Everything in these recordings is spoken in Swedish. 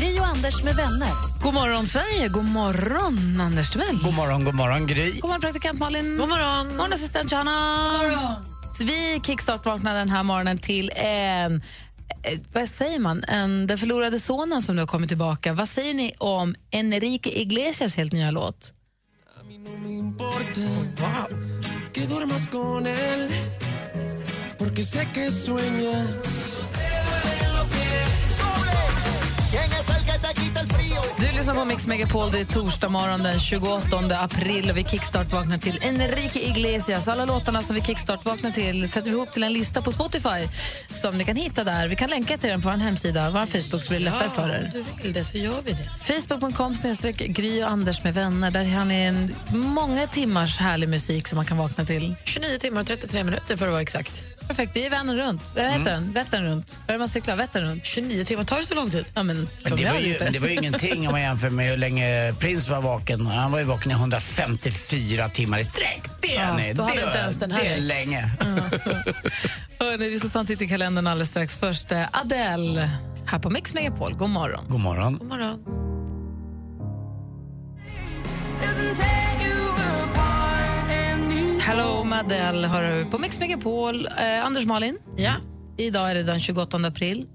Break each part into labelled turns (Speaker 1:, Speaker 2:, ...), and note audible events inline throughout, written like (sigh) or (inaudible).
Speaker 1: Gri och Anders med vänner.
Speaker 2: God morgon, Sverige. God morgon, Anders Timell.
Speaker 3: God morgon, god morgon Gry.
Speaker 2: God morgon, praktikant Malin. God morgon, morgon assistent Johanna. Så vi kickstart-vaknar den här morgonen till en... eh, Vad säger man? En, den förlorade sonen som nu har kommit tillbaka. Vad säger ni om Enrique Iglesias helt nya låt? Du lyssnar på Mix Megapol. Det är torsdag morgon den 28 april och vi kickstart-vaknar till Enrique Iglesias. Alla låtarna som vi kickstart-vaknar till sätter vi ihop till en lista på Spotify som ni kan hitta där. Vi kan länka till den på vår hemsida, vår Facebook, så blir det lättare för er.
Speaker 4: vill det så gör vi det.
Speaker 2: Facebook.com snedstreck Gry och Anders med vänner. Där har ni en, många timmars härlig musik som man kan vakna till.
Speaker 4: 29 timmar och 33 minuter för att vara exakt.
Speaker 2: Perfekt, det är Vättern runt. Vad
Speaker 3: Mm.
Speaker 2: heter den? Vättern runt. Vad är det man cyklar? Vättern runt.
Speaker 4: 29 timmar, tar det så lång tid?
Speaker 2: Ja, men,
Speaker 3: Men det,
Speaker 2: jag
Speaker 3: var
Speaker 2: hade
Speaker 3: ju,
Speaker 2: inte.
Speaker 3: men det var ju ingenting om man jämför med hur länge prins var vaken. Han var ju vaken i 154 timmar i sträck. Det,
Speaker 4: Ja,
Speaker 3: nej,
Speaker 4: då hade
Speaker 3: det,
Speaker 4: inte ens den här
Speaker 3: det är
Speaker 4: räckt.
Speaker 3: länge.
Speaker 2: Hörrni, vi ska ta en titt i kalendern alldeles strax. Först eh, Adele här på Mix Megapol. God morgon.
Speaker 3: God morgon.
Speaker 4: God morgon.
Speaker 2: Hello med Adele hör du på Mix Megapol. Eh, Anders Malin,
Speaker 4: Ja.
Speaker 2: idag är det den 28 april.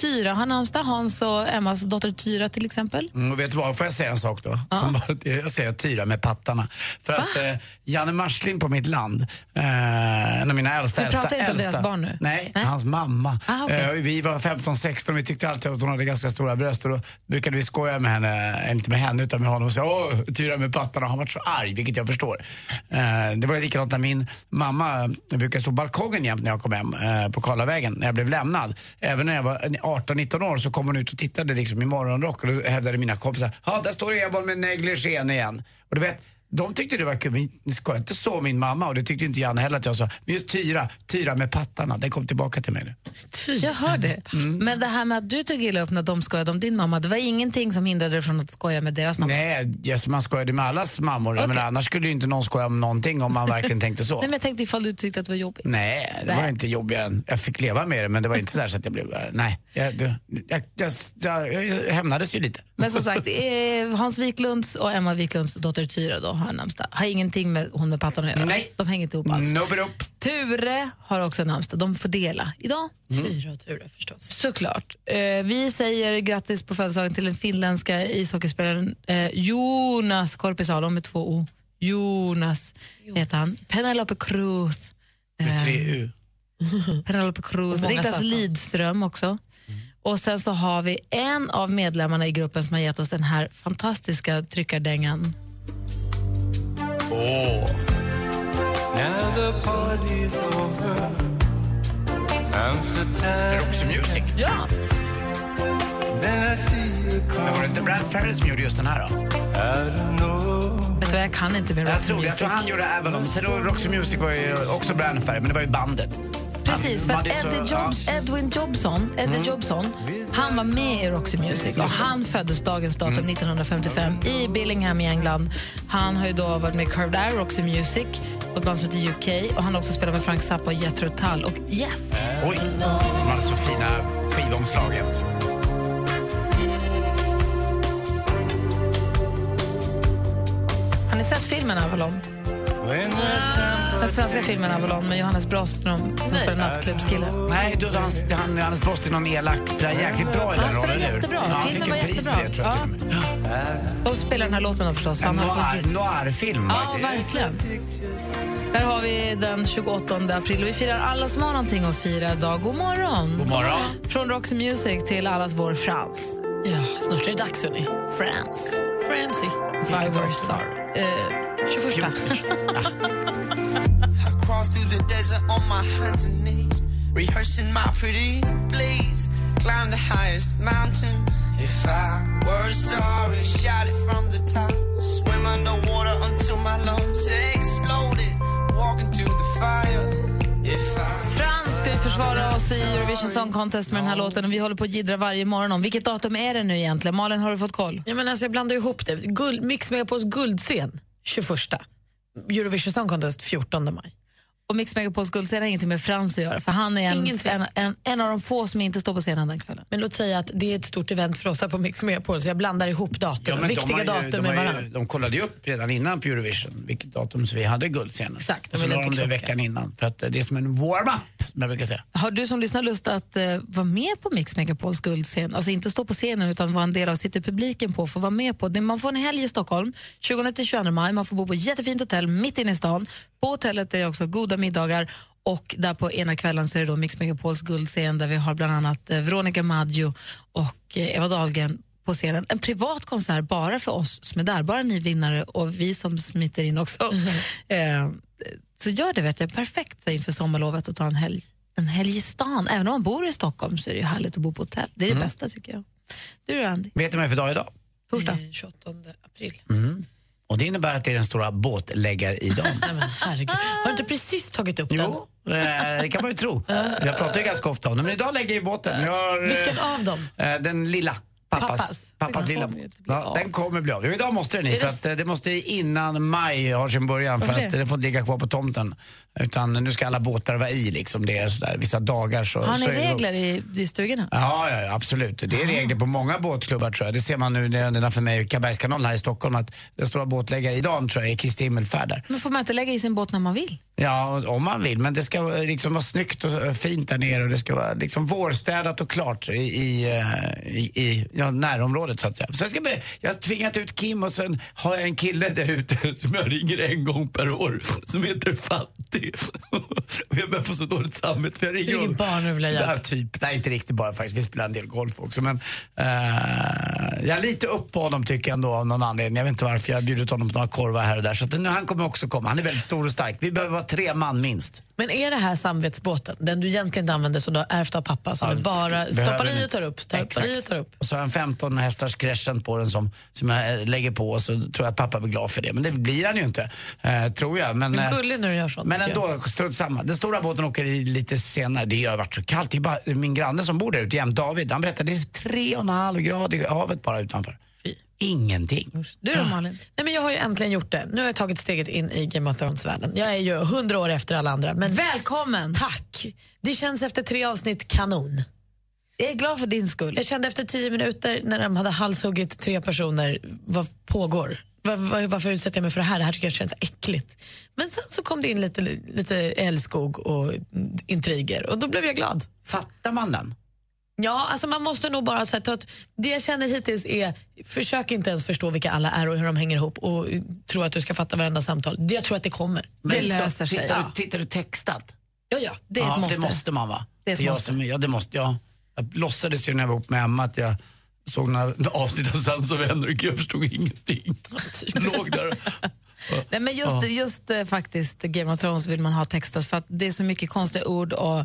Speaker 2: Tyra har namnsdag, Hans och Emmas dotter Tyra till exempel.
Speaker 3: Mm, och vet du vad, får jag säga en sak då? Som bara, jag säger tyra med pattarna. För att eh, Janne Marslin på Mitt Land, eh, en av mina äldsta
Speaker 2: Du
Speaker 3: äldsta,
Speaker 2: pratar inte om
Speaker 3: äldsta,
Speaker 2: deras barn nu?
Speaker 3: Nej,
Speaker 2: Nej.
Speaker 3: hans mamma.
Speaker 2: Ah, okej.
Speaker 3: eh, vi var 15-16 vi tyckte alltid att hon hade ganska stora bröst och då brukade vi skoja med henne, eh, inte med henne utan med honom och säga åh, tyra med pattarna. Han var så arg, vilket jag förstår. Eh, det var ju likadant när min mamma jag brukade stå på balkongen jämt när jag kom hem eh, på Karlavägen, när jag blev lämnad. Även när jag var 18-19 år så kom hon ut och tittade liksom i morgonrock och då hävdade mina kompisar, ja där står Ebon med negligén igen. Och du vet, de tyckte det var kul, men ni skojar inte så min mamma och det tyckte inte Janne heller att jag sa. Men just Tyra, Tyra med pattarna, den kom tillbaka till mig nu.
Speaker 2: Jag hör det. Men det här med att du tog illa upp när de skojade om din mamma, det var ingenting som hindrade dig från att skoja med deras mamma? Nej.
Speaker 3: Nej, yes, Eh, man skojade med allas mammor. Men annars skulle ju inte någon skoja om någonting om man verkligen
Speaker 2: (laughs)
Speaker 3: tänkte så.
Speaker 2: men jag tänkte ifall du tyckte att det var jobbigt.
Speaker 3: Nej, det var
Speaker 2: Nej.
Speaker 3: inte jobbigare än... Jag fick leva med det, men det var inte så, här så att jag blev... Nej, jag, jag, jag, jag, jag, jag hämnades ju lite.
Speaker 2: Men som sagt, eh, Hans Wiklunds och Emma Wiklunds dotter Tyra då, har namnsdag. Har ingenting med hon med pattarna att göra.
Speaker 3: Nej.
Speaker 2: De hänger inte ihop alls.
Speaker 3: Nobber upp.
Speaker 2: Ture har också namnsdag. De får dela idag.
Speaker 3: Mm.
Speaker 4: Tyra Mm. och Ture förstås.
Speaker 2: Såklart. Eh, vi säger grattis på födelsedagen till den finländska ishockeyspelaren eh, Jonas Korpisalo med två O. Jonas, heter han. Penelope Cruz. Eh,
Speaker 3: Med (laughs) tre U.
Speaker 2: Penelope Cruz.
Speaker 4: Och många
Speaker 2: Niklas
Speaker 4: söta.
Speaker 2: Lidström också. Och sen så har vi en av medlemmarna i gruppen som har gett oss den här fantastiska tryckardängan.
Speaker 3: Åh. Roxy Music.
Speaker 2: Ja!
Speaker 3: Men var det inte Brad Ferris som gjorde just den här då?
Speaker 2: Vet du vad, jag kan inte mer
Speaker 3: Jag
Speaker 2: rock
Speaker 3: tror, jag
Speaker 2: music.
Speaker 3: tror han gjorde Avalon. Sen då Roxy Music var ju också Brad Ferris, men det var ju bandet.
Speaker 2: Precis, för
Speaker 3: Man
Speaker 2: att
Speaker 3: hade ju så-
Speaker 2: Eddie
Speaker 3: ja. Mm.
Speaker 2: Jobs, Edwin Jobson, Eddie Jobson, han var med i Roxy Music och han föddes dagens datum
Speaker 3: Mm.
Speaker 2: 1955 i Billingham i England. Han har ju då varit med i Curved Air, Roxy Music och ett band som heter UK och han har också spelat med Frank Zappa och Jethro Tull och Yes!
Speaker 3: Oj, de hade så fina skivomslag jämt.
Speaker 2: Har ni sett filmen Avalon? Den svenska filmen Avalon med Johannes Broström som spelar nattklubbskille.
Speaker 3: Nej, du, han, han, Anders Boss är någon elak. Spelar jäkligt bra i den
Speaker 2: Han spelar
Speaker 3: rollen, eller hur?
Speaker 2: jättebra.
Speaker 3: Ja, han
Speaker 2: Filmen
Speaker 3: fick
Speaker 2: var
Speaker 3: ju pris för
Speaker 2: jättebra.
Speaker 3: det, tror jag, till och med.
Speaker 2: Och spelar den här låten då förstås. för
Speaker 3: En
Speaker 2: han har-
Speaker 3: noir, noir-film.
Speaker 2: Ja, verkligen. Där har vi den 28 april. Vi firar alla som har någonting att fira idag. God morgon!
Speaker 3: God morgon.
Speaker 2: Från Roxy Music till allas vår Frans.
Speaker 4: Ja, snart är det dags hörni.
Speaker 2: Frans.
Speaker 4: Francie.
Speaker 2: Why we're sorry. Eh, 21. (laughs)
Speaker 5: Crawl through the desert on my hands and knees, rehearsing my pretty please. Climb the highest mountain. If I were sorry, shout it from the
Speaker 2: oss i Eurovision Song Contest med den här låten och vi håller på att jiddra varje morgon om vilket datum är det nu egentligen. Malin, har du fått koll?
Speaker 4: Ja, men alltså, jag blandar ihop det. Guld, Mix Megapols guldscen 21. Eurovision Song Contest 14 maj.
Speaker 2: Och Mix Megapols guldscen har ingenting med Frans att göra för han är en,
Speaker 4: Ingenting.
Speaker 2: en, en, en av de få som inte står på scenen den kvällen.
Speaker 4: Men låt säga att det är ett stort event för oss här på Mix Megapol så jag blandar ihop datum,
Speaker 3: men de
Speaker 4: viktiga
Speaker 3: har ju-
Speaker 4: datum
Speaker 3: de
Speaker 4: med
Speaker 3: har ju-
Speaker 4: varandra.
Speaker 3: De kollade ju upp redan innan på Eurovision vilket datum som vi hade guldscenen.
Speaker 4: Exakt, de
Speaker 3: Och så
Speaker 4: ville
Speaker 3: la
Speaker 4: inte
Speaker 3: de det
Speaker 4: krocka.
Speaker 3: veckan innan. För att eh, det är som en warm-up, som jag brukar säga.
Speaker 2: Har du som lyssnar lust att eh, vara med på Mix Megapols guldscen? Alltså inte stå på scenen utan vara en del av, sitter publiken på, får vara med på. Det, man får en helg i Stockholm, 20-22 maj. Man får bo på ett jättefint hotell mitt inne i stan. På hotellet är det också goda middagar och där på ena kvällen så är det då Mix Megapols guldscen där vi har bland annat eh, Veronica Maggio och eh, Eva Dahlgren på scenen. En privat konsert bara för oss som är där, bara ni vinnare och vi som smiter in också. (laughs) eh, så gör det vet jag, perfekt inför sommarlovet att ta en helg. En helg i stan. Även om man bor i Stockholm så är det ju härligt att bo på hotell. Det är det bästa tycker jag. Du då Andy,
Speaker 3: Vet ni vad det är för dag idag? Mm.
Speaker 2: torsdag.
Speaker 4: Eh, 28 april.
Speaker 3: Och det innebär att det är den stora
Speaker 4: (laughs)
Speaker 3: båtläggaridagen.
Speaker 4: Nej, men herregud. Har du inte precis tagit upp den?
Speaker 3: jo, eh, det kan man ju tro. Jag pratar ju ganska ofta om det, men idag lägger jag i båten. Jag har, eh,
Speaker 4: Vilken av dem?
Speaker 3: Eh, Den lilla. Pappas,
Speaker 4: Pappas.
Speaker 3: pappas. lilla
Speaker 2: kommer ju
Speaker 3: båt.
Speaker 2: inte bli
Speaker 3: Ja,
Speaker 2: av.
Speaker 3: den kommer bli av. Jo, idag måste den i,
Speaker 4: Är
Speaker 3: för
Speaker 4: det
Speaker 3: att eh, det måste i innan maj har sin början. För
Speaker 2: Varför
Speaker 3: att
Speaker 2: det?
Speaker 3: den får inte ligga kvar på tomten. Utan nu ska alla båtar vara i liksom. Det är sådär, vissa dagar så...
Speaker 2: Har ni
Speaker 3: så är det-
Speaker 2: regler i, i stugorna?
Speaker 3: Ja, ja, ja, absolut. Det är regler på många båtklubbar tror jag. Det ser man nu när- nedanför mig i Karlbergskanalen här i Stockholm att den stora båtläggare idag tror jag är Kristi himmelfärd där.
Speaker 2: Men får man inte lägga i sin båt när man vill?
Speaker 3: Ja, och- om man vill. Men det ska eh, liksom vara snyggt och eh, fint där nere och det ska vara liksom vårstädat och klart i, i, eh, i, i ja, närområdet så att säga. Så jag, ska be, jag har tvingat ut Kim och sen har jag en kille där ute (laughs) som jag ringer en gång per år som heter Fattig. (laughs) Och jag börjar få så dåligt samvete för jag ringer
Speaker 4: Du ringer
Speaker 3: honom.
Speaker 4: bara när du vill ha hjälp.
Speaker 3: Ja, typ. Nej, inte riktigt bara faktiskt. Vi spelar en del golf också. Men eh, jag är lite upp på honom tycker jag ändå av någon anledning. Jag vet inte varför. Jag har bjudit honom på några korvar här och där. Så att, nu, han kommer också komma. Han är väldigt stor och stark. Vi behöver vara tre man minst.
Speaker 4: Men är det här samvetsbåten, den du egentligen inte använder som du har ärvt av pappa, som
Speaker 3: Ja,
Speaker 4: du bara
Speaker 3: sk- behöver
Speaker 4: stoppar
Speaker 3: ni-
Speaker 4: i och tar upp, stoppar
Speaker 3: Exakt.
Speaker 4: i och tar upp?
Speaker 3: Och så har jag en 15 hästars crescent på den som, som jag eh, lägger på. Och så tror jag att pappa blir glad för det. Men det blir han ju inte. Eh, tror jag. Men,
Speaker 4: Men
Speaker 3: eh,
Speaker 4: gullig när du gör sånt.
Speaker 3: Men
Speaker 4: tycker jag.
Speaker 3: ändå, strunt samma. Den stora båten åker i lite senare. Det har varit så kallt. Det är bara min granne som bor där ute jämt, David, han berättade det är tre och en halv grad i havet bara utanför. Ingenting.
Speaker 2: Du då Malin?
Speaker 4: Ah. Nej, men jag har ju äntligen gjort det. Nu har jag tagit steget in i Game of Thrones-världen. Jag är ju hundra år efter alla andra. Men
Speaker 2: Välkommen!
Speaker 4: tack! Det känns efter tre avsnitt kanon.
Speaker 2: Jag är glad för din skull.
Speaker 4: Jag kände efter tio minuter när de hade halshuggit tre personer, vad pågår? Var, var, varför utsätter jag mig för det här? Det här tycker jag känns äckligt. Men sen så kom det in lite, lite älskog och intriger och då blev jag glad.
Speaker 3: Fattar man den?
Speaker 4: Ja, alltså man måste nog bara säga att det jag känner hittills är försök inte ens förstå vilka alla är och hur de hänger ihop och eh, tro att du ska fatta varenda samtal. Det- Jag tror att det kommer.
Speaker 2: Det
Speaker 3: så
Speaker 2: löser sig.
Speaker 3: Tittar, du- tittar du textat?
Speaker 4: Ja, ja.
Speaker 2: Det är ett
Speaker 3: ja,
Speaker 2: måste.
Speaker 3: det måste man va?
Speaker 2: Det är ett
Speaker 3: För jag
Speaker 2: måste.
Speaker 3: Som, ja, det måste jag. Jag låtsades ju när jag var ihop med Emma att jag såg några avsnitt av Sans och vänner och jag förstod ingenting. Låg där och-
Speaker 2: Nej, men just, just eh, faktiskt Game of Thrones vill man ha textat för att det är så mycket konstiga ord och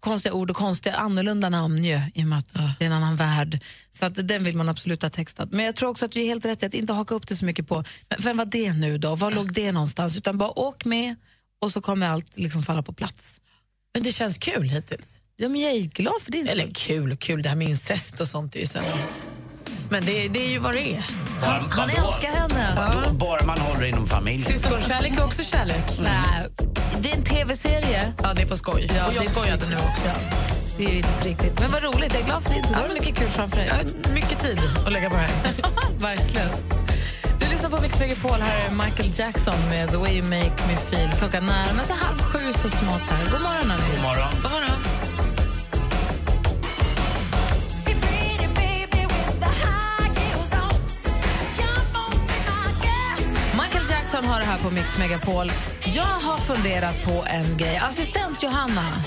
Speaker 2: konstiga ord och konstiga annorlunda namn ju, i och med att det är en annan värld. Så att den vill man absolut ha textat. Men jag tror också att vi är helt rätt i att inte haka upp det så mycket på "Men vem var det nu då? Var låg det någonstans? Utan bara åk med och så kommer allt liksom falla på plats.
Speaker 4: Men det känns kul hittills.
Speaker 2: Ja, men jag är glad för din
Speaker 4: Eller
Speaker 2: skull.
Speaker 4: kul och kul, det här med incest och sånt är ju sen. Men det, det är ju vad det är.
Speaker 3: Bara-
Speaker 2: Han
Speaker 3: vadå?
Speaker 2: älskar henne.
Speaker 3: Vadå? Bara man håller inom familjen.
Speaker 4: Syskonkärlek är också kärlek.
Speaker 2: Nej, det är en tv-serie.
Speaker 4: Ja, det är på skoj. och jag
Speaker 2: det-
Speaker 4: skojade nu också.
Speaker 2: Det är ju inte på riktigt. Men vad roligt, jag är glad för din skull. Du har mycket kul framför dig.
Speaker 4: Jag har mycket tid att lägga på det här.
Speaker 2: Verkligen. Du lyssnar på Mix Megapol. Här är Michael Jackson med The way you make me feel. Klockan närmar sig halv sju så smått. Här. God morgon,
Speaker 3: God
Speaker 2: Annie.
Speaker 3: morgon.
Speaker 4: God morgon.
Speaker 2: Michael Jackson har det här på Mix Megapol. Jag har funderat på en grej. Assistent Johanna,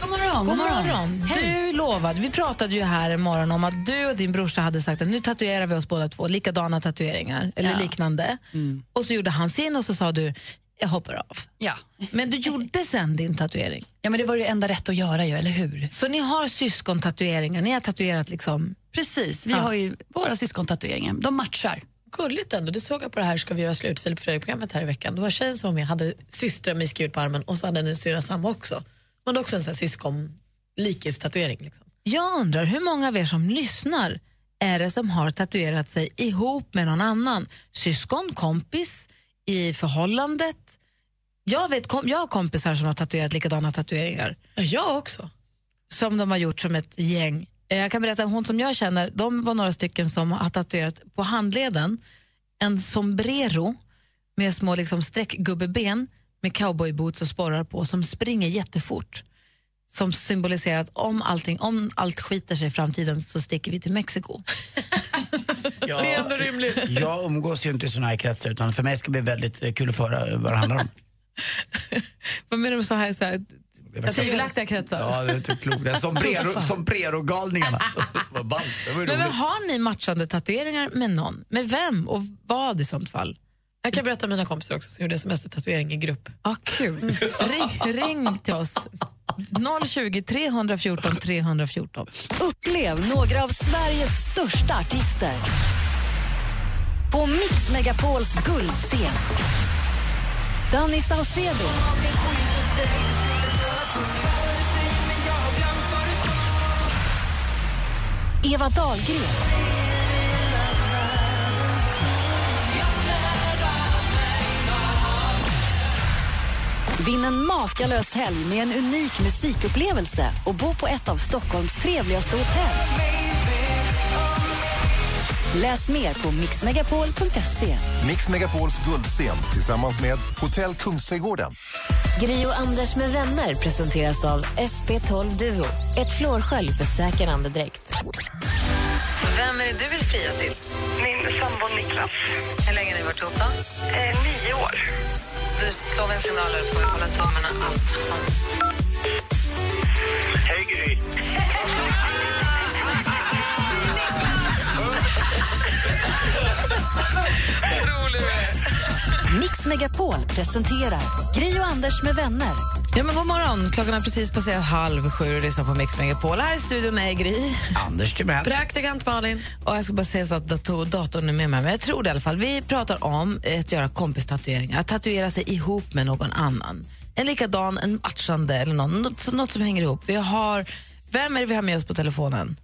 Speaker 6: God morgon.
Speaker 2: god morgon.
Speaker 6: Hej.
Speaker 2: Du lovade, vi pratade ju här en morgon om att du och din brorsa hade sagt att nu tatuerar vi oss båda två, likadana tatueringar eller liknande.
Speaker 6: Mm.
Speaker 2: Och så gjorde han sin och så sa du, jag hoppar av.
Speaker 6: Ja.
Speaker 2: Men du gjorde sen din tatuering.
Speaker 6: ja, men det var det enda rätt att göra ju, eller hur?
Speaker 2: Så ni har syskontatueringar, ni har tatuerat liksom
Speaker 6: Precis, vi har ju våra syskontatueringar, de matchar.
Speaker 4: Gulligt ändå. Det såg jag på det här Ska vi göra slut Filip Fredrik-programmet här i veckan. Det var tjejen som var med, hade systrar med skrivet på armen och så hade hennes syrra samma också. Man har också en sån här syskon-likhetstatuering. Liksom.
Speaker 2: Jag undrar hur många av er som lyssnar är det som har tatuerat sig ihop med någon annan? Syskon, kompis, i förhållandet? Jag, vet, kom, jag har kompisar som har tatuerat likadana tatueringar
Speaker 4: Ja, jag också.
Speaker 2: som de har gjort som ett gäng. Eh, Jag kan berätta om hon som jag känner, de var några stycken som har tatuerat på handleden en sombrero med små liksom, streckgubbeben med cowboyboots och sporrar på som springer jättefort. Som symboliserar att om, allting, om allt skiter sig i framtiden så sticker vi till Mexiko.
Speaker 3: Jag, det är ändå rimligt. Jag umgås ju inte i såna här kretsar utan för mig ska det bli väldigt eh, kul att få höra vad
Speaker 2: (laughs)
Speaker 3: det handlar om.
Speaker 2: (laughs) Vad menar du med så här, så här tvivelaktiga kretsar?
Speaker 3: Ja, det är typ- inte klokt. Det är sombrero-
Speaker 2: (laughs)
Speaker 3: Sombrero-galningarna. Vad ballt, det var ju
Speaker 2: Men, men
Speaker 3: roligt.
Speaker 2: har ni matchande tatueringar med någon? Med vem och vad i sånt fall?
Speaker 4: Jag kan berätta om mina kompisar också som gjorde semester-tatuering i grupp.
Speaker 2: Ah, kul. Ring, ring till oss. 020 314 314.
Speaker 1: Upplev några av Sveriges största artister. På Mix Megapols guldscen. Danny Saucedo. Eva Dahlgren. Vinn en makalös helg med en unik musikupplevelse och bo på ett av Stockholms trevligaste hotell. Läs mer på mixmegapol.se.
Speaker 7: Mix Megapols guldscen tillsammans med Hotell Kungsträdgården.
Speaker 1: Gri och Anders med vänner presenteras av SP12 Duo. Ett flårskölj för säker andedräkt.
Speaker 2: Vem är det du vill fria till?
Speaker 8: Min sambo Niklas,
Speaker 2: Hur länge har ni varit ihop? Då?
Speaker 8: eh, nio år.
Speaker 2: Du slår väl signaler får vi hålla tummarna allt.
Speaker 8: Hej Gry.
Speaker 1: Mix Megapol presenterar Gri och Anders med vänner.
Speaker 2: Ja, men god morgon. Klockan är precis passerat halv sju och lyssnar på Mix Megapol. Här i studion är Gry.
Speaker 3: Anders Timell.
Speaker 4: Praktikant Malin.
Speaker 2: Och jag ska bara säga så att dator, datorn är med mig, men jag tror det i alla fall. Vi pratar om eh, att göra kompistatueringar, att tatuera sig ihop med någon annan. En likadan, en matchande eller någon, något, så- något som hänger ihop. Vi har, vem är det vi har med oss på telefonen?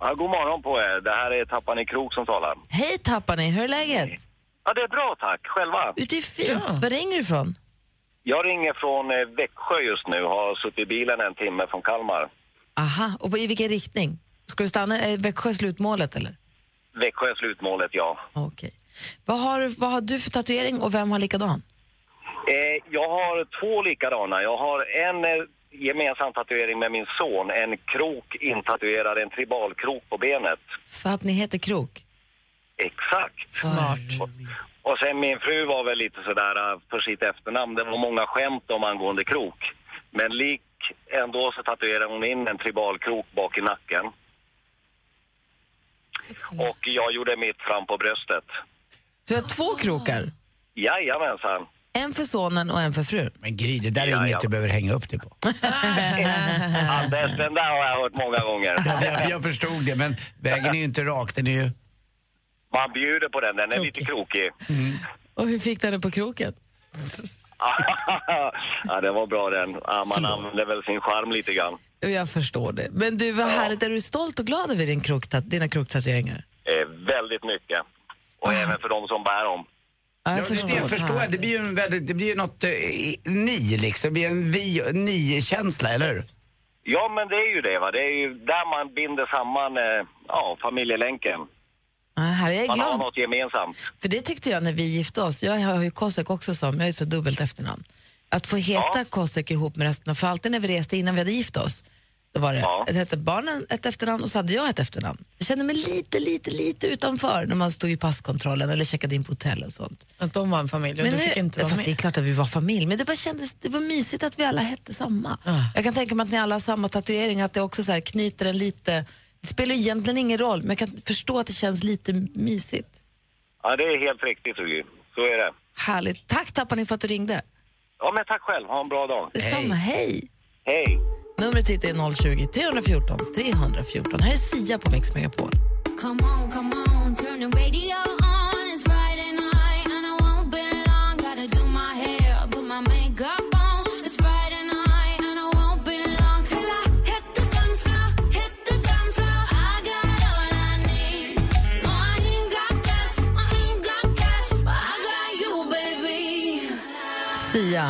Speaker 8: Ja, god morgon på er. Det här är Tappan i krok som talar.
Speaker 2: Hej tappar ni, hur är läget?
Speaker 8: Ja, det är bra tack. Själva?
Speaker 2: Ute är fint. Var ringer du ifrån?
Speaker 8: Jag ringer från eh, Växjö just nu. Har suttit i bilen en timme från Kalmar.
Speaker 2: Aha, och på- i vilken riktning? Ska du stanna i Växjö slutmålet eller?
Speaker 8: Växjö är slutmålet, ja.
Speaker 2: Okej. Vad, har, du- vad har du för tatuering och vem har likadan?
Speaker 8: Eh, jag har två likadana. Jag har en eh, gemensam tatuering med min son. En krok intatuerad, en tribalkrok på benet.
Speaker 2: För att ni heter Krok?
Speaker 8: Exakt.
Speaker 2: Smart.
Speaker 8: Och sen min fru var väl lite sådär eh, för sitt efternamn. Det var många skämt om angående krok. Men lik ändå så tatuerade hon in en tribalkrok bak i nacken. Och jag gjorde mitt fram på bröstet.
Speaker 2: Så jag har två krokar.
Speaker 8: Jajamensan.
Speaker 2: En för sonen och en för frun.
Speaker 3: Men Gry, det där är
Speaker 8: Ja,
Speaker 3: inget
Speaker 8: ja.
Speaker 3: du behöver hänga upp dig på.
Speaker 8: Anders, den där har jag hört många
Speaker 3: (laughs)
Speaker 8: gånger.
Speaker 3: Jag, jag förstod det, men vägen är ju inte rak. Den är ju...
Speaker 8: Man bjuder på den, den är lite krokig. (laughs)
Speaker 3: Mm.
Speaker 2: Och hur fick du henne på kroken?
Speaker 8: ja, den var bra den. Ja, man använder väl sin charm lite grann.
Speaker 2: Och Jag förstår det. Men du, vad härligt. Är du stolt och glad över din kroktat- dina kroktatueringar?
Speaker 8: Eh, väldigt mycket. Och även för de som bär dem.
Speaker 2: Ah. Ja, jag Ah.
Speaker 3: Ja, det, det, jag förstår jag. Det blir ju en väldigt, det blir ju något eh, i- ni liksom. Det blir en vi, ni-känsla, eller hur?
Speaker 8: Ja, men det är ju det. Va? Det är ju där man binder samman eh, ja, familjelänken.
Speaker 2: Ja, här är jag
Speaker 8: Man har
Speaker 2: glad.
Speaker 8: något gemensamt.
Speaker 2: För det tyckte jag när vi gifte oss. Jag har ju Kosek också som, jag har ju så dubbelt efternamn. Att få heta
Speaker 8: Ja.
Speaker 2: Kosek ihop med resten av, för alltid när vi reste innan vi hade gift oss, då var det,
Speaker 8: Ja.
Speaker 2: det hette barnen ett efternamn och så hade jag ett efternamn. Jag kände mig lite, lite, lite utanför när man stod i passkontrollen eller checkade in på hotell och sånt.
Speaker 4: Att de var en familj och du fick inte vara
Speaker 2: fast det är
Speaker 4: med.
Speaker 2: klart att vi var familj, men det bara kändes det var mysigt att vi alla hette samma. Jag kan tänka mig att ni alla har samma tatuering, att det också så här knyter en lite... Det spelar ju egentligen ingen roll, men jag kan förstå att det känns lite mysigt.
Speaker 8: Ja, det är helt riktigt, Sugi. Så är det.
Speaker 2: Härligt. Tack Tappani för att du ringde.
Speaker 8: Ja, men tack själv. Ha en bra dag.
Speaker 2: Detsamma, hej.
Speaker 8: Hej!
Speaker 2: Numret hit är 020 314 314. Här är Sia på Mix Megapol.
Speaker 9: Friday night and I won't
Speaker 2: Sia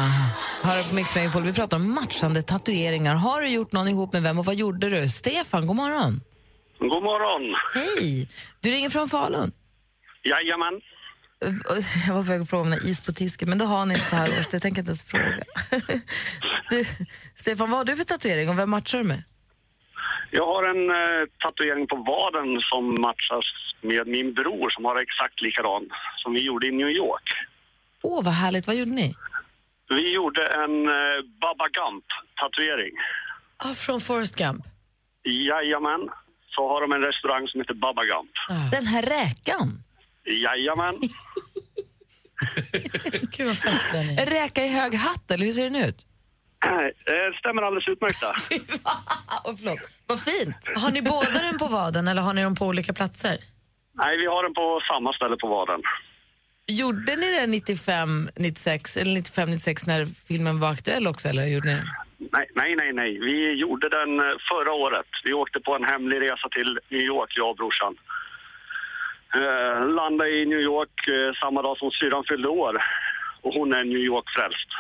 Speaker 2: har på Mix Megapol. Vi pratar om matchande tatueringar. Har du gjort någon ihop med vem och vad gjorde du? Stefan, god morgon.
Speaker 10: God morgon.
Speaker 2: Hej! Du ringer från Falun.
Speaker 10: Jajamän.
Speaker 2: Jag var på väg att fråga om ni har is på tisken, men det har ni inte så här års. Det tänker jag inte ens fråga. (laughs) Du, Stefan, vad har du för tatuering och vem matchar du med?
Speaker 10: Jag har en eh, tatuering på vaden som matchas med min bror som har exakt likadan som vi gjorde i New York.
Speaker 2: Åh, vad härligt. Vad gjorde ni?
Speaker 10: Vi gjorde en eh, Baba Gump-tatuering.
Speaker 4: Ah, från Forrest Gump.
Speaker 10: Jajamän. Så har de en restaurang som heter Baba Gump.
Speaker 4: Ah.
Speaker 2: Den här räkan.
Speaker 10: Jajamän.
Speaker 4: (laughs) Gud, vad festliga ni
Speaker 2: En räka i hög hatt, eller hur ser den ut?
Speaker 10: Eh, Stämmer alldeles utmärkt där.
Speaker 4: (laughs) Ah,
Speaker 2: oh, förlåt. Vad fint.
Speaker 4: Har ni båda den på vaden eller har ni dem på olika platser?
Speaker 10: Nej, vi har den på samma ställe på vaden.
Speaker 2: Gjorde ni det 95, 96 eller 95, 96 när filmen var aktuell också? Eller gjorde ni det?
Speaker 10: Nej, nej, nej, nej. Vi gjorde den eh, förra året. Vi åkte på en hemlig resa till New York, jag och brorsan. Eh, landade i New York eh, samma dag som syrran fyllde år. Och hon är New York-frälst.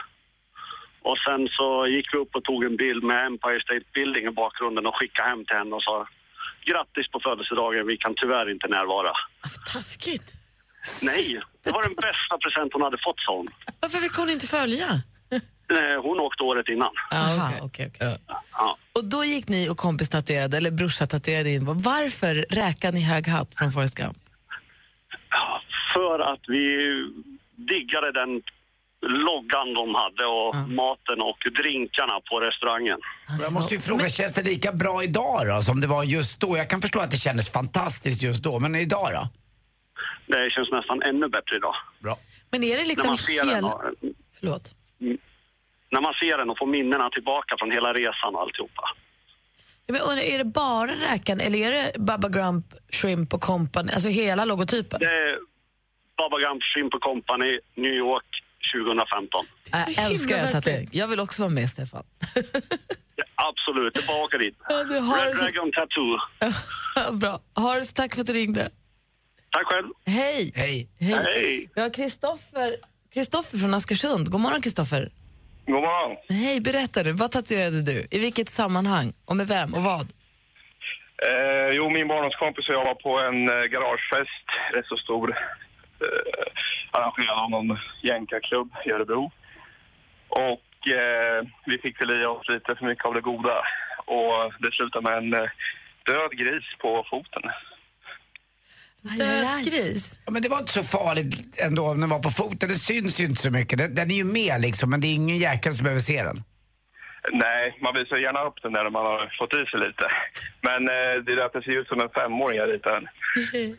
Speaker 10: Och sen så gick vi upp och tog en bild med Empire State Building i bakgrunden och skickade hem till henne och sa grattis på födelsedagen, vi kan tyvärr inte närvara.
Speaker 4: Taskigt.
Speaker 10: Nej, det var den bästa present hon hade fått, sa hon.
Speaker 4: Varför fick hon inte följa?
Speaker 10: Eh, Hon åkte året innan.
Speaker 2: Aha, okej, okej. Och då gick ni och kompis tatuerade, eller brorsa tatuerade in. Varför räkan i hög hatt från Forrest Gump?
Speaker 10: För att vi diggade den loggan de hade och maten och drinkarna på restaurangen.
Speaker 3: Jag måste ju fråga, känns det lika bra idag då som det var just då? Jag kan förstå att det kändes fantastiskt just då, men idag då?
Speaker 10: Det känns nästan ännu bättre idag.
Speaker 3: Bra.
Speaker 4: Men är det
Speaker 10: när
Speaker 4: liksom
Speaker 10: man ser den
Speaker 4: hel...
Speaker 10: och, Mm.
Speaker 4: Förlåt.
Speaker 10: när man ser den och får minnena tillbaka från hela resan och alltihopa.
Speaker 4: Ja, Men jag undrar, är det bara räkan eller är det Baba Grump, Shrimp och Company? Alltså
Speaker 2: (laughs)
Speaker 4: hela logotypen?
Speaker 10: Det är Baba Gump Shrimp Company, New York 2015.
Speaker 2: Jag älskar en tatuering. Jag vill också vara med, Stefan.
Speaker 10: Absolut, det är bara att åka dit.
Speaker 2: Ja, du har
Speaker 10: Red
Speaker 2: så-
Speaker 10: Dragon Tattoo.
Speaker 2: (laughs) Bra. Hars, tack för att du ringde.
Speaker 10: Tack själv.
Speaker 2: Hej!
Speaker 3: Hej!
Speaker 10: Hej.
Speaker 2: Vi har Kristoffer Kristoffer från Askersund. God morgon, Kristoffer.
Speaker 11: God morgon.
Speaker 2: Hej, berätta nu. Vad tatuerade du? I vilket sammanhang? Och med vem? Och vad?
Speaker 11: Eh, jo, min barndomskompis och jag var på en eh, garagefest, rätt så stor, eh, arrangerad av någon jänkarklubb i Örebro. Och eh, vi fick väl i oss lite för mycket av det goda och det slutade med en eh, död gris på foten.
Speaker 4: Död gris.
Speaker 3: Ja, men det var inte så farligt ändå om den var på foten. Det syns ju inte så mycket. Den, den är ju med liksom, men det är ingen jäkel som behöver se den.
Speaker 11: Nej, man visar gärna upp den när man har fått i sig lite. Men eh, det är därför det ser ut som en femåring jag
Speaker 2: (laughs)
Speaker 11: ritade den. Men-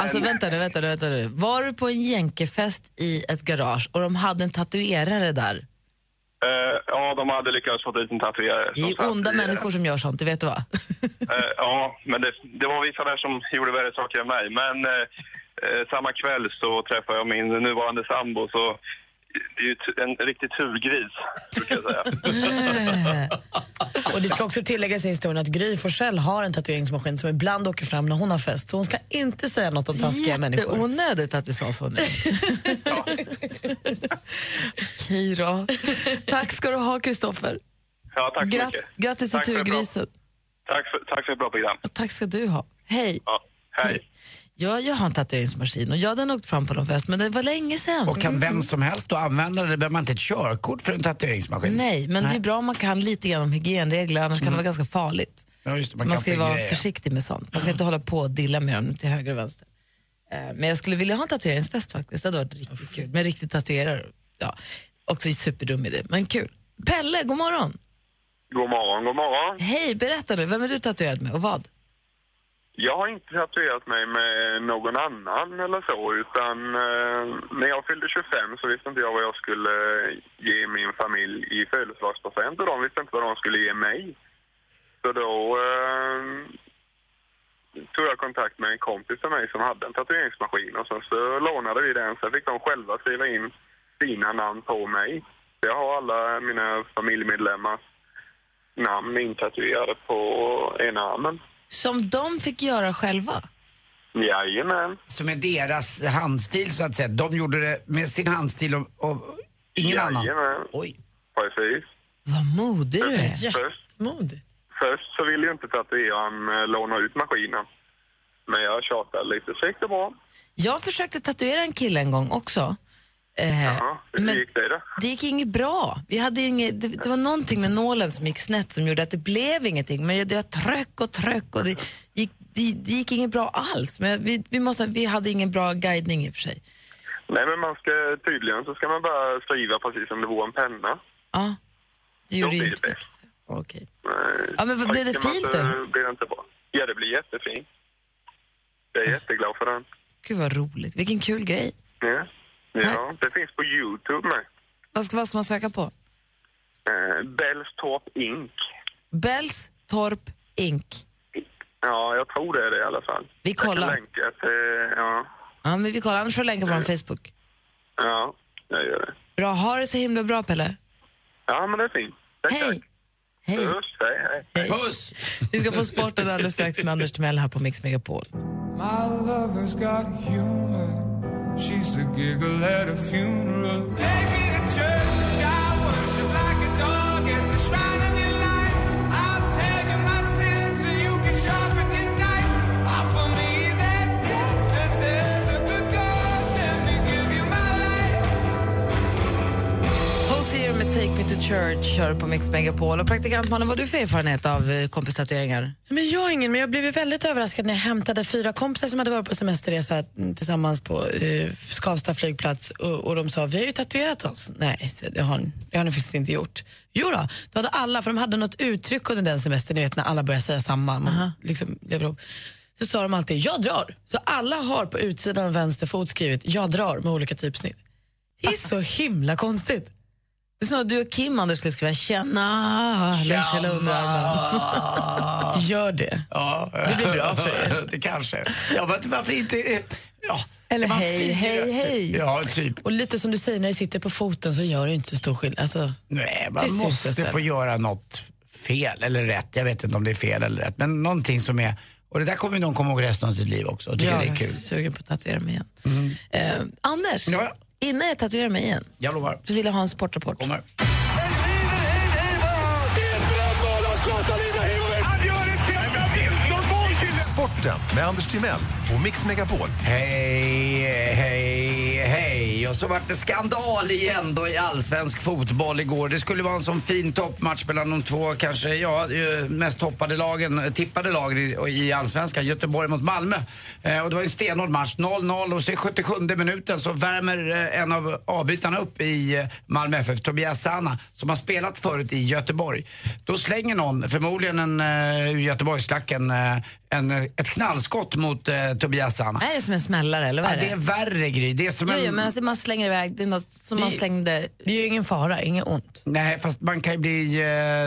Speaker 2: Alltså vänta nu, vänta nu, vänta nu. Var du på en jänkefest i ett garage och de hade en tatuerare där?
Speaker 11: Eh, ja, de hade lyckats få dit en tatuerare.
Speaker 2: Det är
Speaker 11: som
Speaker 2: ju
Speaker 11: satt
Speaker 2: onda
Speaker 11: i, eh,
Speaker 2: människor som gör sånt, du vet va?
Speaker 11: Eh, ja, men det, det var vissa där som gjorde värre saker än mig. Men eh, eh, samma kväll så träffade jag min nuvarande sambo. Så det är ju t- en riktig turgris, brukar jag säga.
Speaker 4: Och det ska också tilläggas i historien att Gry Forssell har en tatueringsmaskin som ibland åker fram när hon har fest. Så hon ska inte säga något om taskiga människor.
Speaker 2: Jätteonödigt att du sa
Speaker 4: (laughs)
Speaker 2: så nu. Okej då. Tack ska du ha, Kristoffer.
Speaker 11: Ja, tack så
Speaker 2: Gratt-
Speaker 11: mycket.
Speaker 2: grattis till
Speaker 11: Tack för ett bra-
Speaker 2: turgrisen.
Speaker 11: Tack för, tack för ett bra program.
Speaker 2: Tack ska du ha. Hej.
Speaker 11: Ja,
Speaker 2: (laughs)
Speaker 11: hej.
Speaker 2: Ja, jag har en tatueringsmaskin och jag hade nog åkt fram på någon fest, men det var länge sedan.
Speaker 3: Och kan vem som helst då använda den? Det behöver man inte ett körkort för en tatueringsmaskin.
Speaker 2: Nej, men det är bra om man kan lite grann om hygienregler, annars kan det vara ganska farligt.
Speaker 3: Ja, Mm. just det,
Speaker 2: man,
Speaker 3: man
Speaker 2: man
Speaker 3: kan
Speaker 2: ska ju vara
Speaker 3: förgreja.
Speaker 2: försiktig med sånt. Man ska inte hålla på och dilla med dem till höger och vänster. Eh,
Speaker 3: Mm.
Speaker 2: Men jag skulle vilja ha en tatueringsfest faktiskt. Det hade varit riktigt kul. Med riktigt tatuerare. Ja, också superdum idé, men kul. Pelle, god morgon.
Speaker 12: God morgon, god morgon.
Speaker 2: Hej, berätta nu. Vem är du tatuerad med och vad?
Speaker 12: Jag har inte tatuerat mig med någon annan eller så, utan eh, när jag fyllde 25 så visste inte jag vad jag skulle ge min familj i födelsedagspresent och de visste inte vad de skulle ge mig. Så då eh, tog jag kontakt med en kompis till mig som hade en tatueringsmaskin och sen så lånade vi den. Sen fick de själva skriva in sina namn på mig. Så jag har alla mina familjemedlemmars namn intatuerade på ena armen.
Speaker 2: Som de fick göra själva.
Speaker 12: Jajamän.
Speaker 3: Som är deras handstil så att säga. De gjorde det med sin handstil och, och Ingen annan?
Speaker 12: Jajamän.
Speaker 3: Oj.
Speaker 12: Precis.
Speaker 4: Vad modig du är.
Speaker 12: Jättemodigt. Först så ville ju inte tatueraren eh, låna ut maskinen. Men jag tjatade lite så gick det bra.
Speaker 4: Jag försökte tatuera en kille en gång också. Eh,
Speaker 12: Hur
Speaker 4: men
Speaker 12: gick det då?
Speaker 4: det gick inget bra. Vi hade inget, det, det var någonting med nålen som gick snett som gjorde att det blev ingenting. Men jag, jag tröck och tröck och det gick, det, det gick inget bra alls. Men vi, vi, måste, vi hade ingen bra guidning i och för sig.
Speaker 12: Nej men man ska, tydligen så ska man bara skriva precis som det vore en penna.
Speaker 4: Ja, det
Speaker 12: Då
Speaker 4: gjorde
Speaker 12: blir
Speaker 4: ju
Speaker 12: det bäst.
Speaker 4: Okej.
Speaker 12: Nej,
Speaker 4: Ja, men vad- blev det
Speaker 12: trycker man
Speaker 4: fint
Speaker 12: så
Speaker 4: då?
Speaker 12: blir det inte bra. Ja det blir jättefint. Jag är
Speaker 4: Eh.
Speaker 12: jätteglad för den.
Speaker 4: Gud vad roligt. Vilken kul grej.
Speaker 12: Ja, ja det finns på Youtube med.
Speaker 4: Vad ska, vad ska man söka på?
Speaker 12: Eh, Bellstorp Inc.
Speaker 4: Bells Torp Ink.
Speaker 12: Ja, jag tror det är det i alla fall.
Speaker 4: Vi
Speaker 12: Jag
Speaker 4: kollar.
Speaker 12: kan länka till, ja,
Speaker 4: Ja, men vi kollar. Annars får du länka på vår Facebook.
Speaker 12: ja, jag gör det.
Speaker 4: Bra. Ha det så himla bra, Pelle.
Speaker 12: Ja, men det är fint. Tack, hej. tack.
Speaker 4: Hej.
Speaker 12: Puss, hej,
Speaker 4: hej. Puss! Vi ska få sporten alldeles strax med Anders Timell här på Mix Megapol.
Speaker 9: My lover's got humor. She's the giggle at a funeral. Take me to church. I worship like a dog at the shrine of your life. I'll tell you my sins and you can sharpen your knife. Offer me that death instead of the good God. Let me give you my life.
Speaker 4: Hosier med Take Me To Church kör på Mix Megapol. Och praktikantmannen, vad har du för erfarenhet av eh, kompistatueringar? Men jag har ingen, men jag blev ju väldigt överraskad när jag hämtade fyra kompisar som hade varit på semesterresa mm, tillsammans på eh, Skavsta flygplats och, och de sa vi har ju tatuerat oss. Nej, så det har, ni- det har ni faktiskt inte gjort. Jo då, då hade alla, för de hade något uttryck under den semestern, ni vet när alla börjar säga samma, man liksom lever ihop. Så sa de alltid jag drar. Så alla har på utsidan av vänster fot skrivit jag drar med olika typsnitt. Det är så himla konstigt. Det är som att du och Kim, Anders, skulle skriva “tjena” längs hela underarmen. (laughs) Gör det.
Speaker 3: Ja.
Speaker 4: Det blir bra för
Speaker 3: er. (laughs) Det kanske. Ja, men varför inte... Ja.
Speaker 4: Eller
Speaker 3: Vad
Speaker 4: hej,
Speaker 3: fint.
Speaker 4: hej, hej.
Speaker 3: Ja, typ.
Speaker 4: Och lite som du säger, när det sitter på foten så gör det inte så stor skillnad. Alltså,
Speaker 3: Nej,
Speaker 4: det
Speaker 3: man
Speaker 4: syns ju
Speaker 3: måste
Speaker 4: sällan.
Speaker 3: få göra något fel eller rätt. Jag vet inte om det är fel eller rätt, men någonting som är... Och det där kommer ju någon komma ihåg resten av sitt liv också och tycker
Speaker 4: Ja,
Speaker 3: det är
Speaker 4: jag
Speaker 3: kul.
Speaker 4: är sugen på att tatuera mig igen. Eh, Anders,
Speaker 3: Ja.
Speaker 4: innan jag tatuerar mig igen
Speaker 3: Jag lovar.
Speaker 4: så vill jag ha en sportrapport.
Speaker 7: Sporten med Anders Timell och Mix Megapol.
Speaker 3: Hej, hej, Eh, hej. Och så vart det skandal igen då i allsvensk fotboll igår. Det skulle vara en sån fin toppmatch mellan de två kanske, ja, eh, mest toppade lagen, eh, tippade lagen i, i allsvenskan. Göteborg mot Malmö. Eh, och det var en stenhård match. 0-0 och så i 77 minuten så värmer eh, en av avbytarna upp i eh, Malmö FF, Tobias Sana, som har spelat förut i Göteborg. Då slänger någon, förmodligen en uh, Göteborgslacken, eh, en, ett knallskott mot eh, Tobias Sana.
Speaker 2: Är det som en smällare eller vad
Speaker 3: Ja,
Speaker 2: är
Speaker 3: det är värre Gry. Det är som
Speaker 2: Jo,
Speaker 3: en...
Speaker 2: jo, men alltså man slänger iväg, det är något som man slängde...
Speaker 4: Det är ju ingen fara, inget ont.
Speaker 3: Nej, fast man kan ju bli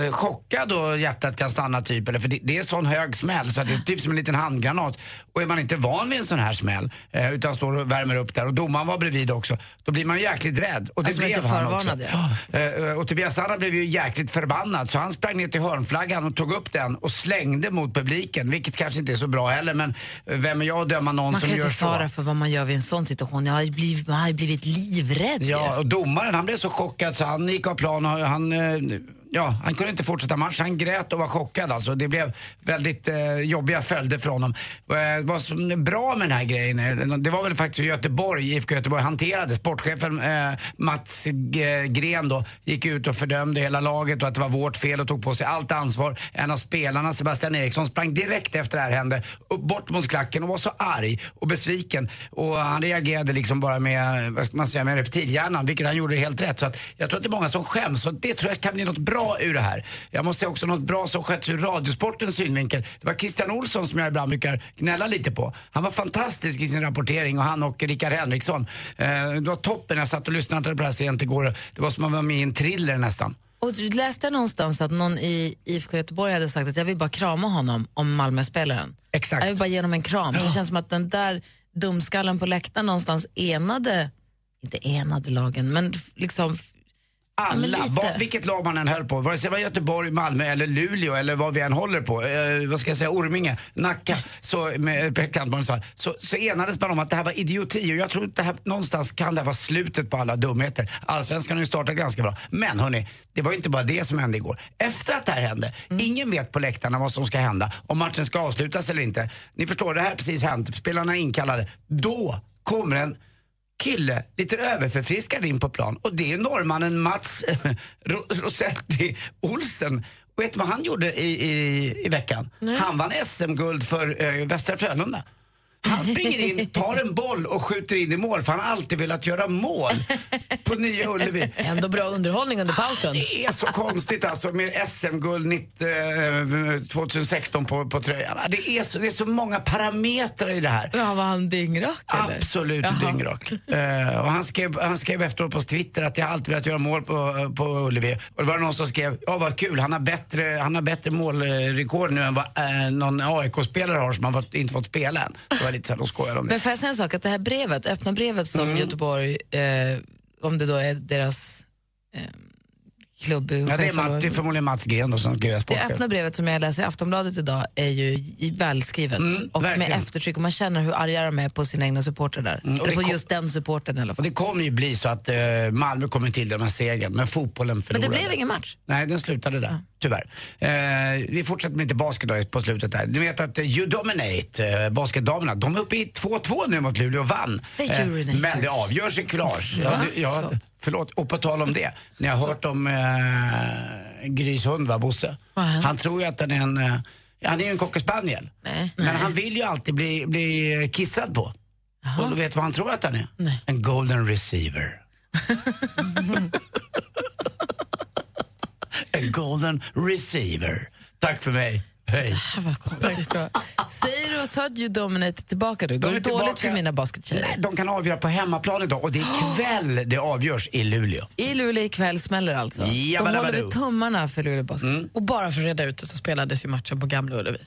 Speaker 3: eh, chockad och hjärtat kan stanna typ. Eller, för det, det är sån hög smäll så att det är typ som en liten handgranat. Och är man inte van vid en sån här smäll eh, utan står och värmer upp där och domaren var bredvid också, då blir man jäkligt rädd. Och det
Speaker 2: Alltså, man är
Speaker 3: blev
Speaker 2: inte
Speaker 3: han också.
Speaker 2: förvarnad,
Speaker 3: Ja, eh, Och Tobias Anna blev ju jäkligt förbannad så han sprang ner till hörnflaggan och tog upp den och slängde mot publiken. Vilket kanske inte är så bra heller men eh, vem är jag att döma någon
Speaker 2: Man
Speaker 3: som
Speaker 2: kan ju
Speaker 3: gör så?
Speaker 2: inte svara för vad man gör vid en sån situation. Jag har ju blivit, man har ju blivit livrädd. ju.
Speaker 3: Ja, och domaren han blev så chockad så han gick av plan och han, eh, ja, han kunde inte fortsätta matchen. Han grät och var chockad alltså. Det blev väldigt eh, jobbiga följder för honom. Eh, vad som är bra med den här grejen, eh, det var väl faktiskt hur Göteborg, IFK Göteborg hanterade. Sportchefen eh, Mats G- Gren då gick ut och fördömde hela laget och att det var vårt fel och tog på sig allt ansvar. En av spelarna, Sebastian Eriksson, sprang direkt efter det här hände upp bort mot klacken och var så arg och besviken. Och han reagerade liksom bara med, vad ska man säga, med reptilhjärnan, vilket han gjorde helt rätt. Så att jag tror att det är många som skäms och det tror jag kan bli något bra ur det här. Jag måste säga också något bra som skett ur Radiosportens synvinkel. Det var Christian Olsson som jag ibland brukar gnälla lite på. Han var fantastisk i sin rapportering och han och Rickard Henriksson. Eh, det var toppen, jag satt och lyssnade på det här sent igår. Det var som att vara med i en thriller nästan.
Speaker 2: Och du läste jag någonstans att någon i IFK Göteborg hade sagt att jag vill bara krama honom om Malmö-spelaren.
Speaker 3: Exakt.
Speaker 2: Jag vill bara ge honom en kram. Så Det känns som att den där dumskallen på läktaren någonstans enade, inte enade lagen, men f- liksom f-
Speaker 3: Alla,
Speaker 4: Ja, men lite.
Speaker 3: vad, vilket lag man än höll på, vare sig det var Göteborg, Malmö eller Luleå eller vad vi än håller på, eh, vad ska jag säga, Orminge, Nacka, så, med praktikantbarnens fall, så, så enades man om att det här var idioti och jag tror att det här, någonstans kan det här vara slutet på alla dumheter. Allsvenskan har ju startat ganska bra. Men hörni, det var ju inte bara det som hände igår. Efter att det här hände,
Speaker 4: Mm.
Speaker 3: ingen vet på läktarna vad som ska hända, om matchen ska avslutas eller inte. Ni förstår, det här har precis hänt, spelarna är inkallade. Då kommer en kille, lite överförfriskad in på plan. Och det är norrmannen Mats eh, Ro- Rosetti Olsen. Vet du vad han gjorde i, i, i veckan? Han vann SM-guld för eh, Västra Frölunda. Han springer in, tar en boll och skjuter in i mål för han har alltid velat göra mål på Nya Ullevi.
Speaker 4: Ändå bra underhållning under pausen.
Speaker 3: Det är så konstigt alltså med SM-guld 19, eh, 2016 på, på tröjan. Det är, så, det är så många parametrar i det här.
Speaker 4: Ja, var han dyngrak eller?
Speaker 3: Absolut dyngrak. (laughs) Eh, och han, skrev, han skrev efteråt på på Twitter att jag alltid velat göra mål på, eh, på Ullevi. Och det var någon som skrev, ja vad kul, han har bättre, han har bättre målrekord nu än vad eh, någon AIK-spelare har som har fått, inte fått spela än. Så det var lite så här, de skojade om det.
Speaker 2: Men får jag säga en sak? Att det här brevet, öppna brevet som
Speaker 3: Mm.
Speaker 2: Göteborg, eh, om det då är deras eh, klubb...
Speaker 3: Ja, det, är Matt, det är förmodligen Mats Gren då, som skriver
Speaker 2: Det
Speaker 3: sportchef.
Speaker 2: öppna brevet som jag läser i Aftonbladet idag är ju i- välskrivet
Speaker 3: Mm,
Speaker 2: och
Speaker 3: verkligen.
Speaker 2: med eftertryck och man känner hur arga de är på sina egna supportrar där.
Speaker 3: Mm, och
Speaker 2: Eller
Speaker 3: det
Speaker 2: på
Speaker 3: kom-
Speaker 2: just den supporten i alla
Speaker 3: Och
Speaker 2: fall.
Speaker 3: det kommer ju bli så att eh, Malmö kommer till den här segern, men fotbollen
Speaker 2: Men
Speaker 3: förlorade.
Speaker 2: det blev ingen match.
Speaker 3: Nej, den slutade där, tyvärr. Eh, vi fortsätter med lite basket då på slutet där. Du vet att eh, You Dominate, eh, basketdamerna, de är uppe i 2-2 nu mot Luleå och vann. Eh,
Speaker 9: The Urinators.
Speaker 3: men det avgörs i kvarts. Ja,
Speaker 9: Va?
Speaker 3: du- ja, förlåt. Och på tal om det, ni har hört om eh, Grys hund va, Bosse? Han tror ju att den är en, eh, han är ju en cockerspaniel. Men han vill ju alltid bli, bli kissad på. Och du vet vad han tror att han är? En golden receiver. en golden receiver. Tack för mig. Hej.
Speaker 2: Säger du och så att ju Dominate tillbaka då?
Speaker 3: De
Speaker 2: Går
Speaker 3: är
Speaker 2: det
Speaker 3: tillbaka.
Speaker 2: dåligt för mina baskettjejer?
Speaker 3: Nej, de kan avgöra på hemmaplan idag och det är kväll det avgörs i Luleå.
Speaker 2: I Luleå ikväll smäller det alltså.
Speaker 3: Jabba
Speaker 2: de
Speaker 3: dabba
Speaker 2: håller
Speaker 3: do.
Speaker 2: vi tummarna för Luleå Basket.
Speaker 3: Mm.
Speaker 4: Och bara för att reda ut det så spelades ju matchen på Gamla Ullevi.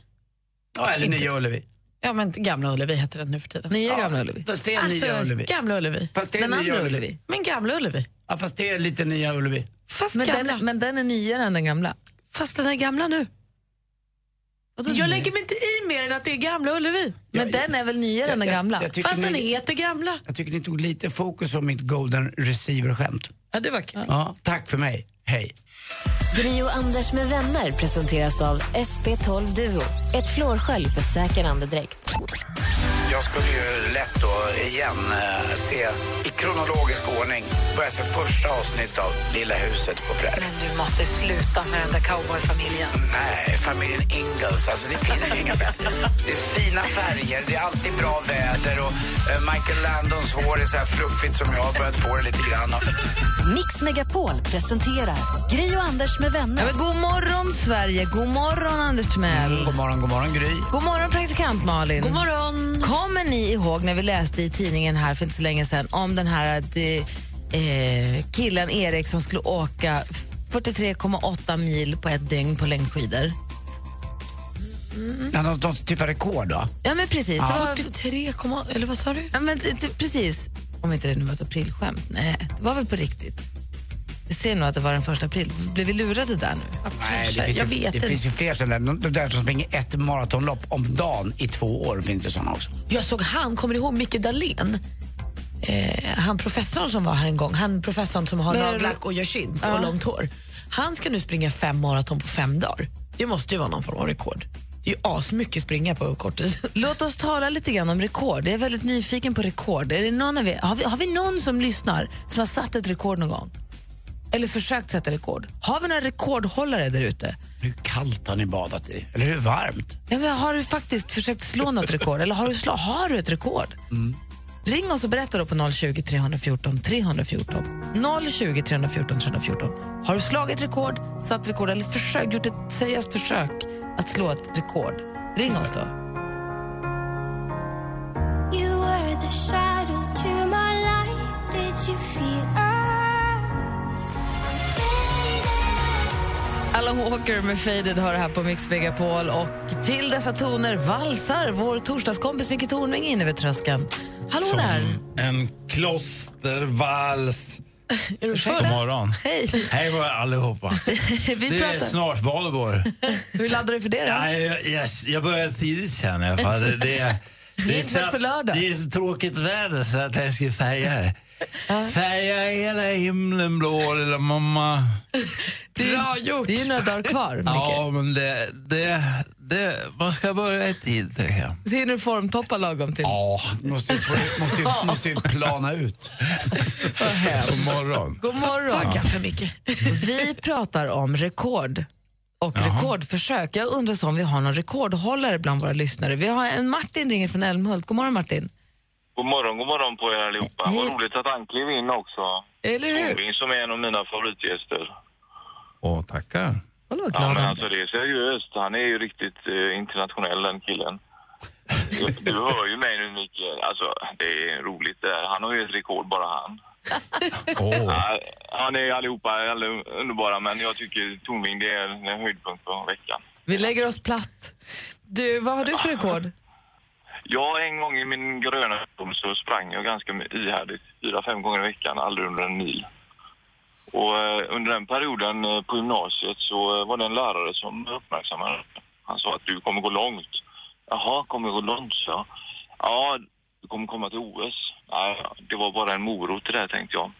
Speaker 3: Ja, eller Nya Ullevi.
Speaker 4: Ja, men Gamla Ullevi heter den nu för tiden.
Speaker 2: Nya
Speaker 4: ja.
Speaker 2: Gamla Ullevi.
Speaker 3: Fast det är Nya Ullevi.
Speaker 4: Gamla Ullevi.
Speaker 3: Fast det är Nya Ullevi.
Speaker 4: Men Gamla Ullevi.
Speaker 3: Ja, fast det är lite Nya Ullevi.
Speaker 2: men,
Speaker 4: gamla.
Speaker 2: den, men den är nyare än den gamla.
Speaker 4: Fast den är gamla nu. Jag lägger mig inte i mer än att det är Gamla Ullevi.
Speaker 2: Men den är väl nyare än den gamla?
Speaker 3: jag tycker
Speaker 4: Fast den
Speaker 3: ni-
Speaker 4: heter Gamla.
Speaker 3: Jag tycker ni tog lite fokus på mitt golden receiver-skämt.
Speaker 4: Ja, det var kul.
Speaker 3: Ja, tack för mig. Hej.
Speaker 1: Gri och Anders med vänner presenteras av SP12 Duo. Ett flårskölj för säker andedräkt.
Speaker 3: Jag skulle ju lätt då igen eh, se i kronologisk ordning börja se första avsnitt av Lilla huset på prärien.
Speaker 2: Du måste sluta med den där cowboyfamiljen.
Speaker 3: Nej, familjen Ingalls. Alltså det finns ju inga bättre. Det är fina färger, det är alltid bra väder och eh, Michael Landons hår är så här fluffigt som jag har börjat få det lite grann. av.
Speaker 1: Mix Megapol presenterar Gri och Anders med vänner.
Speaker 2: Ja, men god morgon, Sverige! God morgon, Anders Timell!
Speaker 3: God morgon, god morgon Gry.
Speaker 2: God morgon, praktikant Malin.
Speaker 4: God morgon.
Speaker 2: Kommer ni ihåg när vi läste i tidningen här för inte så länge sedan om den här att, eh, killen Erik som skulle åka 43,8 mil på ett dygn på längdskidor?
Speaker 3: Han har något typ av rekord då?
Speaker 2: Ja, men precis. Det
Speaker 3: Ja.
Speaker 2: var,
Speaker 4: 43, eller vad sa du?
Speaker 2: Ja, men, t- t- precis. Om inte det nu var ett aprilskämt. Nej, det var väl på riktigt. Jag ser nog att det var den första april. Blev vi lurade där nu?
Speaker 3: Nej, det
Speaker 2: Jag
Speaker 3: finns, ju,
Speaker 2: vet
Speaker 3: det
Speaker 2: inte.
Speaker 3: finns ju fler som där. De de där som springer ett maratonlopp om dagen i två år finns det såna också.
Speaker 4: Jag såg han, kommer ni ihåg Micke Dahlén? Eh, han professorn som var här en gång, han professorn som har
Speaker 2: Men-
Speaker 4: nagellack och gör chins
Speaker 2: Ja.
Speaker 4: och långt hår. Han ska nu springa fem maraton på fem dagar. Det måste ju vara någon form av rekord. Det är ju asmycket springa på kort tid.
Speaker 2: Låt oss tala lite grann om rekord. Jag är väldigt nyfiken på rekord. Är det någon av er, har, vi, har vi någon som lyssnar som har satt ett rekord någon gång? Eller försökt sätta rekord? Har vi några rekordhållare där ute?
Speaker 3: Hur kallt har ni badat i? Eller hur varmt?
Speaker 2: Ja, men har du faktiskt försökt slå något rekord? Eller har du, slå, har du ett rekord?
Speaker 3: Mm.
Speaker 2: Ring oss och berätta då på 020 314 314. 020 314 314. Har du slagit rekord, satt rekord eller försökt, gjort ett seriöst försök att slå ett rekord? Ring oss då.
Speaker 13: You were the shadow to my light. Did you feel us?
Speaker 2: Alan Walker med Faded har det här på Mix Megapol och till dessa toner valsar vår torsdagskompis Micke Tornving in över tröskeln. Hallå där!
Speaker 4: (laughs)
Speaker 14: En klostervals
Speaker 4: Ursäkta?
Speaker 14: God morgon.
Speaker 4: Hej.
Speaker 14: Hej på er allihopa.
Speaker 4: (laughs) (laughs) Vi
Speaker 14: det är
Speaker 4: pratar.
Speaker 14: snart valborg.
Speaker 4: Hur laddar du för det då?
Speaker 14: Ja, jag, jag, jag börjar tidigt sen i alla fall. Det, det,
Speaker 4: (laughs) Det är inte först på lördag.
Speaker 14: Det är så tråkigt väder så att jag ska
Speaker 4: (laughs)
Speaker 14: färga. Färga hela himlen blå lilla mamma.
Speaker 4: Det är, Bra gjort. Det är ju några dagar kvar, Micke.
Speaker 14: Ja, men det, det, det... Man ska börja i tid, tycker jag.
Speaker 4: Så hinner du formtoppa lagom till?
Speaker 14: Ja, måste,
Speaker 3: måste, måste ju plana (laughs) ut.
Speaker 14: God morgon.
Speaker 2: God morgon.
Speaker 4: Tack för mycket.
Speaker 2: Vi pratar om rekord och rekordförsök. Jag undrar så om vi har någon rekordhållare bland våra lyssnare. Vi har en Martin ringer från Älmhult. God morgon Martin.
Speaker 15: God morgon, god morgon på er allihopa. Vad roligt att han klev in också.
Speaker 2: Eller hur?
Speaker 15: Torving som är en av mina favoritgäster.
Speaker 14: Åh, tackar.
Speaker 15: Ja, men alltså det är seriöst. Han är ju riktigt eh, internationell den killen. Du- Du hör ju mig nu Micke. Alltså det är roligt det här. Han har ju ett rekord bara han. Ja, Han är allihopa alla underbara men jag tycker Tornving det är en höjdpunkt på veckan.
Speaker 2: Vi lägger oss platt. Du, vad har du för rekord?
Speaker 15: Jag en gång i min gröna ungdom så sprang jag ganska ihärdigt, fyra, fem gånger i veckan, aldrig under en mil. Och eh, under den perioden eh, på gymnasiet så eh, var det en lärare som uppmärksammade det. Han sa att du kommer gå långt. Jaha, kommer jag gå långt, så. Ja, du kommer komma till OS. Ja, det var bara en morot det där tänkte jag.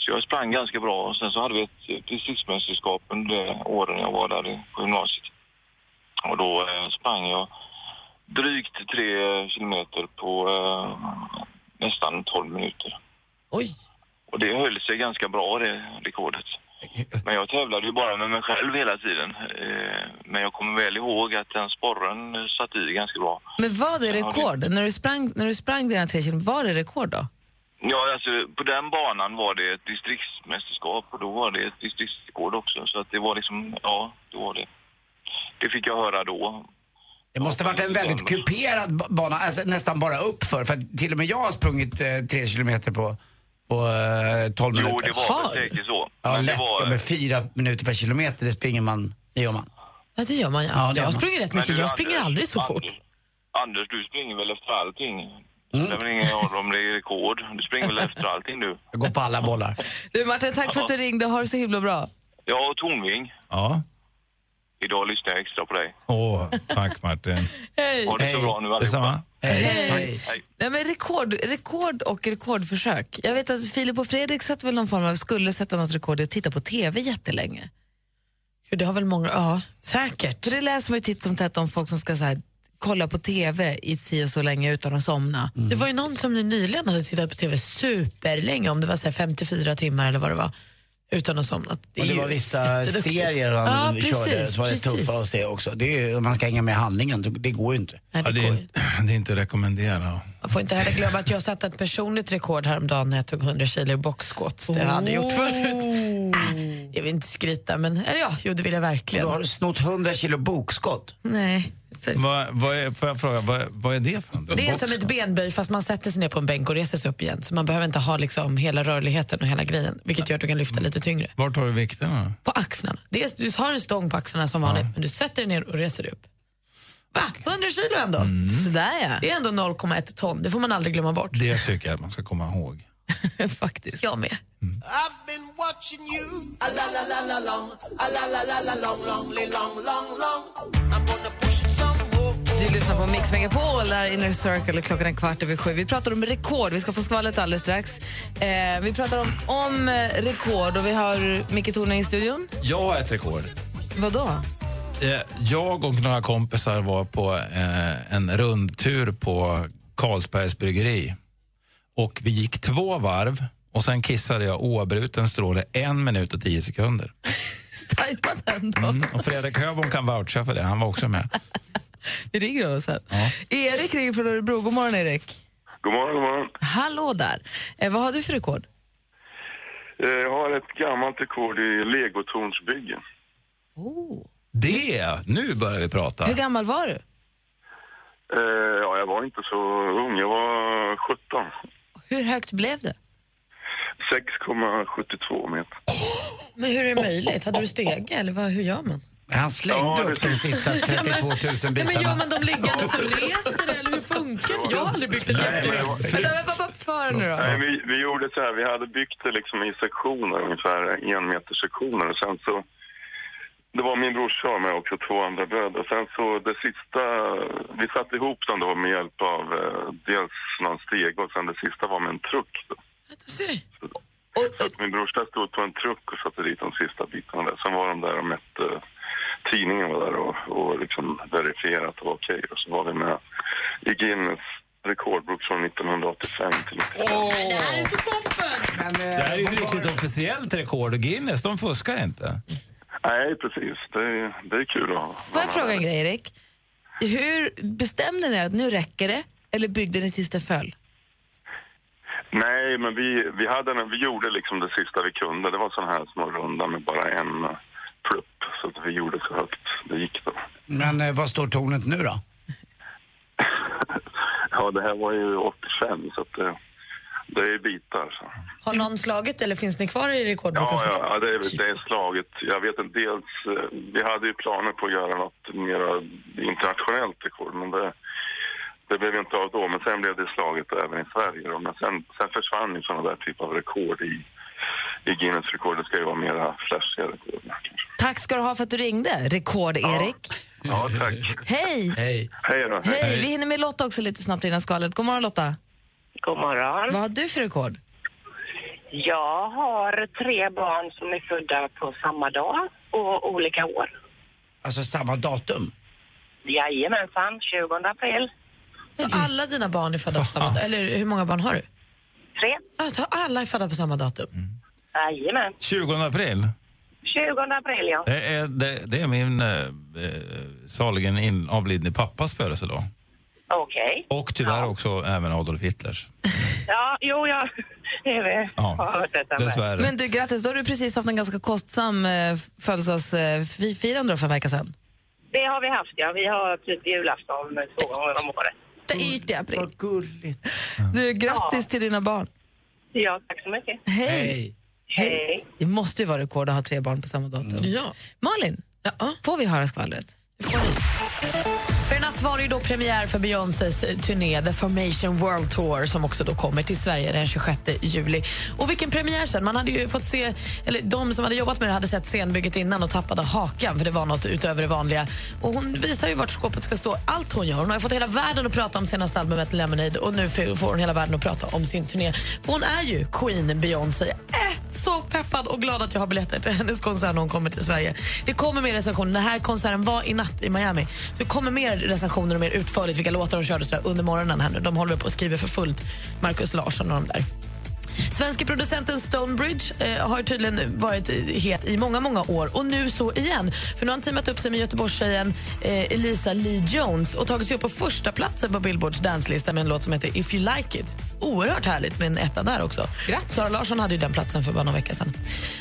Speaker 15: Så jag sprang ganska bra och sen så hade vi ett eh, distriktsmästerskap under åren jag var där i- på gymnasiet. Och då eh, sprang jag drygt tre kilometer på eh, nästan 12 minuter.
Speaker 4: Oj!
Speaker 15: Och det höll sig ganska bra det rekordet. Men jag tävlade ju bara med mig själv hela tiden. Eh, men jag kommer väl ihåg att den sporren eh, satt i ganska bra.
Speaker 2: Men var det
Speaker 15: Ja, det-
Speaker 2: rekord? När du sprang, när du sprang dina tre kilometer, var det rekord då?
Speaker 15: Ja, alltså på den banan var det ett distriktsmästerskap och då var det ett distriktsrekord också. Så att det var liksom, ja, det var det. Det fick jag höra då.
Speaker 3: Det måste varit en väldigt kuperad ba- bana, alltså nästan bara uppför. För att till och med jag har sprungit eh, tre kilometer på, på eh, 12
Speaker 15: Jo,
Speaker 3: minuter.
Speaker 15: det var väl säkert så.
Speaker 3: Ja,
Speaker 15: Men det
Speaker 3: lätt.
Speaker 15: var-
Speaker 3: Ja, men fyra minuter per kilometer, det springer man, det gör man.
Speaker 4: Ja, det gör man. Ja.
Speaker 3: Ja, det gör
Speaker 4: jag
Speaker 3: man.
Speaker 4: springer rätt
Speaker 15: Men
Speaker 4: mycket.
Speaker 15: du,
Speaker 4: Jag springer
Speaker 15: Anders,
Speaker 4: aldrig så fort.
Speaker 15: Anders, Anders, du springer väl efter allting? Det är väl ingen roll om det är rekord. Du springer väl efter allting du?
Speaker 3: Jag går på alla bollar.
Speaker 2: Du Martin, tack för att du ringde. Ha det så himla bra.
Speaker 15: Ja, och Tornving.
Speaker 14: Ja.
Speaker 15: Idag lyssnar jag extra på dig.
Speaker 14: Åh, tack Martin.
Speaker 2: (laughs) Hej!
Speaker 15: Ha det så bra nu
Speaker 14: Detsamma. Hej.
Speaker 2: Hej. Nej, men rekord, rekord och rekordförsök. Jag vet att Filip och Fredrik satte väl någon form av, skulle sätta något rekord i att titta på TV jättelänge.
Speaker 4: Gud, det har väl många, ja, säkert.
Speaker 2: För det läser man ju titt som tätt om folk som ska så här, kolla på TV i si och så länge utan att somna.
Speaker 4: Det var ju någon som nyligen hade tittat på TV superlänge, om det var så här 54 timmar eller vad det var, utan att somna.
Speaker 3: Och det
Speaker 4: är
Speaker 3: var
Speaker 4: ju
Speaker 3: vissa
Speaker 4: jätteduktigt.
Speaker 3: serier han
Speaker 4: Ja,
Speaker 3: körde
Speaker 4: precis,
Speaker 3: som var
Speaker 4: precis.
Speaker 3: det tuffa att se också. Det är, ju- man ska hänga med i handlingen, det- det går ju inte.
Speaker 14: Ja, det, är, det är inte att rekommendera.
Speaker 4: Man får inte heller glömma att jag satte ett personligt rekord häromdagen när jag tog 100 kilo i boxsquats. Det har jag aldrig gjort förut. Ah, jag vill inte skryta, men eller ja, jo, det vill jag verkligen.
Speaker 3: Du har snott 100 kilo bokskott.
Speaker 4: Nej.
Speaker 14: Vad, vad är, får jag fråga, vad, vad är det för något?
Speaker 4: Det är
Speaker 14: Box-
Speaker 4: som ett benböj fast man sätter sig ner på en bänk och reser sig upp igen. Så man behöver inte ha liksom hela rörligheten och hela grejen, vilket gör att du kan lyfta lite tyngre.
Speaker 14: Var tar du vikterna?
Speaker 4: På axlarna. Det är, du har en stång på axlarna som vanligt, men du sätter dig ner och reser dig upp. Va? 100 kilo ändå?
Speaker 2: Sådär ja.
Speaker 4: Det är ändå 0,1 ton, det får man aldrig glömma bort.
Speaker 14: Det tycker jag att man ska komma ihåg.
Speaker 4: Faktiskt. Jag med.
Speaker 5: I've been watching you a la la la la long, a la la la la long, long, li- long, long, long. I'm gonna push it some more.
Speaker 2: Du lyssnar på Mix Megapol, där Inner Circle, och klockan är kvart över sju. Vi pratar om rekord, vi ska få skvallret alldeles strax. Eh, vi pratar om, om eh, rekord och vi har Micke Tornving i studion.
Speaker 14: Jag har ett rekord.
Speaker 2: Vadå?
Speaker 14: Eh, Jag och några kompisar var på eh, en rundtur på Carlsbergs bryggeri. Och vi gick två varv och sen kissade jag oavbruten stråle en minut och
Speaker 2: (laughs)
Speaker 14: tio sekunder.
Speaker 2: Tajpat ändå.
Speaker 14: Mm. Och Fredrik Höbom kan voucha för det, han var också med.
Speaker 2: Vi ringer honom sen. Erik ringer från Örebro. God morgon, Erik.
Speaker 16: God morgon, god
Speaker 17: Mm.
Speaker 16: morgon.
Speaker 2: Hallå där. Eh, vad har du för rekord?
Speaker 16: Eh, Jag har ett gammalt rekord i legotornsbyggen.
Speaker 14: Det, nu börjar vi prata.
Speaker 2: Hur gammal var du?
Speaker 16: Eh, Ja, jag var inte så ung. Jag var 17.
Speaker 2: Hur högt blev det?
Speaker 16: 6,72 meter.
Speaker 4: Men hur är det möjligt? Hade du stege eller vad, hur gör man?
Speaker 3: Han slängde
Speaker 12: (laughs)
Speaker 16: Ja,
Speaker 4: (laughs)
Speaker 3: upp de sista 32 000
Speaker 4: Nej,
Speaker 3: bitarna.
Speaker 4: men gör man dem liggande så reser det, eller hur funkar det? Jag har aldrig byggt en jättehög. Vänta, vänta, vänta, föra nu då.
Speaker 12: Nej, vi, vi gjorde så här, vi hade byggt det liksom i sektioner, ungefär en meter sektioner. Och sen så, det var min brorsa och mig också, två andra bröder. Sen så det sista, vi satte ihop dem då med hjälp av eh, dels någon steg och sen det sista var med en truck. Då. Så att min brorsa stod på en truck och satte dit de sista bitarna där. Sen var de där och mätte, tidningen var där och, och liksom verifierade att det var okej. Och så var vi med i Guinness rekordbok från 1985 till
Speaker 4: Det här är så toppen!
Speaker 14: Det här är
Speaker 12: Eh,
Speaker 14: ju ett riktigt officiellt rekord och Guinness, de fuskar inte.
Speaker 12: Nej, precis. Det är, det är kul att ha.
Speaker 2: Får jag fråga en grej, Erik? Hur bestämde ni att nu räcker det? Eller byggde ni tills det föll?
Speaker 12: Nej, men vi, vi, hade en, vi gjorde liksom det sista vi kunde. Det var sådana här små runda med bara en eh, plupp. Så att vi gjorde så högt det gick då.
Speaker 3: Men eh, vad står tornet nu då?
Speaker 12: Ja, det här var ju 85 så att det, det är bitar. Så.
Speaker 4: Har någon slagit eller finns ni kvar i rekordboken?
Speaker 12: Ja, ja, ja det, är, det är slaget. Jag vet inte, dels, eh, vi hade ju planer på att göra något mer internationellt rekord, men det, det blev inte av då. Men sen blev det slaget även i Sverige. Då. Men sen, sen försvann ju sådana där typer av rekord i, i Guinness rekord. Det ska ju vara mera flashiga rekord.
Speaker 2: Tack ska du ha för att du ringde, Rekord-Erik.
Speaker 12: Ja, tack.
Speaker 2: Hej!
Speaker 14: Hej.
Speaker 12: Hej då.
Speaker 2: Hej! Vi hinner med Lotta också lite snabbt innan skalet. God morgon Lotta!
Speaker 17: God morgon.
Speaker 2: Vad har du för rekord?
Speaker 17: Jag har tre barn som är födda på samma dag och olika år.
Speaker 3: Alltså samma datum?
Speaker 17: Jajamensan, 20 april.
Speaker 4: Så alla dina barn är födda på samma datum? Eller hur många barn har du?
Speaker 17: Tre.
Speaker 4: Alltså, alla är födda på samma datum?
Speaker 17: Jajamän.
Speaker 14: 20 april.
Speaker 17: 20 april, ja.
Speaker 14: Det är, det, det är min eh, eh, saligen in- avlidne pappas födelsedag.
Speaker 17: Okej.
Speaker 14: Och tyvärr också även Adolf Hitlers.
Speaker 17: Ja, (laughs) jo, jag jag
Speaker 14: Ja,
Speaker 17: har hört detta. med.
Speaker 14: dessvärre.
Speaker 2: Men du, grattis. Då har du precis haft en ganska kostsam eh, födelsedagsfirande för en vecka sedan.
Speaker 17: Det har vi haft, ja. Vi har typ julafton två gånger om året.
Speaker 2: Det är yrt i april. Vad gulligt. Du, grattis till dina barn.
Speaker 17: Ja, tack så mycket.
Speaker 2: Hej!
Speaker 17: Hej.
Speaker 2: Det måste ju vara rekord att ha tre barn på samma datum.
Speaker 4: Ja.
Speaker 2: Malin, får vi höra skvallret?
Speaker 4: För i natt var det ju då premiär för Beyoncés eh, turné The Formation World Tour som också då kommer till Sverige den 26 juli. Och vilken premiär sen! Man hade ju fått se, eller de som hade jobbat med det hade sett scenbygget innan och tappade hakan för det var något utöver det vanliga. Och hon visar ju vart skåpet ska stå, allt hon gör. Hon har ju fått hela världen att prata om senaste albumet Lemonade och nu får hon hela världen att prata om sin turné. För hon är ju Queen Beyoncé. Äh, så peppad och glad att jag har biljetter till hennes konsert när hon kommer till Sverige. Det kommer mer recensioner. Den här konserten var i natt i Miami. Så det kommer mer recensioner och mer utförligt vilka låtar de körde så där under morgonen. här nu. De håller på att skriva för fullt, Markus Larsson och de där. Svenska producenten Stonebridge eh, har tydligen varit het i många, många år och nu så igen. För nu har han teamat upp sig med Göteborgstjejen eh, Elisa Lee Jones och tagit sig upp på första platsen på Billboards danslista med en låt som heter If You Like It. Oerhört härligt med en etta där också. Grattis. Sara Larsson hade ju den platsen för bara någon vecka sedan.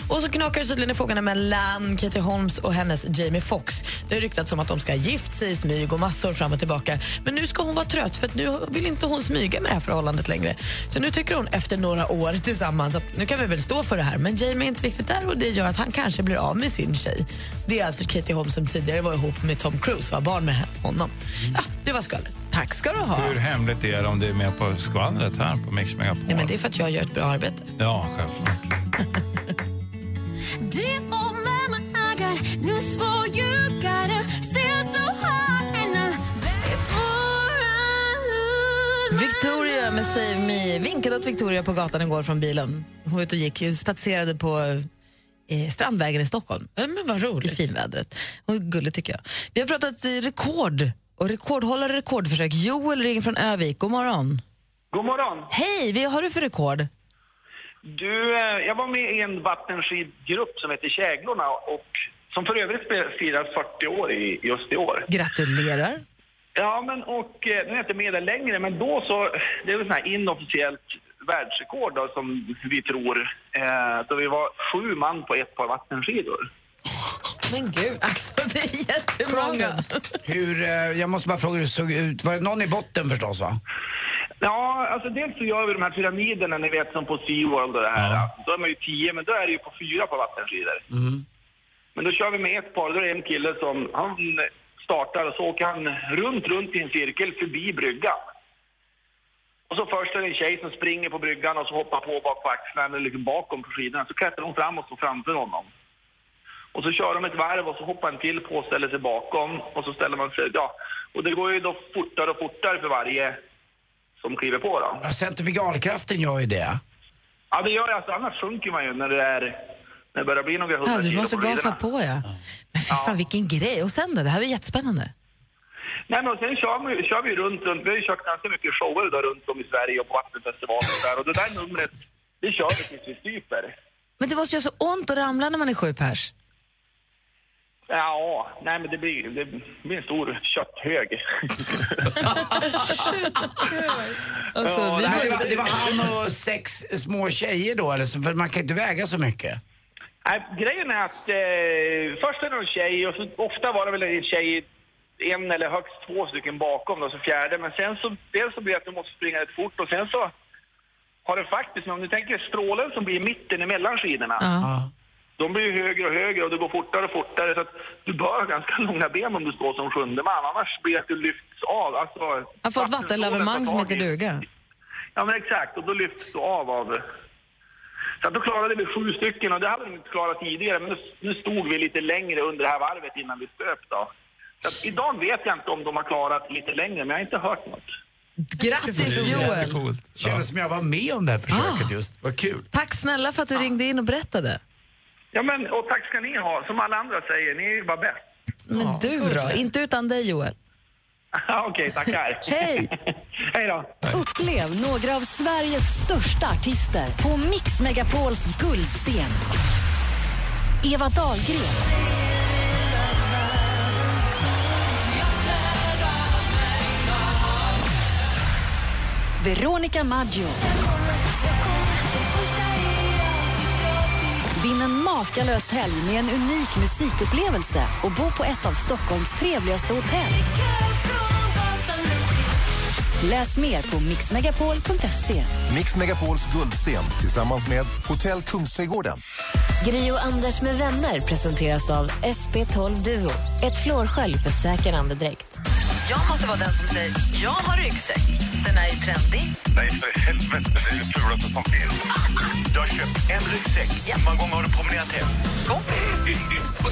Speaker 4: Och så knakar det tydligen i frågorna mellan Katie Holmes och hennes Jamie Foxx. Det har ryktats om att de ska ha gift sig i smyg och massor fram och tillbaka. Men nu ska hon vara trött för att nu vill inte hon smyga med det här förhållandet längre. Så nu tycker hon efter några år tillsammans att nu kan vi väl stå för det här. Men Jamie är inte riktigt där och det gör att han kanske blir av med sin tjej. Det är alltså Katie Holmes som tidigare var ihop med Tom Cruise och har barn med honom. Ja, det var skvallret. Tack ska du ha.
Speaker 14: Hur hemligt är det om du är med på skvallret här på Mix Megapol?
Speaker 4: Nej, men det är för att jag gör ett bra arbete.
Speaker 14: Ja, självklart.
Speaker 18: Dear old mama, I got news for you. Gotta stand too hard and uh, before I lose my
Speaker 2: Victoria med Save Me vinkade åt Victoria på gatan igår från bilen. Hon var ute och gick, spatserade på eh, Strandvägen i Stockholm.
Speaker 4: Men vad roligt.
Speaker 2: I finvädret. Hon är gullig tycker jag. Vi har pratat eh, rekord och rekordhållare rekordförsök. Joel ring från Övik. God morgon.
Speaker 19: God morgon.
Speaker 2: Hej, vad har du för rekord?
Speaker 19: Du, eh, jag var med i en vattenskidgrupp som heter Käglorna och som för övrigt spe- firar 40 år i, just i år.
Speaker 2: Gratulerar.
Speaker 19: Ja, men och eh, nu är jag inte med där längre, men då så, det är väl sån här inofficiellt världsrekord då, som vi tror. Eh, då vi var sju man på ett par vattenskidor.
Speaker 2: Men gud, alltså det är jättemånga.
Speaker 3: Hur, eh, jag måste bara fråga hur det såg ut. Var det någon i botten förstås va?
Speaker 19: Ja, alltså dels så gör vi de här pyramiderna, ni vet som på SeaWorld och det här. Då är man ju tio, men då är det ju på
Speaker 20: Mm-hmm.
Speaker 19: fyra på vattenskidor. Men då kör vi med ett par, då är det en kille som, han startar och så åker han runt, runt i en cirkel förbi bryggan. Och så först är det en tjej som springer på bryggan och så hoppar på bak på axlarna eller liksom bakom på skidorna. Så klättrar hon fram och står framför honom. Och så kör de ett varv och så hoppar en till på och ställer sig bakom. Och så ställer man sig, ja. Och det går ju då fortare och fortare för varje som kliver på då.
Speaker 3: Ja, Centrifugalkraften gör ju
Speaker 2: (laughs)
Speaker 3: det.
Speaker 19: Ja, det gör jag. Alltså, annars sjunker man ju när det, är, när det börjar bli några hundra
Speaker 2: Ja, du
Speaker 19: kilo
Speaker 2: måste
Speaker 19: på
Speaker 2: gasa
Speaker 19: skidorna.
Speaker 2: på, ja. Men fy fan, vilken grej. Och sen då? Det här var jättespännande.
Speaker 19: Nej, men och sen kör, man, ju- kör vi ju runt, runt. Vi har ju kört ganska mycket shower där runt om i Sverige och på vattenfestivaler och där. Och det där numret, det kör vi tills vi stryper.
Speaker 2: Men det måste göra så ont att ramla när man är sju pers.
Speaker 19: Ja, nej men det blir, det blir en stor kötthög. (laughs)
Speaker 2: Alltså,
Speaker 3: ja,
Speaker 19: vi
Speaker 3: nej,
Speaker 19: var-
Speaker 3: det, var, det var han och sex små tjejer då, eller? så- För man kan inte väga så mycket.
Speaker 19: Nej, Äh, grejen är att eh, först är det en tjej och så, ofta var det väl en tjej, en eller högst två stycken bakom då, så fjärde. Men sen så, dels så blir det att du måste springa rätt fort och sen så har det faktiskt, om du tänker strålen som blir i mitten emellan skidorna. De blir ju högre och högre och det går fortare och fortare så att du bör ha ganska långa ben om du står som sjunde man. Annars blir det att du lyfts av. Alltså,
Speaker 2: Jag har fått vattenlavemang som heter
Speaker 19: vattenstrålen tar tag i-
Speaker 2: duga.
Speaker 19: Ja, men exakt. Och då lyfts du av av... Så att då klarade vi sju stycken och det hade vi inte klarat tidigare. Men nu- nu stod vi lite längre under det här varvet innan vi stöp då. Så att idag vet jag inte om de har klarat lite längre, men jag har inte hört något.
Speaker 2: Grattis, Joel! Ah.
Speaker 3: Kändes som jag var med om det här försöket just. Vad kul.
Speaker 2: Tack snälla för att du ringde in och berättade.
Speaker 19: Ja, men och tack ska ni ha. Som alla andra säger, ni är ju bara bäst.
Speaker 2: Men du då? Inte utan dig, Joel.
Speaker 19: Ja, Okej, tackar.
Speaker 2: Hej!
Speaker 19: (laughs) Hej då!
Speaker 1: Upplev några av Sveriges största artister på Mix Megapols guldscen. Eva Dahlgren. Veronica Maggio. Vinn en makalös helg med en unik musikupplevelse och bo på ett av Stockholms trevligaste hotell. Läs mer på mixmegapol.se.
Speaker 7: Mix Megapols guldscen tillsammans med Hotell Kungsträdgården.
Speaker 21: Gri och Anders med vänner presenteras av SP12 Duo. Ett flårskölj för säker andedräkt.
Speaker 2: Jag måste vara den som säger jag har ryggsäck. Den är ju trendig.
Speaker 22: Nej, för helvete. Det är det fulaste som finns. Du har köpt en ryggsäck. Hur många gånger har du promenerat hem? På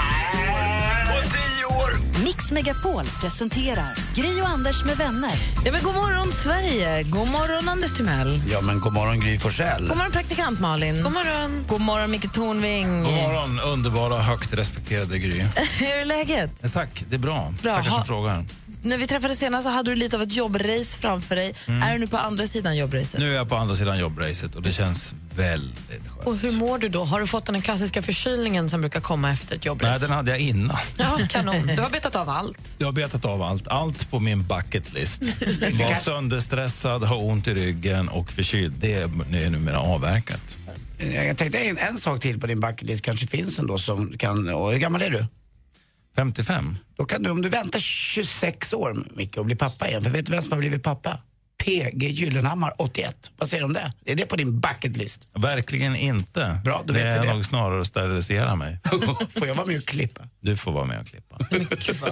Speaker 22: tio år!
Speaker 1: Mix Megapol presenterar Gri och Anders med vänner.
Speaker 2: Ja, men god morgon, Sverige! God morgon, Anders Timell.
Speaker 3: Ja, men god morgon Gry Forssell.
Speaker 2: God morgon, praktikant Malin. God morgon. God morgon, Micke Tornving.
Speaker 14: God morgon, underbara och högt respekterade Gry.
Speaker 2: (laughs) Hur är läget?
Speaker 14: Eh, Tack, det är bra.
Speaker 2: Eh. Bra,
Speaker 14: Tackar
Speaker 2: ha-
Speaker 14: som frågar.
Speaker 2: När vi träffades senast så hade du lite av ett jobbrace framför dig.
Speaker 14: Mm.
Speaker 2: Är du nu på andra sidan jobbracet?
Speaker 14: Nu är jag på andra sidan jobbracet och det känns väldigt skönt.
Speaker 4: Och hur mår du då? Har du fått den klassiska förkylningen som brukar komma efter ett jobbrace?
Speaker 14: Nej, den hade jag innan.
Speaker 4: Ja, kanon. Du har betat av allt.
Speaker 14: Jag har betat av allt. Allt på min
Speaker 3: (laughs)
Speaker 14: bucket list. Var
Speaker 4: kanske-
Speaker 14: sönderstressad, ha ont i ryggen och förkyld. Det är är numera avverkat.
Speaker 3: Eh, Jag tänkte en, en sak till på din bucketlist kanske finns ändå som kan... Och hur gammal är du?
Speaker 14: 55.
Speaker 3: Då kan du, om du väntar 26 år, Micke, och blir pappa igen. För vet du vem som har blivit pappa? PG Gyllenhammar, 81. Vad säger du om det? Är det på din bucketlist?
Speaker 14: Verkligen inte. Bra,
Speaker 3: då vet
Speaker 14: det
Speaker 3: vi
Speaker 14: är
Speaker 3: det.
Speaker 14: nog snarare att sterilisera mig.
Speaker 3: (laughs) Får jag vara med och klippa?
Speaker 14: Du får vara med
Speaker 3: (laughs)
Speaker 14: och klippa.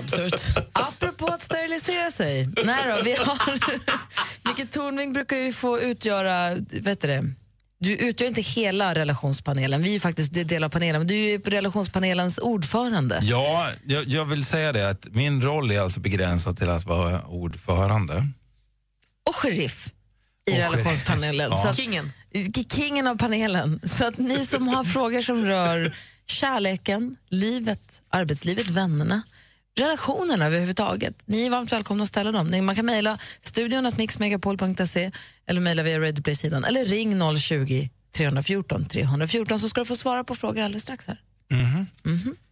Speaker 2: Apropå att sterilisera sig. Nej då, vi har... (laughs) Micke Tornving brukar ju få utgöra, vet du det? Du utgör inte hela relationspanelen, vi är ju faktiskt det del av panelen, men du är ju relationspanelens ordförande.
Speaker 14: (laughs) Ja, jag, jag vill säga det att min roll är alltså begränsad till att vara ordförande.
Speaker 2: Och sheriff i
Speaker 14: Och sheriff.
Speaker 2: relationspanelen.
Speaker 14: Ja.
Speaker 2: Så att-
Speaker 14: Kingen.
Speaker 2: K- Kingen av panelen. Så att ni som
Speaker 14: (laughs)
Speaker 2: har frågor som rör kärleken, livet, arbetslivet, vännerna, relationerna överhuvudtaget. Ni är varmt välkomna att ställa dem. Ni- Man kan mejla studion att mixmegapol.se eller mejla via Radioplay-sidan eller ring 020 314 314 så ska du få svara på frågor alldeles strax här.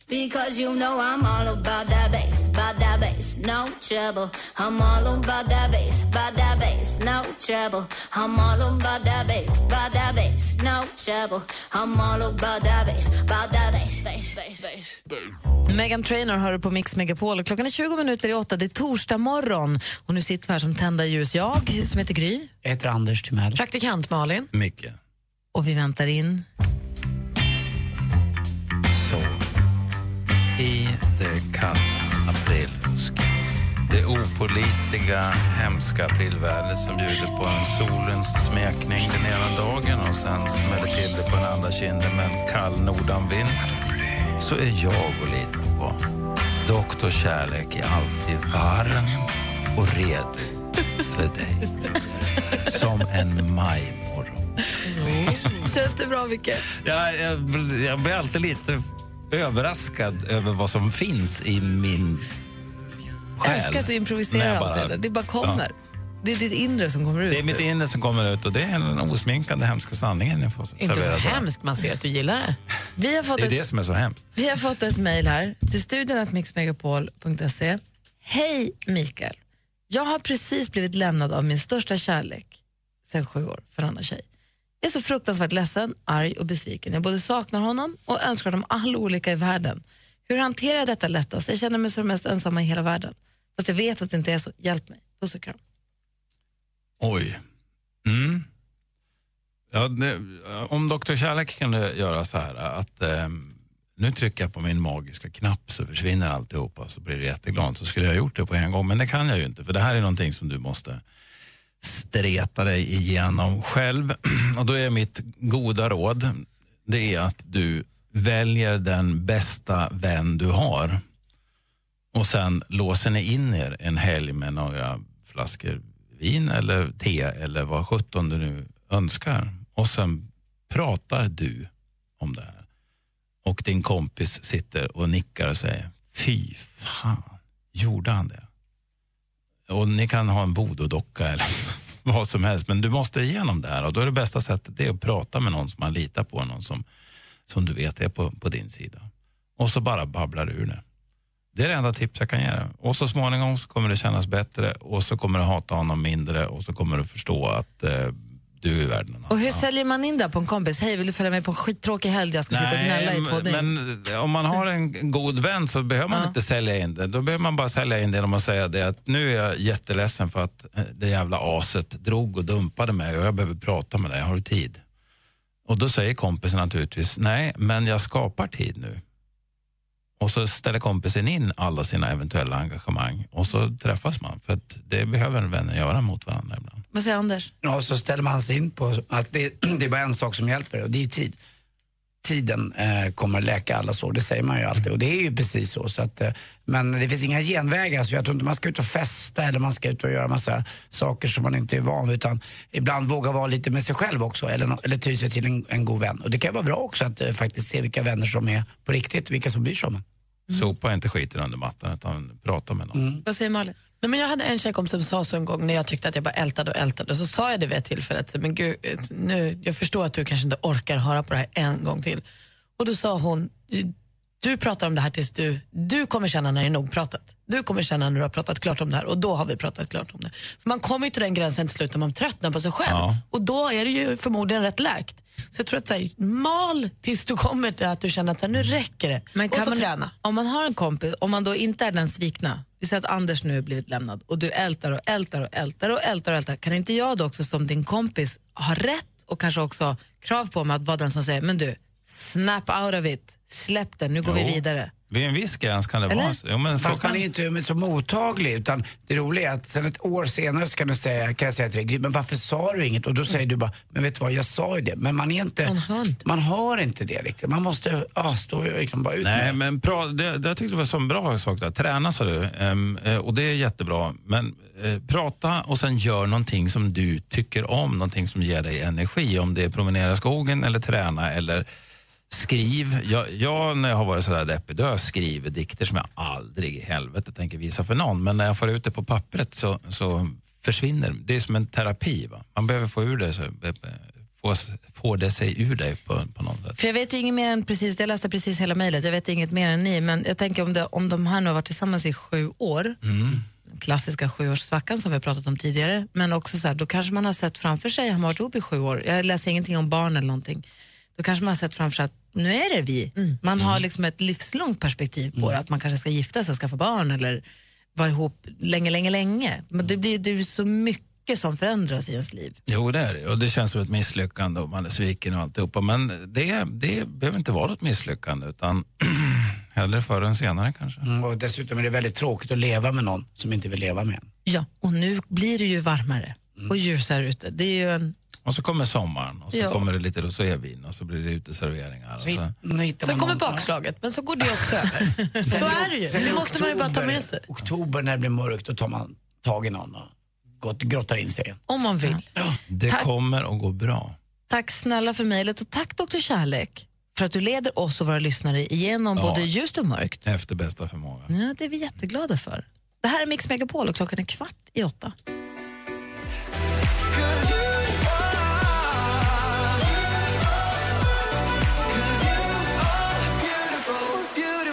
Speaker 23: Because you know I'm all about that bass, about that bass, no trouble. I'm all about that bass, about that bass, no trouble. I'm all about that bass, about that bass, no trouble. I'm all about that bass, about that bass, bass, bass, bass.
Speaker 2: Megan Trainor hör du på Mix Megapol och klockan är 20 minuter i åtta, det är torsdag morgon och nu sitter vi här som tända ljus. Jag som heter Gry.
Speaker 3: Jag heter Anders Timell.
Speaker 2: Praktikant Malin.
Speaker 14: Mycket.
Speaker 2: Och vi väntar in
Speaker 14: Så. I det kalla aprilsket det opolitliga, hemska aprilvädret som bjuder på en solens smekning den ena dagen och sen smäller till det på den andra kinden med en kall nordanvind så är jag att lita på. Doktor Kärlek är alltid varm och redo för dig. Som en majmorgon.
Speaker 2: Känns det bra, Micke?
Speaker 14: Jag, jag, jag blir alltid lite överraskad över vad som finns i min själ.
Speaker 2: Jag älskar att du
Speaker 14: När
Speaker 2: improviserar
Speaker 14: jag
Speaker 2: allt det där. Det bara kommer. Det är ditt inre som kommer ut.
Speaker 14: Det är mitt inre som kommer ut och det är den osminkande hemska sanningen jag får
Speaker 2: Inte så
Speaker 14: serverad här.
Speaker 2: hemskt man ser att du gillar det. Vi har fått,
Speaker 14: Det är
Speaker 2: ett,
Speaker 14: det som är så hemskt.
Speaker 2: vi har fått ett mejl här till studionatmixmegapol.se. Hej Mikael. Jag har precis blivit lämnad av min största kärlek sen sju år för en annan tjej. Jag är så fruktansvärt ledsen, arg och besviken. Jag både saknar honom och önskar honom all olycka i världen. Hur hanterar jag detta lättast? Jag känner mig som den mest ensamma i hela världen. Fast jag vet att det inte är så. Hjälp mig. Puss och kram.
Speaker 14: Oj. Mm. Ja, det, om Dr. Kärlek kan du göra så här att eh, nu trycker jag på min magiska knapp så försvinner alltihopa så blir du jätteglad. Så skulle jag ha gjort det på en gång men det kan jag ju inte för det här är någonting som du måste streta dig igenom själv. (clears throat) Och då är mitt goda råd det är att du väljer den bästa vän du har. Och sen låser ni in er en helg med några flaskor vin eller te eller vad sjutton du nu önskar. Och sen pratar du om det här. Och din kompis sitter och nickar och säger Fy fan, gjorde han det? Och ni kan ha en voodoo-docka (laughs) eller vad som helst. Men du måste igenom det här och då är det bästa sättet det är att prata med någon som man litar på. Någon som, som du vet är på, på din sida. Och så bara babblar du ur det. Det är det enda tips jag kan ge dig. Och så småningom så kommer det kännas bättre och så kommer du hata honom mindre och så kommer du förstå att eh, du är värd någon annan.
Speaker 2: Och hur säljer man in det här på en kompis? Hej, vill du följa med på en skittråkig helg där jag ska sitta och gnälla i två dygn?
Speaker 14: men om man har en god vän så behöver man inte sälja in det. Då behöver man bara sälja in det genom att säga det att nu är jag jätteledsen för att eh, det jävla aset drog och dumpade mig och jag behöver prata med dig. Har du tid? Och då säger kompisen naturligtvis nej, men jag skapar tid nu. Och så ställer kompisen in alla sina eventuella engagemang och så träffas man. För att det behöver vänner göra mot varandra ibland.
Speaker 2: Vad säger Anders?
Speaker 3: Ja, så ställer man sig in på att det, (clears throat) det är bara en sak som hjälper och det är ju tid. Tiden eh, kommer läka alla sår, det säger man ju alltid och det är ju precis så. så att, eh, men det finns inga genvägar, så jag tror inte man ska ut och festa eller man ska ut och göra massa saker som man inte är van vid utan ibland våga vara lite med sig själv också eller, nå- eller ty sig till en, en god vän. Och det kan vara bra också att eh, faktiskt se vilka vänner som är på riktigt, vilka som bryr sig om en.
Speaker 2: Mm.
Speaker 14: Sopa inte skiten under mattan utan prata med någon.
Speaker 4: Mm.
Speaker 2: Vad säger Malin?
Speaker 4: Nej, men jag hade en tjejkompis som sa så en gång när jag tyckte att jag bara ältade och ältade. Så sa jag det vid ett tillfälle att men gud, eh, nu, jag förstår att du kanske inte orkar höra på det här en gång till. Och då sa hon, "Du- du pratar om det här tills du, du kommer känna när det är nog pratat. Du kommer känna när du har pratat klart om det här och då har vi pratat klart om det. För man kommer ju till den gränsen till slut när man tröttnar på sig själv.
Speaker 14: Ja.
Speaker 4: Och då är det ju förmodligen rätt läkt. Så jag tror att så här, mal tills du kommer till att du känner att så här, nu räcker det.
Speaker 2: Men kan
Speaker 4: och så
Speaker 2: man,
Speaker 4: träna.
Speaker 2: Om man har en kompis, om man då inte är den svikna, vi säger att Anders nu har blivit lämnad och du ältar och ältar och ältar och ältar och ältar. Kan inte jag då också som din kompis ha rätt och kanske också krav på mig att vara den som säger, men du, snap out of it, släpp den, nu går vi
Speaker 3: Jo.
Speaker 2: vidare.
Speaker 14: Vid en viss gräns kan det vara så. Jo, men så
Speaker 3: Fast
Speaker 14: kan...
Speaker 3: man är ju inte så mottaglig utan det roliga är att sen ett år senare så kan, du säga, kan jag säga till dig, "Gry, men varför sa du inget? Och då säger du bara, men vet du vad, jag sa ju det. Men man är inte, man har inte, det riktigt. Man måste ah, stå och liksom bara ut
Speaker 14: Nej,
Speaker 3: med
Speaker 14: men pra, det, det jag tyckte det var så en bra sak där. Träna sa du Ehm, eh, och det är jättebra. Men eh, prata och sen gör någonting som du tycker om, någonting som ger dig energi. Om det är promenera i skogen eller träna eller skriv. Jag, jag när jag har varit sådär deppig, då har jag skrivit dikter som jag aldrig i helvete tänker visa för någon. Men när jag får ut det på pappret så, så försvinner det. Det är som en terapi. Va? Man behöver få ur det, så, eh, få, få det sig ur dig på, på något sätt.
Speaker 2: För jag vet ju inget mer än precis, jag läste precis hela mejlet, jag vet inget mer än ni, men jag tänker om, det, om de här nu har varit tillsammans i sju år,
Speaker 4: (laughs)
Speaker 2: den klassiska sjuårssvackan som vi har pratat om tidigare, men också så här, då kanske man har sett framför sig, han har varit ihop i sju år, jag läser ingenting om barn eller någonting, då kanske man har sett framför sig att nu är det vi. Man har liksom ett livslångt perspektiv på det, att man kanske ska gifta sig och skaffa barn eller vara ihop länge, länge, länge. Men det blir det är ju så mycket som förändras i ens liv.
Speaker 14: Jo, det är det. Och det känns som ett misslyckande och man är sviken och alltihopa. Men det, det behöver inte vara något misslyckande utan (clears throat) Hellre förr än senare kanske.
Speaker 3: Mm, och dessutom är det väldigt tråkigt att leva med någon som inte vill leva med en.
Speaker 2: Ja, och nu blir det ju varmare och ljusare ute. Det är ju en...
Speaker 14: Och så kommer sommaren och så
Speaker 2: Ja.
Speaker 14: kommer det lite och så är vin och så blir det uteserveringar. Och så.
Speaker 24: Så kommer bakslaget, men så går det också över. Så är det ju.
Speaker 3: (laughs) Sen i
Speaker 24: Det måste man ju bara ta
Speaker 3: oktober-
Speaker 24: med sig.
Speaker 3: Oktober när det blir mörkt, då tar man tag i någon och gott- grottar in sig.
Speaker 2: Om man vill.
Speaker 14: Det
Speaker 2: Tack.
Speaker 14: kommer att gå bra.
Speaker 2: Tack snälla för mejlet och tack Dr. Kärlek för att du leder oss och våra lyssnare igenom
Speaker 14: Ja.
Speaker 2: både ljust och mörkt.
Speaker 14: Efter bästa förmåga.
Speaker 2: Ja, det är vi jätteglada för. Det här är Mix Megapol och klockan är kvart i åtta.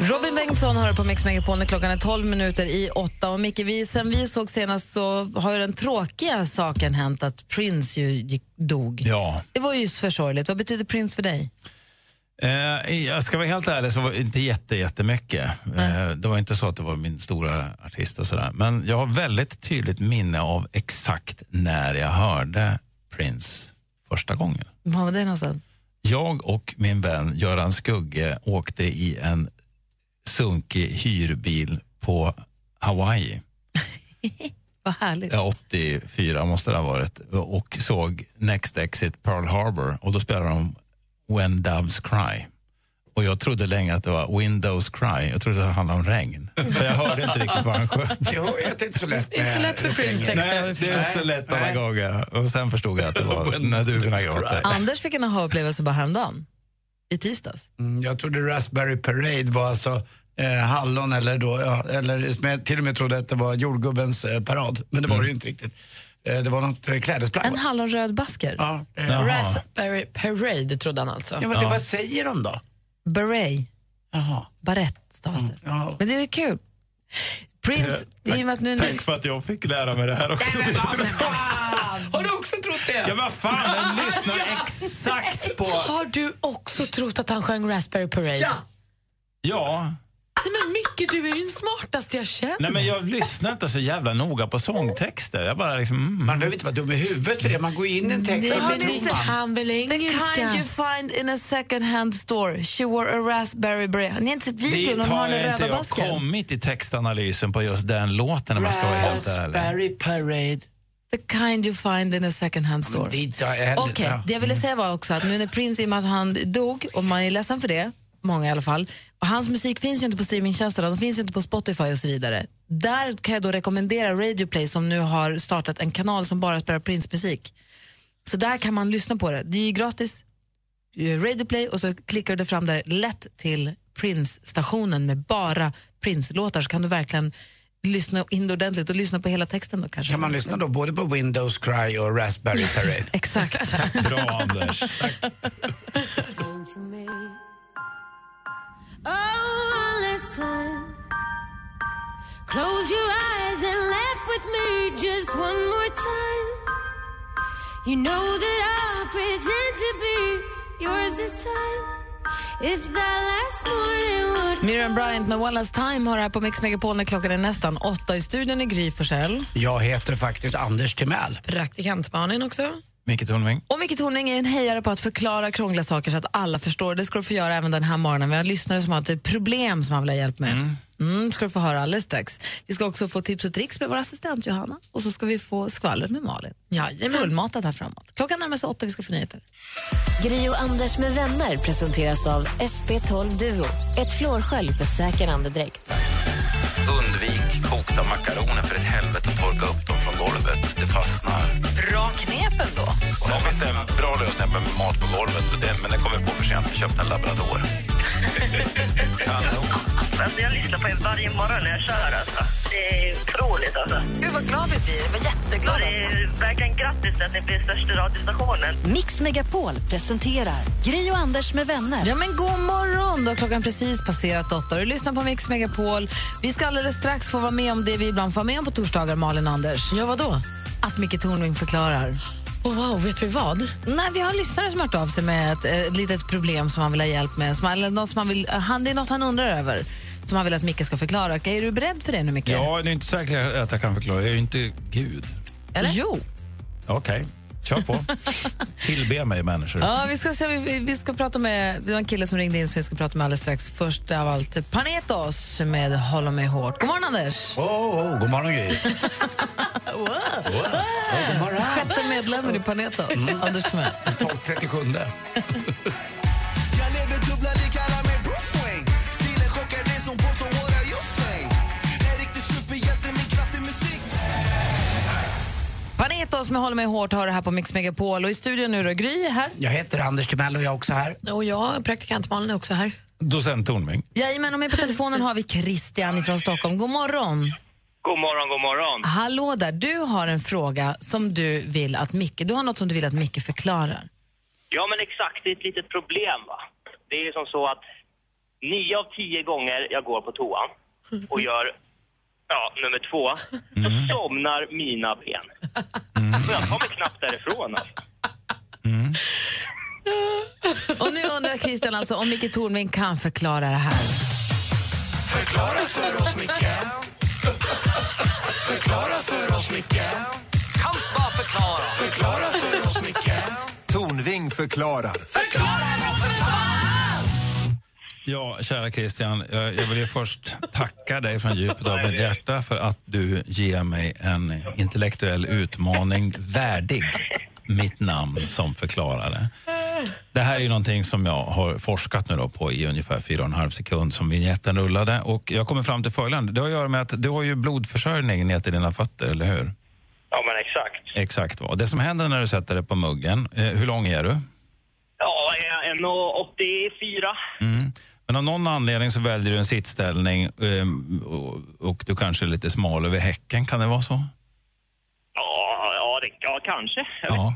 Speaker 2: Robin Bengtsson hör på Mix Megapol när klockan är 12 minuter i åtta. Och Micke, vi, sen vi såg senast så har ju den tråkiga saken hänt att Prince ju gick, dog.
Speaker 14: Ja.
Speaker 2: Det var ju för sorgligt. Vad betyder Prince för dig?
Speaker 14: Eh, jag ska vara helt ärlig så var det inte jätte, jättemycket. Eh, det var inte så att det var min stora artist och sådär. Men jag har väldigt tydligt minne av exakt när jag hörde Prince första gången.
Speaker 2: Var var det någonstans?
Speaker 14: Jag och min vän Göran Skugge åkte i en sunkig hyrbil på Hawaii.
Speaker 2: Vad härligt.
Speaker 14: Ja, 84 måste det ha varit. Och såg Next Exit Pearl Harbor och då spelade de When Doves Cry. Och jag trodde länge att det var Windows Cry. Jag trodde det handlade om regn. För jag hörde inte riktigt vad han sjöng.
Speaker 3: (laughs) Jo, (laughs) det är inte så lätt
Speaker 14: med-
Speaker 3: Inte så lätt med Prince-texter,
Speaker 14: Nej,
Speaker 3: har vi
Speaker 14: det är inte
Speaker 3: förstått.
Speaker 14: så lätt alla gånger. Och sen förstod jag att det var När duvorna gråter.
Speaker 2: Anders fick en aha-upplevelse bara häromdagen. I tisdags.
Speaker 3: Mm, jag trodde Raspberry Parade var alltså eh, hallon eller då, ja, eller som jag till och med trodde att det var jordgubbens eh, parad. Men det var det
Speaker 2: Mm.
Speaker 3: ju inte riktigt. Eh, det var något eh, klädesplagg.
Speaker 2: En hallonröd basker.
Speaker 3: Ja,
Speaker 24: Jaha. Raspberry Parade trodde han alltså.
Speaker 3: Ja, men det, vad säger de då?
Speaker 2: Beret.
Speaker 3: Jaha.
Speaker 2: Barett
Speaker 14: Mm.
Speaker 2: stavas det. Men det är ju kul. Prince, i och med att nu...
Speaker 14: Eh, Tack för att jag fick lära mig det här också. (laughs)
Speaker 3: Har du också trott det?
Speaker 14: Ja, vad fan,
Speaker 3: (laughs)
Speaker 14: den lyssnar exakt på...
Speaker 24: Har du också trott att han sjöng Raspberry Parade? Ja!
Speaker 14: Ja,
Speaker 24: Nej, men Micke, du är ju den smartaste jag känner.
Speaker 14: nej men jag lyssnar inte så jävla noga på sångtexter. Jag bara liksom... Mm. Man
Speaker 3: behöver inte vara dum i huvudet för det. Man går in i en
Speaker 24: text
Speaker 2: Nej,
Speaker 24: och så
Speaker 2: men
Speaker 24: tror
Speaker 2: det-
Speaker 24: man. Han väl
Speaker 2: The kind
Speaker 24: engelska.
Speaker 2: you find in a second hand store. She wore a raspberry beret. Ni har inte sett videon
Speaker 14: Det
Speaker 2: när hon har den
Speaker 14: har inte
Speaker 2: röda
Speaker 14: jag
Speaker 2: basken?
Speaker 14: kommit i textanalysen på just den låten om man ska vara helt ärlig.
Speaker 3: Raspberry Parade.
Speaker 2: The kind you find in a second hand store. Okej, det jag ville säga var också att nu när Prince, i och med att han dog, och man är ledsen för det, många i alla fall, och hans musik finns ju inte på streamingtjänsterna, de finns ju inte på Spotify och så vidare. Där kan jag då rekommendera Radio Play som nu har startat en kanal som bara spelar Prince-musik. Så där kan man lyssna på det. Det är ju gratis, eh, Radio Play, och så klickar du fram där lätt till Prince-stationen med bara Prince-låtar så kan du verkligen lyssna in det ordentligt och lyssna på hela texten då kanske.
Speaker 3: Kan man lyssna då både på Windows Cry och Raspberry Parade?
Speaker 2: Exakt.
Speaker 14: Bra Anders.
Speaker 18: to me. Oh, one last time. Close your eyes and laugh with me just one more time. You know that I'll pretend to be yours this time. If that last morning would
Speaker 2: Miriam Bryant med One Last Time har här på Mix Megapol när klockan är nästan åtta. I studion är Gry Forssell.
Speaker 3: Jag heter faktiskt Anders Timell.
Speaker 24: Praktikantmannen också.
Speaker 14: Micke Tornving.
Speaker 2: Och Micke Tornving är en hejare på att förklara krångliga saker så att alla förstår. Det ska du få göra även den här morgonen. Vi har lyssnare som har ett problem som han vill ha hjälp med. Mm. ska du få höra alldeles strax. Vi ska också få tips och tricks med vår assistent Johanna och så ska vi få skvallret med Malin.
Speaker 24: Jajamän.
Speaker 2: Fullmatat här framåt. Klockan närmar sig åtta, vi ska få nyheter.
Speaker 21: Gri och Anders med vänner presenteras av SP12 Duo. Ett flårskölj för säker andedräkt.
Speaker 14: Undvik kokta makaroner för ett helvete och torka upp dem från golvet. Det fastnar.
Speaker 2: Bra knepen då.
Speaker 14: Sen finns det en bra lösning med mat på golvet, och det, men den kommer vi på för sent. Vi köpte
Speaker 6: (laughs)
Speaker 14: en labrador. Kanon.
Speaker 6: Alltså jag lyssnar på er varje morgon när jag kör. Alltså. Det är otroligt. Alltså.
Speaker 2: Gud, vad glad vi blir. Vad jätteglada.
Speaker 6: Det är verkligen grattis att ni blir största radiostationen.
Speaker 1: Mix Megapol presenterar Gri och Anders med vänner.
Speaker 2: Ja, men god morgon! Då har klockan precis passerat åtta. Du lyssnar på Mix Megapol. Vi ska alldeles strax få vara med om det vi ibland får vara med om på torsdagar, Malin och Anders. Ja, vad då? Att Micke Tornving förklarar.
Speaker 24: Oh, wow, vet vi vad?
Speaker 2: Nej, vi har lyssnare som har hört av sig med ett, ett litet problem som han vill ha hjälp med. Som, eller något som han vill, han, det är något han undrar över, som han vill att Micke ska förklara. Är du beredd för det nu, Micke?
Speaker 14: Ja, det är inte säkert att jag kan förklara. Jag är ju inte Gud.
Speaker 2: Eller? Jo.
Speaker 14: Okej. Kör på. Tillbe mig människor.
Speaker 2: Ja, vi ska, se, vi, vi ska prata med, det var en kille som ringde in som vi ska prata med alldeles strax. Först av allt Panetos med Hålla mig hårt. God morgon Anders!
Speaker 3: Oh, oh, god morgon Gry.
Speaker 2: (laughs) Wow. (laughs) Sjätte medlemmen i Panetos, Anders Timell.
Speaker 3: 12.37.
Speaker 2: Panetos med Håll mig hårt har det här på Mix Megapol. Och i studion nu då, Gry är här.
Speaker 3: Jag heter Anders Timell och jag är också här.
Speaker 4: Och jag, praktikant Malin, är också här.
Speaker 14: Docent Tornving.
Speaker 2: Jajamän, och med på telefonen har vi Christian från Stockholm. God morgon!
Speaker 25: God morgon, god morgon.
Speaker 2: Hallå där, du har en fråga som du vill att Micke, du har något som du vill att Micke förklarar.
Speaker 25: Ja, men exakt. Det är ett litet problem, va. Det är ju som så att nio av tio gånger jag går på toan
Speaker 3: (laughs)
Speaker 25: och gör, ja, nummer två, så
Speaker 3: Mm.
Speaker 25: somnar mina ben. Och jag kommer knappt därifrån, alltså.
Speaker 2: Och nu undrar Christian alltså om Micke Tornving kan förklara det här.
Speaker 5: Förklara för oss, Micke. Förklara för oss, Micke. Kan bara förklara. Förklara för oss, Micke.
Speaker 7: Tornving förklarar.
Speaker 14: Ja, kära Christian, jag, jag vill ju först tacka dig från djupet av mitt hjärta för att du ger mig en intellektuell utmaning värdig mitt namn som förklarare. Det här är ju någonting som jag har forskat nu då på i ungefär fyra och en halv sekund som vignetten rullade och jag kommer fram till följande. Det har att göra med att du har ju blodförsörjning ner till dina fötter, eller hur?
Speaker 25: Ja, men exakt.
Speaker 14: Exakt. va. Och Det som händer när du sätter dig på muggen, eh, hur lång är du?
Speaker 25: Ja, jag är 1,84.
Speaker 14: Mm. Men av någon anledning så väljer du en sittställning ehm, och- och du kanske är lite smal över häcken, kan det vara så?
Speaker 25: Ja, ja, det, ja kanske.
Speaker 14: Ja.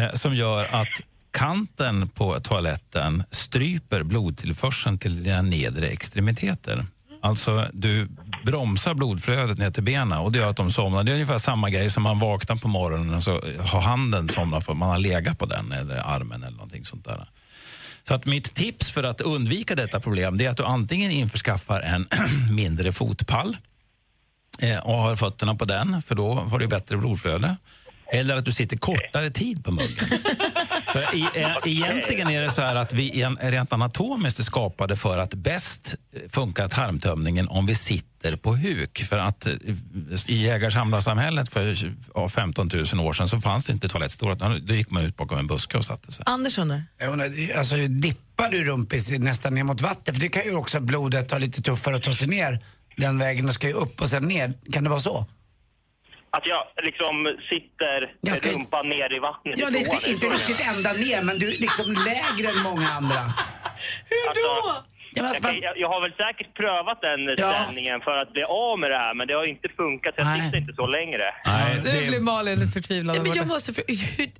Speaker 14: Eh, Som gör att kanten på toaletten stryper blodtillförseln till dina nedre extremiteter. Alltså, du bromsar blodflödet ner till benen och det gör att de somnar. Det är ungefär samma grej som man vaknar på morgonen och så har handen somnat för att man har legat på den eller armen eller någonting sånt där. Så att mitt tips för att undvika detta problem det är att du antingen införskaffar en (clears throat) mindre fotpall eh, och har fötterna på den, för då har du bättre blodflöde. Eller att du sitter kortare tid på muggen. för i, eh, egentligen är det så här att vi en- rent anatomiskt är skapade för att bäst eh, funkar tarmtömningen om vi sitter på huk. För att eh, i jägarsamlarsamhället för ja, 15 000 år sedan så fanns det inte toalettstolar. utan Då gick man ut bakom en buske och satte sig.
Speaker 2: Anders undrar.
Speaker 3: Jag undrar, alltså, dippar du rumpis nästan ner mot vatten? För det kan ju också att blodet ha lite tuffare att ta sig ner den vägen och ska ju upp och sen ner. Kan det vara så?
Speaker 25: Att jag liksom sitter med
Speaker 3: Ganska-
Speaker 25: rumpan ner i vattnet
Speaker 3: Ja,
Speaker 25: i toan,
Speaker 3: lite,
Speaker 25: det
Speaker 3: inte
Speaker 25: tror jag.
Speaker 3: riktigt ända ner, men du är liksom lägre än många andra.
Speaker 25: Alltså, jag, kan- jag, jag har väl säkert prövat den ställningen för att bli av med det här, men det har inte funkat. Jag sitter inte så längre.
Speaker 14: Nej,
Speaker 2: Nu blir Malin förtvivlad.
Speaker 4: Nej, men jag måste, för- hur,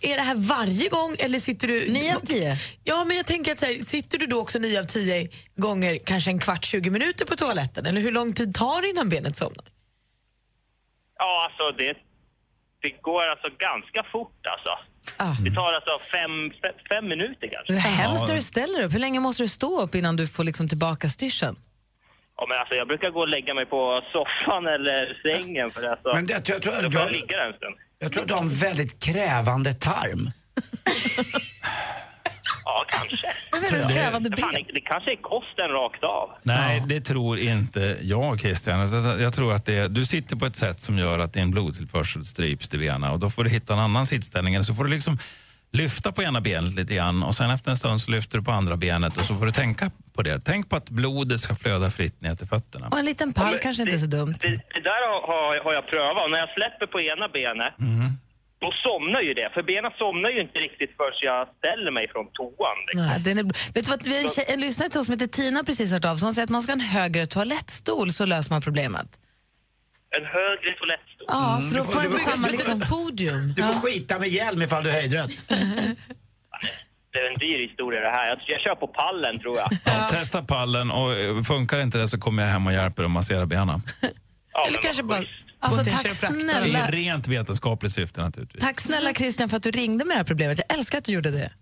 Speaker 4: är det här varje gång eller sitter du...
Speaker 2: Nio av tio.
Speaker 4: Ja, men jag tänker att så här, sitter du då också nio av tio gånger kanske en kvart, 20 minuter på toaletten? Eller hur lång tid tar det innan benet somnar?
Speaker 25: Ja, alltså det, det går alltså ganska fort alltså. Det tar alltså fem, fe- fem minuter kanske.
Speaker 2: Det är Ah. hemskt när du ställer upp. Hur länge måste du stå upp innan du får liksom tillbaka styrseln?
Speaker 25: Ja, men alltså jag brukar gå och lägga mig på soffan eller sängen för alltså.
Speaker 3: Men det- jag tror-
Speaker 25: då får jag
Speaker 3: jag-
Speaker 25: ligga där en stund.
Speaker 3: Jag tror att du har en väldigt krävande tarm.
Speaker 25: Ja, kanske.
Speaker 14: är väldigt krävande
Speaker 25: Fan, det, det kanske är kosten rakt av.
Speaker 14: Nej, det tror inte jag, Christian. Alltså, Jag tror att det är, du sitter på ett sätt som gör att din blodtillförsel stryps till benen och då får du hitta en annan sittställning. Eller så får du liksom lyfta på ena benet lite grann och sen efter en stund så lyfter du på andra benet och så får du tänka på det. Tänk på att blodet ska flöda fritt ner till fötterna.
Speaker 2: Och en liten
Speaker 25: Ja,
Speaker 2: pall
Speaker 25: men
Speaker 2: kanske inte är så dumt.
Speaker 25: Det, det där har, har, har jag prövat och när jag släpper på ena benet
Speaker 14: Mm.
Speaker 25: då somnar ju det. För benen somnar ju inte riktigt förrän jag ställer mig från toan.
Speaker 2: Nej, den är... Vet du vad, vi har en, tjej, en lyssnare till oss som heter Tina har precis hört av sig. Hon säger att man ska ha en högre toalettstol så löser man problemet.
Speaker 25: En högre toalettstol.
Speaker 2: Ja, för då får
Speaker 3: Mm. du
Speaker 2: inte
Speaker 3: får-
Speaker 2: samma liksom... podium.
Speaker 3: Du får skita med hjälm ifall du är höjdrädd.
Speaker 25: Det är en dyr historia det här. Jag, jag kör på pallen tror
Speaker 14: (laughs)
Speaker 25: jag.
Speaker 14: Ja, testa pallen och eh, funkar inte det så kommer jag hem och hjälper och
Speaker 2: (laughs)
Speaker 14: masserar benen.
Speaker 25: Ja,
Speaker 2: Eller kanske bara...
Speaker 14: Gå
Speaker 2: Alltså,
Speaker 14: till
Speaker 2: tack
Speaker 14: kiropraktorn.
Speaker 2: snälla,
Speaker 14: I rent vetenskapligt syfte naturligtvis.
Speaker 2: tack snälla Christian för att du ringde med det här problemet. Jag älskar att du gjorde det.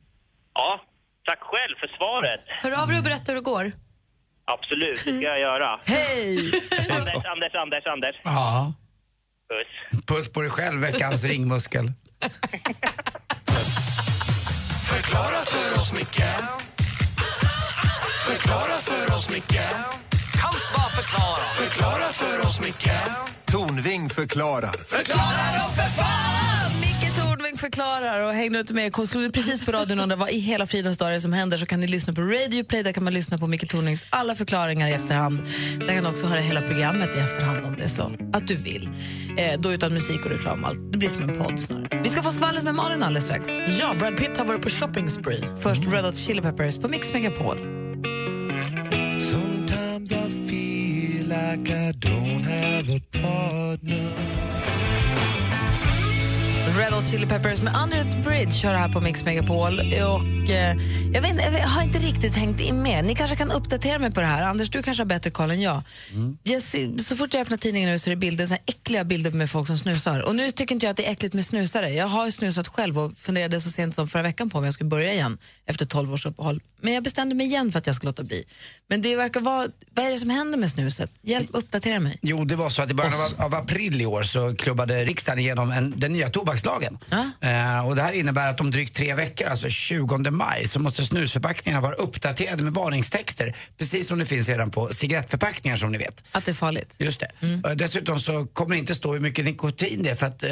Speaker 25: Ja, tack själv för svaret.
Speaker 4: Hör av dig och berätta hur det går.
Speaker 25: Absolut, det ska jag göra.
Speaker 2: Hej!
Speaker 25: Anders, Anders, Anders, Anders.
Speaker 3: Ja.
Speaker 25: Puss.
Speaker 3: Puss på dig själv, veckans ringmuskel.
Speaker 22: Förklara för oss, Micke Förklara för oss, Micke Kan bara förklara Förklara för oss, Micke
Speaker 7: Tornving förklarar.
Speaker 2: Förklara då för fan! Micke Tornving förklarar och hängde inte med. Slog du precis på radion och undrade vad i hela fridens dag är det som händer så kan ni lyssna på Radio Play. Där kan man lyssna på Micke Tornvings alla förklaringar i efterhand. Där kan du också höra hela programmet i efterhand om det är så att du vill. Eh, då utan musik och reklam och allt. Det blir som en podd snarare. Vi ska få skvallret med Malin alldeles strax.
Speaker 4: Ja, Brad Pitt har varit på shopping spree.
Speaker 2: Först Red Hot Chili Peppers på Mix Megapol.
Speaker 22: Sometimes I feel like I don't have a partner
Speaker 2: Red Hot Chili Peppers med Under the Bridge kör här på Mix Megapol. Och, eh, jag, vet, inte- jag vet- har inte riktigt hängt in med. Ni kanske kan uppdatera mig på det här. Anders, du kanske har bättre koll än jag.
Speaker 3: Mm.
Speaker 2: jag ser, så fort jag öppnar tidningen nu så är det bilder, så här äckliga bilder med folk som snusar. Och nu tycker inte jag att det är äckligt med snusare. Jag har ju snusat själv och funderade så sent som förra veckan på om jag skulle börja igen efter 12 års uppehåll. Men jag bestämde mig igen för att jag ska låta bli. Men det verkar vara, vad är det som händer med snuset? Hjälp, uppdatera mig.
Speaker 3: Jo, det var så att i början av, av april i år så klubbade riksdagen igenom en, den nya tobakslagen. Eh, och det här innebär att om drygt tre veckor, alltså 20 maj, så måste snusförpackningarna vara uppdaterade med varningstexter. Precis som det finns redan på cigarettförpackningar som ni vet.
Speaker 2: Att det är farligt.
Speaker 3: Just det.
Speaker 2: Mm.
Speaker 3: Eh, Dessutom så kommer det inte stå hur mycket nikotin det är för att eh,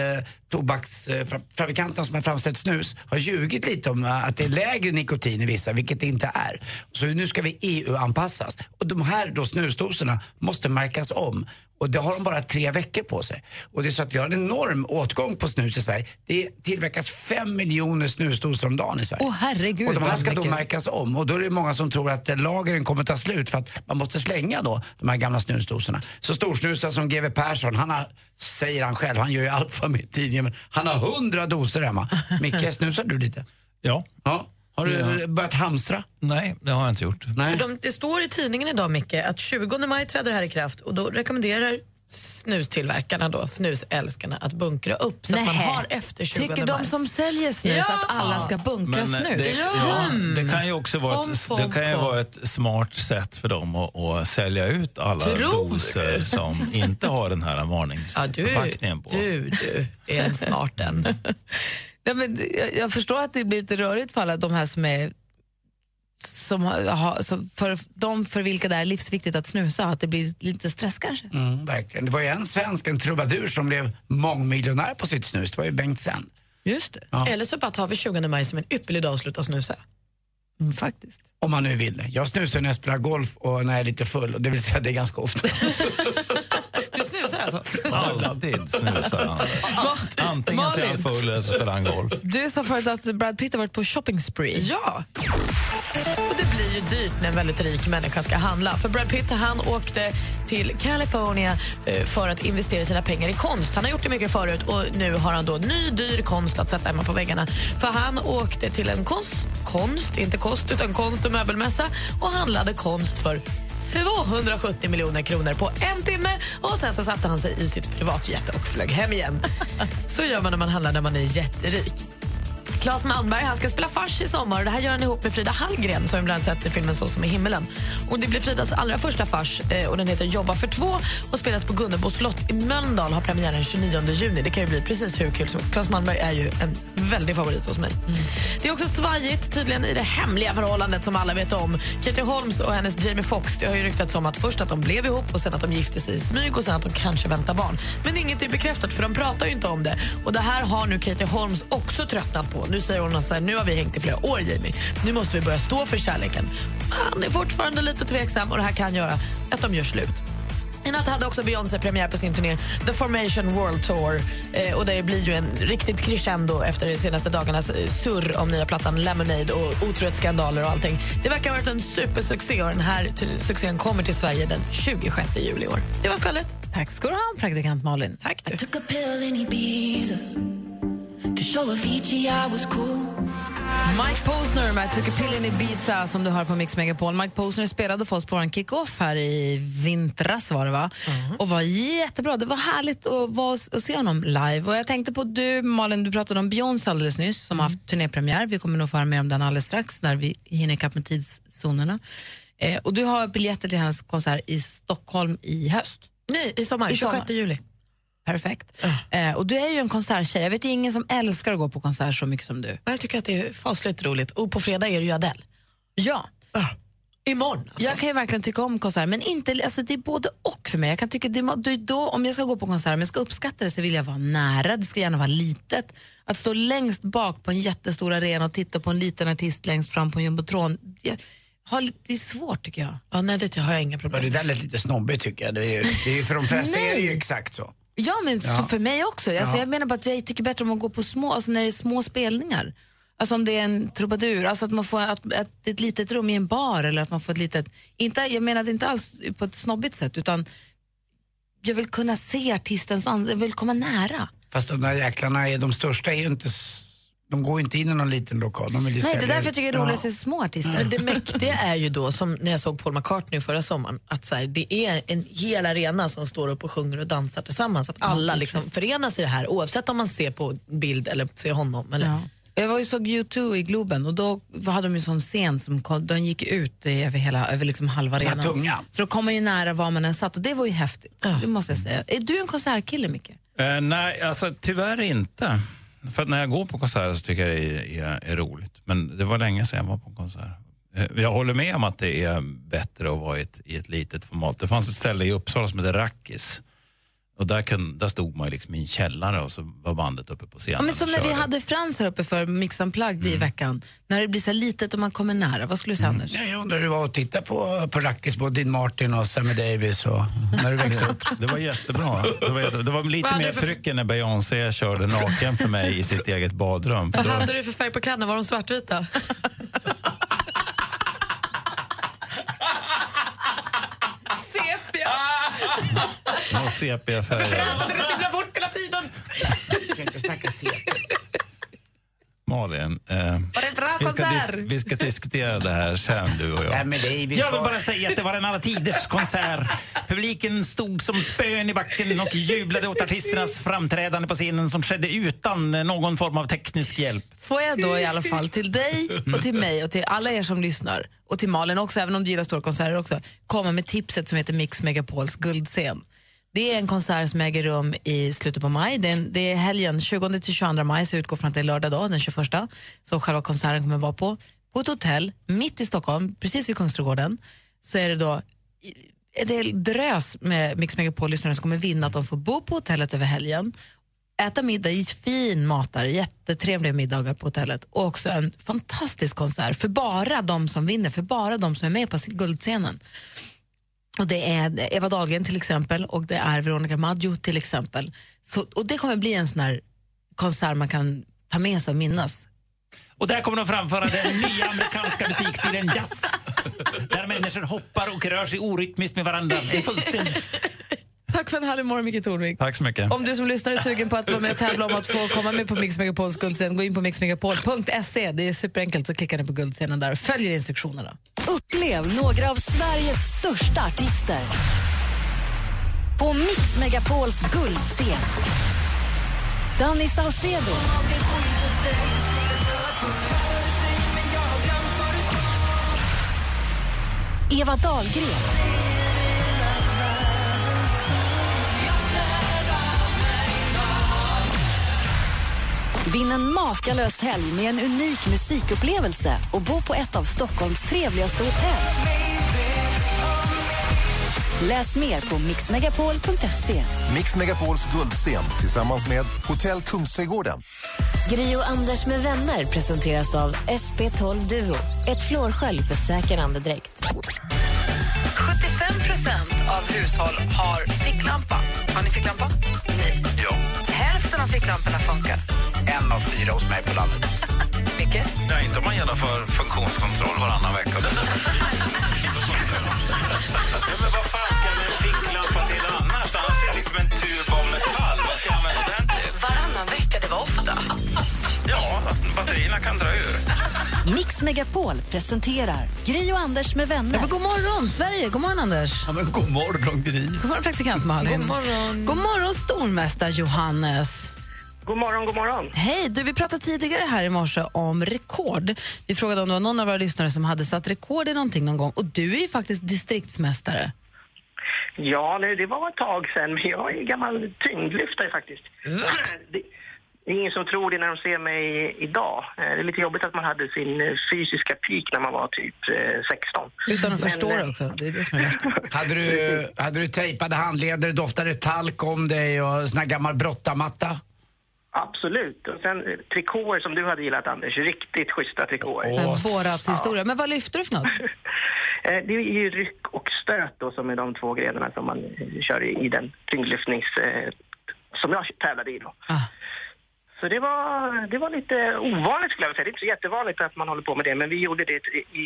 Speaker 3: tobaksfabrikanterna som har framställt snus har ljugit lite om eh, att det är lägre nikotin i vissa, vilket det inte är. Så nu ska vi EU-anpassas. Och de här då snusdoserna måste märkas om. Och det har de bara tre veckor på sig. Och det är så att vi har en enorm åtgång på snus i Sverige. Det tillverkas fem miljoner snusdosor om dagen i Sverige.
Speaker 2: Åh herregud.
Speaker 3: Och de här
Speaker 2: vad
Speaker 3: ska då
Speaker 2: mycket.
Speaker 3: märkas om och då är det många som tror att eh, lagren kommer ta slut för att man måste slänga då de här gamla snusdosorna. Så storsnusar som GW Persson, han har, säger han själv, han gör ju allt för mig tidigare, men han har hundra doser hemma.
Speaker 4: (laughs)
Speaker 3: Micke, snusar du lite?
Speaker 14: Ja.
Speaker 3: ja. Har du
Speaker 14: Ja.
Speaker 3: börjat hamstra?
Speaker 14: Nej, det har jag inte gjort.
Speaker 4: För de, det står i tidningen idag, Micke, att 20 maj träder det här i kraft och då rekommenderar snustillverkarna, då, snusälskarna, att bunkra upp så att man
Speaker 2: Nähä.
Speaker 4: har efter 20
Speaker 2: Tycker
Speaker 4: maj.
Speaker 2: de som säljer snus
Speaker 4: Ja.
Speaker 2: att alla ska bunkra
Speaker 14: Men, eh,
Speaker 2: snus?
Speaker 14: Det, ja, det kan ju också vara
Speaker 2: Pom,
Speaker 14: ett,
Speaker 2: pom,
Speaker 14: det kan ju
Speaker 2: pom.
Speaker 14: vara ett smart sätt för dem att, att sälja ut alla
Speaker 4: Tror du?
Speaker 14: doser som inte har den här varningsförpackningen på.
Speaker 4: Du, du, är en smart
Speaker 14: (laughs)
Speaker 4: en.
Speaker 2: Ja, men jag, jag förstår att det blir lite rörigt för alla de här som är som har, har- som för de för vilka det är livsviktigt att snusa, att det blir lite stress kanske.
Speaker 3: Mm, verkligen. Det var ju en svensk, en trubadur, som blev mångmiljonär på sitt snus. Det var ju Bengt Sen.
Speaker 4: Just det.
Speaker 3: Ja.
Speaker 4: Eller så bara tar vi 20 maj som en ypperlig dag att sluta snusa. Mm,
Speaker 2: faktiskt.
Speaker 3: Om man nu vill det. Jag snusar när jag spelar golf och när jag är lite full, och det vill säga det är ganska ofta.
Speaker 4: Du snusar alltså?
Speaker 14: Alltid snusar
Speaker 4: (laughs)
Speaker 14: han. Antingen så är han full eller så spelar han golf.
Speaker 2: Du sa förut att Brad Pitt har varit på shopping spree.
Speaker 4: Ja. Och det blir ju dyrt när en väldigt rik människa ska handla. För Brad Pitt han åkte till California eh, för att investera sina pengar i konst. Han har gjort det mycket förut och nu har han då ny dyr konst att sätta hemma på väggarna. För han åkte till en konst, konst inte kost utan konst och möbelmässa och handlade konst för 270 miljoner kronor på en timme och sen så satte han sig i sitt privatjet och flög hem igen. Så gör man när man handlar när man är jätterik. Claes Malmberg han ska spela fars i sommar. och Det här gör han ihop med Frida Hallgren som vi bland annat sett i filmen Så som i himmelen. Och det blir Fridas allra första fars eh, och den heter Jobba för två och spelas på Gunnebo slott i Mölndal. Har premiär den 29 juni. Det kan ju bli precis hur kul som Claes Malmberg är ju en väldig favorit hos mig. Det är också svajigt tydligen i det hemliga förhållandet som alla vet om. Katie Holmes och hennes Jamie Foxx. Det har ju ryktats om att först att de blev ihop och sen att de gifte sig i smyg och sen att de kanske väntar barn. Men inget är bekräftat för de pratar ju inte om det. Och det här har nu Katie Holmes också tröttnat på. Nu säger hon att så här, nu har vi hängt i flera år Jamie. Nu måste vi börja stå för kärleken. Han är fortfarande lite tveksam och det här kan göra att de gör slut. I natt hade också Beyoncé premiär på sin turné The Formation World Tour. Eh, och Det blir ju en riktigt crescendo efter de senaste dagarnas eh, surr om nya plattan Lemonade och otrohetsskandaler och allting. Det verkar ha varit en supersuccé och den här tu- succén kommer till Sverige den 26 juli i år. Det var skvallret.
Speaker 2: Tack ska du ha, praktikant Malin.
Speaker 4: Tack du.
Speaker 10: Took a pill in Ibiza to show Avicii I was cool.
Speaker 2: Mike Posner med Took a pill in Ibiza som du hör på Mix Megapol. Mike Posner spelade för oss på vår kick-off här i vintras var det va?
Speaker 4: Mhm.
Speaker 2: Och var jättebra. Det var härligt att, vara, att se honom live. Och jag tänkte på du Malin, du pratade om Beyoncé alldeles nyss som har
Speaker 4: Mm.
Speaker 2: haft turnépremiär. Vi kommer nog få höra mer om den alldeles strax när vi hinner ikapp med tidszonerna. Eh, och du har biljetter till hennes konsert i Stockholm i höst.
Speaker 4: Nej, i sommar.
Speaker 2: I sommar.
Speaker 4: 26 juli.
Speaker 2: perfekt.
Speaker 4: Ah.
Speaker 2: Eh, och du är ju en konserttjej. Jag vet ju ingen som älskar att gå på konsert så mycket som du.
Speaker 4: Jag tycker att det är fasligt roligt. Och på fredag är det ju Adele. Ah.
Speaker 2: Ja.
Speaker 4: Imorgon. Alltså.
Speaker 2: Jag kan ju verkligen tycka om konserter, men inte, alltså, det är både och för mig. Jag kan tycka, det, må- det, då, om jag ska gå på konsert, om jag ska uppskatta det så vill jag vara nära, det ska gärna vara litet. Att stå längst bak på en jättestor arena och titta på en liten artist längst fram på en jumbotron, jag har lite, det är svårt tycker jag.
Speaker 4: Ja, nej, det har jag inga
Speaker 3: Ja,
Speaker 4: problem
Speaker 3: det där lät lite snobbigt tycker jag. Det är ju, det är ju för de flesta är det ju exakt så.
Speaker 2: Ja, men
Speaker 3: Ja.
Speaker 2: Så för mig också. Alltså,
Speaker 3: Ja.
Speaker 2: Jag menar bara att jag tycker bättre om att gå på små, alltså när det är små spelningar. Alltså om det är en trubadur, alltså att man får att, att ett litet rum i en bar eller att man får ett litet, inte, jag menar det inte alls på ett snobbigt sätt utan jag vill kunna se artistens ansikte, jag vill komma nära.
Speaker 3: Fast de där jäklarna, är, de största är ju inte, s- de går ju inte in i någon liten lokal. De vill ju
Speaker 2: Nej, det är
Speaker 3: sälja
Speaker 2: därför
Speaker 3: ut.
Speaker 2: jag tycker det är roligt att se små artister.
Speaker 4: Men det mäktiga är ju då, som när jag såg Paul McCartney förra sommaren, att så här, det är en hel arena som står upp och sjunger och dansar tillsammans. Att alla liksom förenas i det här, oavsett om man ser på bild eller ser honom. Eller.
Speaker 2: Ja. Jag var ju såg U2 i Globen och då hade de ju en sån scen som kom, den gick ut eh, över, hela, över liksom halva
Speaker 3: Så här
Speaker 2: arenan.
Speaker 3: tunga.
Speaker 2: Så då kom man ju nära var man än satt och det var ju häftigt. Det måste jag säga. Är du en konsertkille, Micke?
Speaker 14: Eh, nej, alltså tyvärr inte. För att när jag går på konserter så tycker jag det är, är, är roligt. Men det var länge sedan jag var på en konsert. Eh, Jag håller med om att det är bättre att vara i ett, i ett litet format. Det fanns ett ställe i Uppsala som hette Rackis. Och där, kunde, där stod man ju liksom i en källare och så var bandet uppe på scenen.
Speaker 2: Ja, men som
Speaker 14: och
Speaker 2: när vi
Speaker 14: körde.
Speaker 2: hade Frans här uppe för Mix Unplugged i veckan. När det blir så här litet och man kommer nära. Vad skulle du säga Anders?
Speaker 3: Ja, jag undrar hur det var att titta på, på Rackis, på Dean Martin och Sammy Davis och när du växte upp.
Speaker 14: Det var jättebra. Det var, jätte- det var lite
Speaker 4: hade
Speaker 14: mer
Speaker 4: du för-
Speaker 14: tryck än när Beyoncé körde naken för mig i sitt eget badrum. För
Speaker 4: Vad
Speaker 14: då,
Speaker 4: hade du för färg på kläderna? Var
Speaker 2: (laughs)
Speaker 4: de svartvita?
Speaker 2: Sepia!
Speaker 6: Ah!
Speaker 14: någon sepia-färg.
Speaker 4: du fibblar bort hela tiden?
Speaker 3: Jag kan inte snacka CP.
Speaker 14: Malin, eh,
Speaker 2: det bra
Speaker 14: vi, ska
Speaker 2: konsert?
Speaker 14: dis- vi ska diskutera det här sen du och jag.
Speaker 3: Sammy Davis
Speaker 14: Jag vill
Speaker 3: var-
Speaker 14: bara säga att det var en alla tiders konsert. Publiken stod som spön i backen och jublade åt artisternas framträdande på scenen som skedde utan eh, någon form av teknisk hjälp.
Speaker 2: Får jag då i alla fall till dig och till mig och till alla er som lyssnar och till Malin också, även om du gillar stora konserter också, komma med tipset som heter Mix Megapols guldscen. Det är en konsert som äger rum i slutet på maj. Det är, en, det är helgen 20-22 maj, så jag utgår från att det är lördag dag, den 21, som själva konserten kommer vara på. På ett hotell mitt i Stockholm, precis vid Kungsträdgården, så är det då i- det är drös med Mix Megapol-lyssnare som kommer vinna att de får bo på hotellet över helgen äta middag i fin mat där, jättetrevliga middagar på hotellet och också en fantastisk konsert för bara de som vinner, för bara de som är med på guldscenen. Och det är Eva Dahlgren till exempel och det är Veronica Maggio till exempel. Så, och det kommer bli en sån här konsert man kan ta med sig och minnas.
Speaker 14: Och där kommer de framföra den nya amerikanska musikstilen jazz. Där människor hoppar och rör sig orytmiskt med varandra. Det är fullständigt.
Speaker 2: Tack för en härlig morgon Micke Tornvik.
Speaker 14: Tack så mycket.
Speaker 2: Om du som lyssnar är sugen på att vara med och tävla om att få komma med på Mix Megapols guldscen, gå in på mixmegapol.se. Det är superenkelt, så klickar ni på guldscenen där och följer instruktionerna.
Speaker 1: Upplev några av Sveriges största artister. På Mix Megapols guldscen. Danny Saucedo. Eva Dahlgren. Vinn en makalös helg med en unik musikupplevelse och bo på ett av Stockholms trevligaste hotell. Läs mer på mixmegapol.se.
Speaker 7: Mix Megapols guldscen tillsammans med Hotell Kungsträdgården.
Speaker 21: Gri och Anders med vänner presenteras av SP12 Duo. Ett flårskölj för säker andedräkt.
Speaker 2: 75 procent av hushåll har ficklampa. Har ni ficklampa? Nej.
Speaker 3: Ja.
Speaker 2: Hälften av ficklamporna funkar.
Speaker 3: En av fyra hos mig på landet.
Speaker 2: Micke?
Speaker 14: Ja, inte om man genomför funktionskontroll
Speaker 6: (laughs)
Speaker 14: varannan vecka. ja, men vad fan ska jag med en ficklampa till annars? Annars är det liksom en tub av metall. Vad ska jag använda den till?
Speaker 6: Varannan vecka, det var ofta.
Speaker 14: Ja, alltså, batterierna kan dra ur.
Speaker 1: Mix Megapol presenterar Gri och Anders med
Speaker 2: Ja,
Speaker 1: vänner.
Speaker 2: men god morgon, Sverige! God morgon, Anders!
Speaker 3: Ja, men god morgon, Gry.
Speaker 2: God morgon, praktikant Malin.
Speaker 4: God morgon.
Speaker 2: God morgon, stormästare Johannes.
Speaker 6: God morgon, god morgon.
Speaker 2: Hej! Du, vi pratade tidigare här i morse om rekord. Vi frågade om det var någon av våra lyssnare som hade satt rekord i någonting någon gång. Och du är ju faktiskt distriktsmästare.
Speaker 6: Ja, nej, det var ett tag sen, men jag är en gammal tyngdlyftare faktiskt. (clears throat) Det, det är ingen som tror det när de ser mig idag. Eh, Det är lite jobbigt att man hade sin eh, fysiska peak när man var typ eh, 16.
Speaker 4: Utan att
Speaker 6: Men,
Speaker 4: förstå
Speaker 6: eh,
Speaker 4: det också. Det är det som är värst.
Speaker 3: Hade du, hade du tejpade handleder, doftade talk om dig och sån här gammal brottamatta?
Speaker 6: Absolut. Och sen eh, trikåer som du hade gillat, Anders. Riktigt schyssta trikåer.
Speaker 2: Sen vårat historia. Men vad lyfter du för något?
Speaker 6: Eh, Det är ju ryck och stöt då, som är de två grenarna som man eh, kör i, i den tyngdlyftnings... Eh, som jag tävlade i då. Så det var, det var lite ovanligt skulle jag vilja säga. Det är inte så jättevanligt att man håller på med det, men vi gjorde det i, i,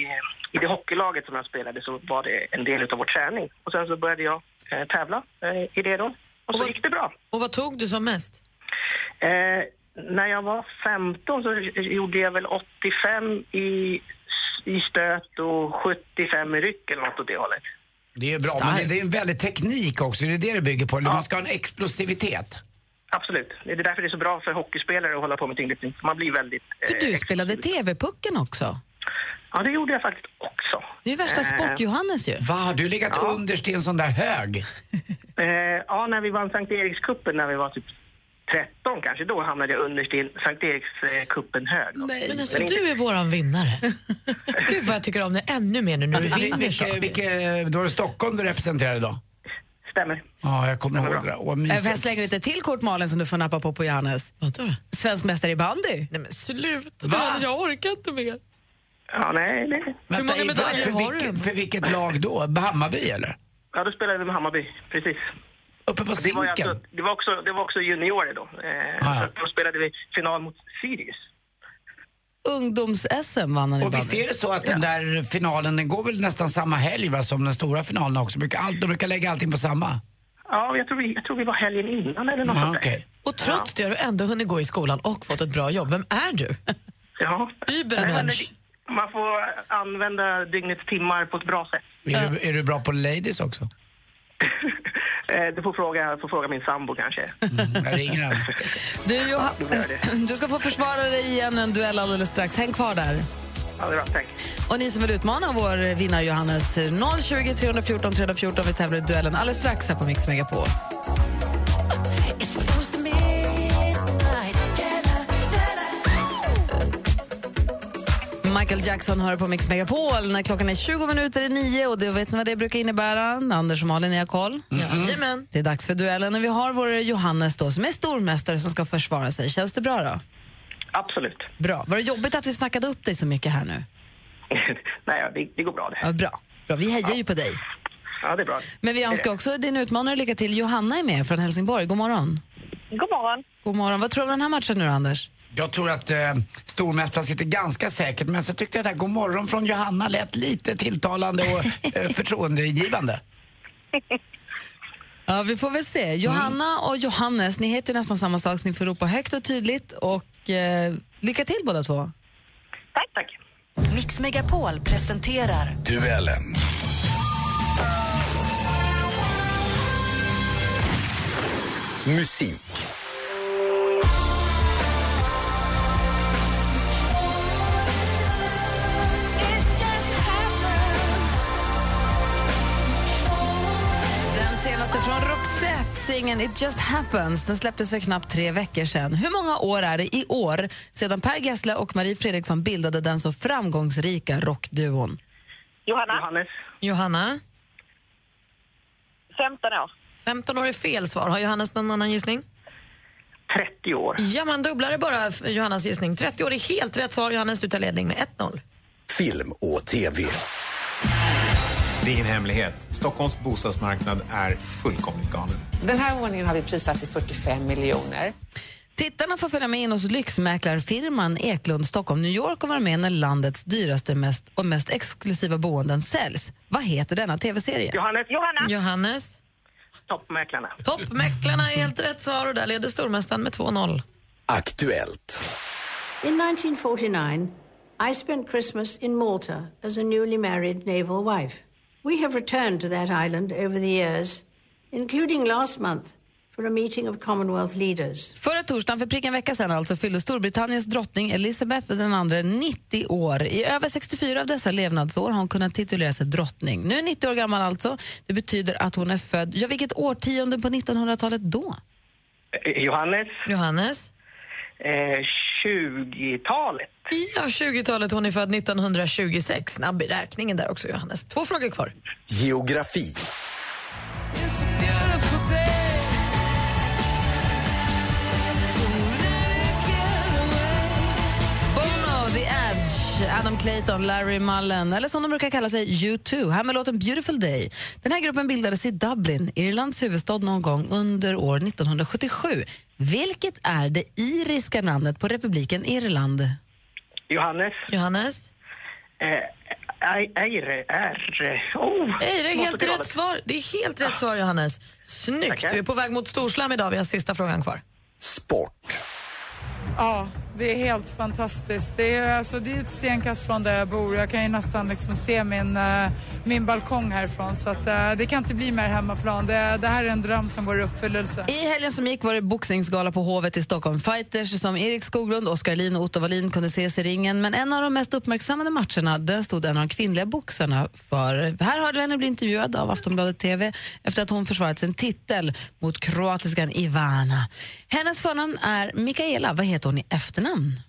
Speaker 6: i det hockeylaget som jag spelade så var det en del av vår träning. Och sen så började jag eh, tävla eh, i det då. Och, så gick det bra.
Speaker 4: Och vad tog du som mest?
Speaker 6: Eh, när jag var 15 så gjorde jag väl 85 i, i stöt och 75 i ryck eller något åt det hållet.
Speaker 3: Det är ju bra, men det, det är en väldig teknik också. Det är det det bygger på. Man ska ha en explosivitet.
Speaker 6: Absolut. Det är därför det är så bra för hockeyspelare att hålla på med tyngdlyftning. Man blir väldigt...
Speaker 2: För
Speaker 6: eh,
Speaker 2: du spelade TV-pucken också.
Speaker 6: Ja, det gjorde jag faktiskt också.
Speaker 2: Det är ju värsta
Speaker 6: Eh,
Speaker 2: sport-Johannes ju.
Speaker 3: Va, har du legat underst i en sån där hög?
Speaker 6: Eh, ja, när vi vann Sankt Erikscupen när vi var typ 13 kanske, då hamnade jag underst i en Sankt Erikscupen hög.
Speaker 4: Men alltså,
Speaker 6: inte-
Speaker 4: du är våran vinnare. Gud vad jag tycker om dig ännu mer nu när du
Speaker 3: Vil-
Speaker 4: vinner
Speaker 3: Alltså, vilka,
Speaker 4: saker.
Speaker 3: vilka, då var det Stockholm du representerade då?
Speaker 6: Stämmer.
Speaker 3: Ja, jag kommer ihåg det där. Åh,
Speaker 2: Jag
Speaker 4: Äh,
Speaker 2: får Äh, jag
Speaker 3: mysigt.
Speaker 2: slänga ut ett till kort Malin som du får nappa på på Johannes. Svensk mästare i bandy.
Speaker 4: Nej men sluta,
Speaker 2: Va?
Speaker 4: jag orkar inte mer.
Speaker 6: Ja, nej, nej.
Speaker 3: Vänta, i- för, vilket, för vilket lag då? Hammarby eller?
Speaker 6: Ja, då spelade vi med Hammarby, precis.
Speaker 3: Uppe på
Speaker 6: det var, ju
Speaker 3: Zinken?
Speaker 6: alltså, det, var också, det var också juniorer då. Eh,
Speaker 3: Ah, ja.
Speaker 6: så Då spelade vi final mot Sirius.
Speaker 2: Ungdoms-SM vann han i
Speaker 3: Och visst
Speaker 2: bandy.
Speaker 3: är det så att den där finalen, den går väl nästan samma helg va, som den stora finalen också? Brukar allt, de brukar lägga allting på samma?
Speaker 6: Ja, jag tror vi, jag tror vi var helgen innan eller något
Speaker 3: Ja,
Speaker 6: sånt där.
Speaker 3: Ah, okej.
Speaker 4: Och trots det har du ändå hunnit gå i skolan och fått ett bra jobb. Vem är du?
Speaker 6: Ja. Eh,
Speaker 4: Übermensch.
Speaker 6: Man får använda dygnets timmar på ett bra sätt.
Speaker 3: Är, du, är du bra på ladies också?
Speaker 6: Eh, Du får fråga, får fråga min sambo
Speaker 3: (laughs)
Speaker 6: kanske.
Speaker 3: Jag ringer henne.
Speaker 2: Du,
Speaker 6: gör
Speaker 2: Johannes, (laughs) du ska få försvara dig igen i en duell alldeles strax. Häng kvar där.
Speaker 6: Ja, det är bra, tack.
Speaker 2: Och ni som vill utmana vår vinnare Johannes, 020 314 314. Vi tävlar i duellen alldeles strax här på Mix Megapol.
Speaker 26: It's close to midnight. Can I, can
Speaker 2: Michael Jackson hör på Mix Megapol när klockan är 20 minuter i nio och det vet ni vad det brukar innebära. Anders och Malin, ni har koll?
Speaker 4: Jajamän.
Speaker 2: Det är dags för duellen och vi har vår Johannes då som är stormästare som ska försvara sig. Känns det bra då?
Speaker 6: Absolut.
Speaker 2: Bra. Var det jobbigt att vi snackade upp dig så mycket här nu?
Speaker 6: Nej, ja, det, det går bra det.
Speaker 2: Ja, bra. bra. Vi hejar ju på dig.
Speaker 6: Ja, det är bra.
Speaker 2: Men vi
Speaker 27: Eh.
Speaker 2: önskar också din utmanare lycka till. Johanna är med från Helsingborg. God morgon.
Speaker 27: God morgon.
Speaker 2: God morgon. Vad tror du om den här matchen nu, Anders?
Speaker 3: Jag tror att eh, stormästaren sitter ganska säkert, men så tyckte jag det där god morgon från Johanna lät lite tilltalande
Speaker 4: (laughs)
Speaker 3: och eh, förtroendegivande.
Speaker 2: Ja, vi får väl se. Johanna och Johannes, ni heter ju nästan samma sak så ni får ropa högt och tydligt. Och eh, lycka till båda två.
Speaker 6: Tack, tack.
Speaker 28: Mix Megapol presenterar
Speaker 9: Duellen. Musik.
Speaker 2: Den senaste från Roxette, singeln It just happens. Den släpptes för knappt tre veckor sedan. Hur många år är det i år sedan Per Gessle och Marie Fredriksson bildade den så framgångsrika rockduon?
Speaker 27: Johanna.
Speaker 6: Johannes.
Speaker 4: Johanna?
Speaker 27: 15 år.
Speaker 4: 15 år är fel svar. Har Johannes någon annan gissning?
Speaker 6: 30 år.
Speaker 4: Ja, man dubblar det bara, f- Johannas gissning. 30 år är helt rätt svar. Johannes, du tar ledning med 1-0.
Speaker 14: Film och TV. Det är ingen hemlighet. Stockholms bostadsmarknad är fullkomligt galen.
Speaker 7: Den här ordningen har vi prissatt till 45 miljoner.
Speaker 2: Tittarna får följa med in hos lyxmäklarfirman Eklund Stockholm New York och vara med när landets dyraste mest och mest exklusiva boenden säljs. Vad heter denna tv-serie?
Speaker 6: Johannes.
Speaker 4: Johanna. Johannes.
Speaker 6: Toppmäklarna.
Speaker 4: Toppmäklarna är helt rätt svar och där leder stormästaren med 2-0.
Speaker 14: Aktuellt.
Speaker 1: In 1949, I spent Christmas in Malta as a newly married naval wife. We have returned to that island over the years, including last month
Speaker 13: for a meeting of Commonwealth leaders.
Speaker 2: Förra torsdagen, för prick en vecka sedan alltså, fyllde Storbritanniens drottning Elizabeth II 90 år. I över 64 av dessa levnadsår har hon kunnat titulera sig drottning. Nu 90 år gammal alltså. Det betyder att hon är född, ja vilket årtionde på 1900-talet då?
Speaker 6: Eh, Johannes,
Speaker 4: Johannes?
Speaker 6: eh, 20-talet.
Speaker 4: Ja, 20-talet. Hon är född 1926. Snabb i räkningen där också, Johannes. Två frågor kvar.
Speaker 12: Geografi.
Speaker 2: Bono, The Edge, Adam Clayton, Larry Mullen eller som de brukar kalla sig, U2. Här med låten Beautiful Day. Den här gruppen bildades i Dublin, Irlands huvudstad, någon gång under år 1977. Vilket är det iriska namnet på republiken Irland?
Speaker 6: Johannes,
Speaker 4: Johannes?
Speaker 6: eh, Ej- Eire, R. Oh,
Speaker 4: Nej, det är
Speaker 6: måste
Speaker 4: helt
Speaker 6: till
Speaker 4: rätt
Speaker 6: valet.
Speaker 4: svar. Det är helt rätt svar, Johannes. Snyggt. Du är på väg mot storslam idag. Vi har sista frågan kvar.
Speaker 15: Ja, det är helt fantastiskt. Det är, alltså, det är ett stenkast från där jag bor. Jag kan ju nästan liksom se min, eh, min balkong härifrån. Så att, eh, det kan inte bli mer hemmaplan. Det, det här är en dröm som går i uppfyllelse.
Speaker 2: I helgen som gick var det boxningsgala på Hovet i Stockholm. Fighters som Erik Skoglund, Oskar Lin och Otto Wallin kunde ses i ringen. Men en av de mest uppmärksammade matcherna den stod en av de kvinnliga boxarna för. Här hörde vi henne bli intervjuad av Aftonbladet TV efter att hon försvarat sin titel mot kroatiskan Ivana. Hennes förnamn är Mikaela. Vad heter hon i efternamn?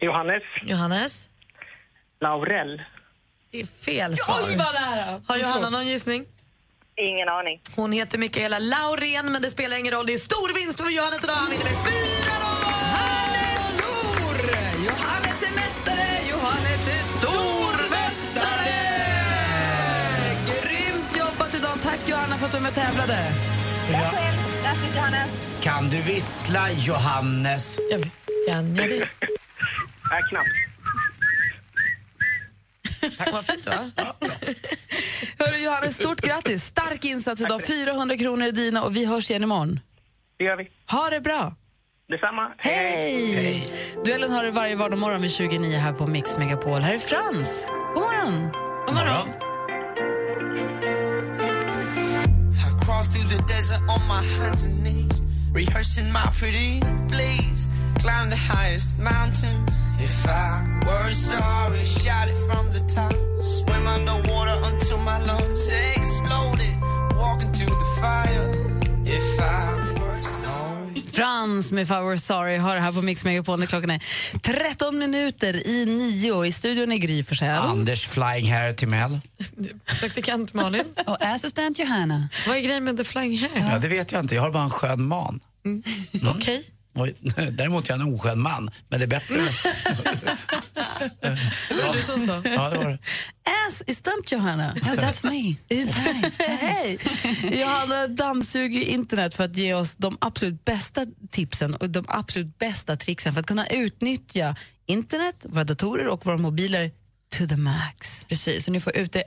Speaker 6: Johannes,
Speaker 4: Johannes?
Speaker 6: Laurel.
Speaker 4: Det är fel svar.
Speaker 6: Oj, vad nära.
Speaker 4: Har Johanna någon gissning?
Speaker 6: Ingen aning.
Speaker 4: Hon heter Mikaela Laurén, men det spelar ingen roll. Det är stor vinst för Johannes idag. Han vinner med fyra
Speaker 2: Stor! Johannes är mästare! Johannes är stormästare! Grymt jobbat idag. Tack Johanna för att du är med och tävlade.
Speaker 3: Ja.
Speaker 6: Grattis, Johannes.
Speaker 3: Kan du vissla, Johannes?
Speaker 4: Jag visst kan jag det.
Speaker 6: Nej, knappt.
Speaker 4: Tack. Vad
Speaker 6: (laughs)
Speaker 4: fint, va?
Speaker 2: Hörru Johannes, stort grattis. Stark insats idag. 400 kronor är dina och vi hörs igen imorgon.
Speaker 6: Det gör vi.
Speaker 2: Ha det bra.
Speaker 6: Detsamma.
Speaker 2: Hej! Duellen har du varje vardagsmorgon vid 29 här på Mix Megapol. Här är Frans. God morgon! God morgon.
Speaker 16: I crawl through the desert on my hands and knees, rehearsing my pretty please. Climb the highest mountain. If I were sorry, shout it from the top. Swim underwater until my lungs exploded. Walk into the fire. If I were sorry.
Speaker 2: Frans med If I Were Sorry har det här på Mix Megapol när klockan är 13 minuter i nio och i studion är Gry Forssell.
Speaker 3: Anders Flying Hair Timell.
Speaker 4: Praktikant Malin.
Speaker 2: Och assistent Johanna.
Speaker 4: Vad är grejen med The Flying Hair?
Speaker 3: Ja, det vet jag inte. Jag har bara en skön man. Mm.
Speaker 4: Okej.
Speaker 3: Oj, (laughs) Däremot är jag en oskön man, men det är bättre. (laughs)
Speaker 4: Det var du som sa.
Speaker 3: Ja, det var det.
Speaker 2: Ass is dumped, Johanna. Oh, that's (laughs) me. (laughs) Hej! Johanna dammsuger ju internet för att ge oss de absolut bästa tipsen och de absolut bästa tricksen för att kunna utnyttja internet, våra datorer och våra mobiler to the max.
Speaker 29: Precis, och ni får ut det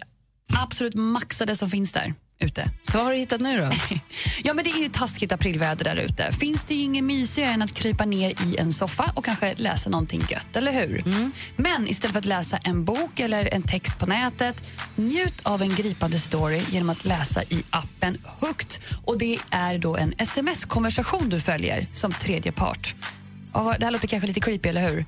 Speaker 29: absolut maxade som finns där ute.
Speaker 2: Så vad har du hittat nu då? (laughs)
Speaker 29: ja, men det är ju taskigt aprilväder där ute. Finns det ju inget mysigare än att krypa ner i en soffa och kanske läsa någonting gött, eller hur? Men istället för att läsa en bok eller en text på nätet, njut av en gripande story genom att läsa i appen Hooked. Och det är då en sms-konversation du följer som tredje part. Ja, det här låter kanske lite creepy, eller hur?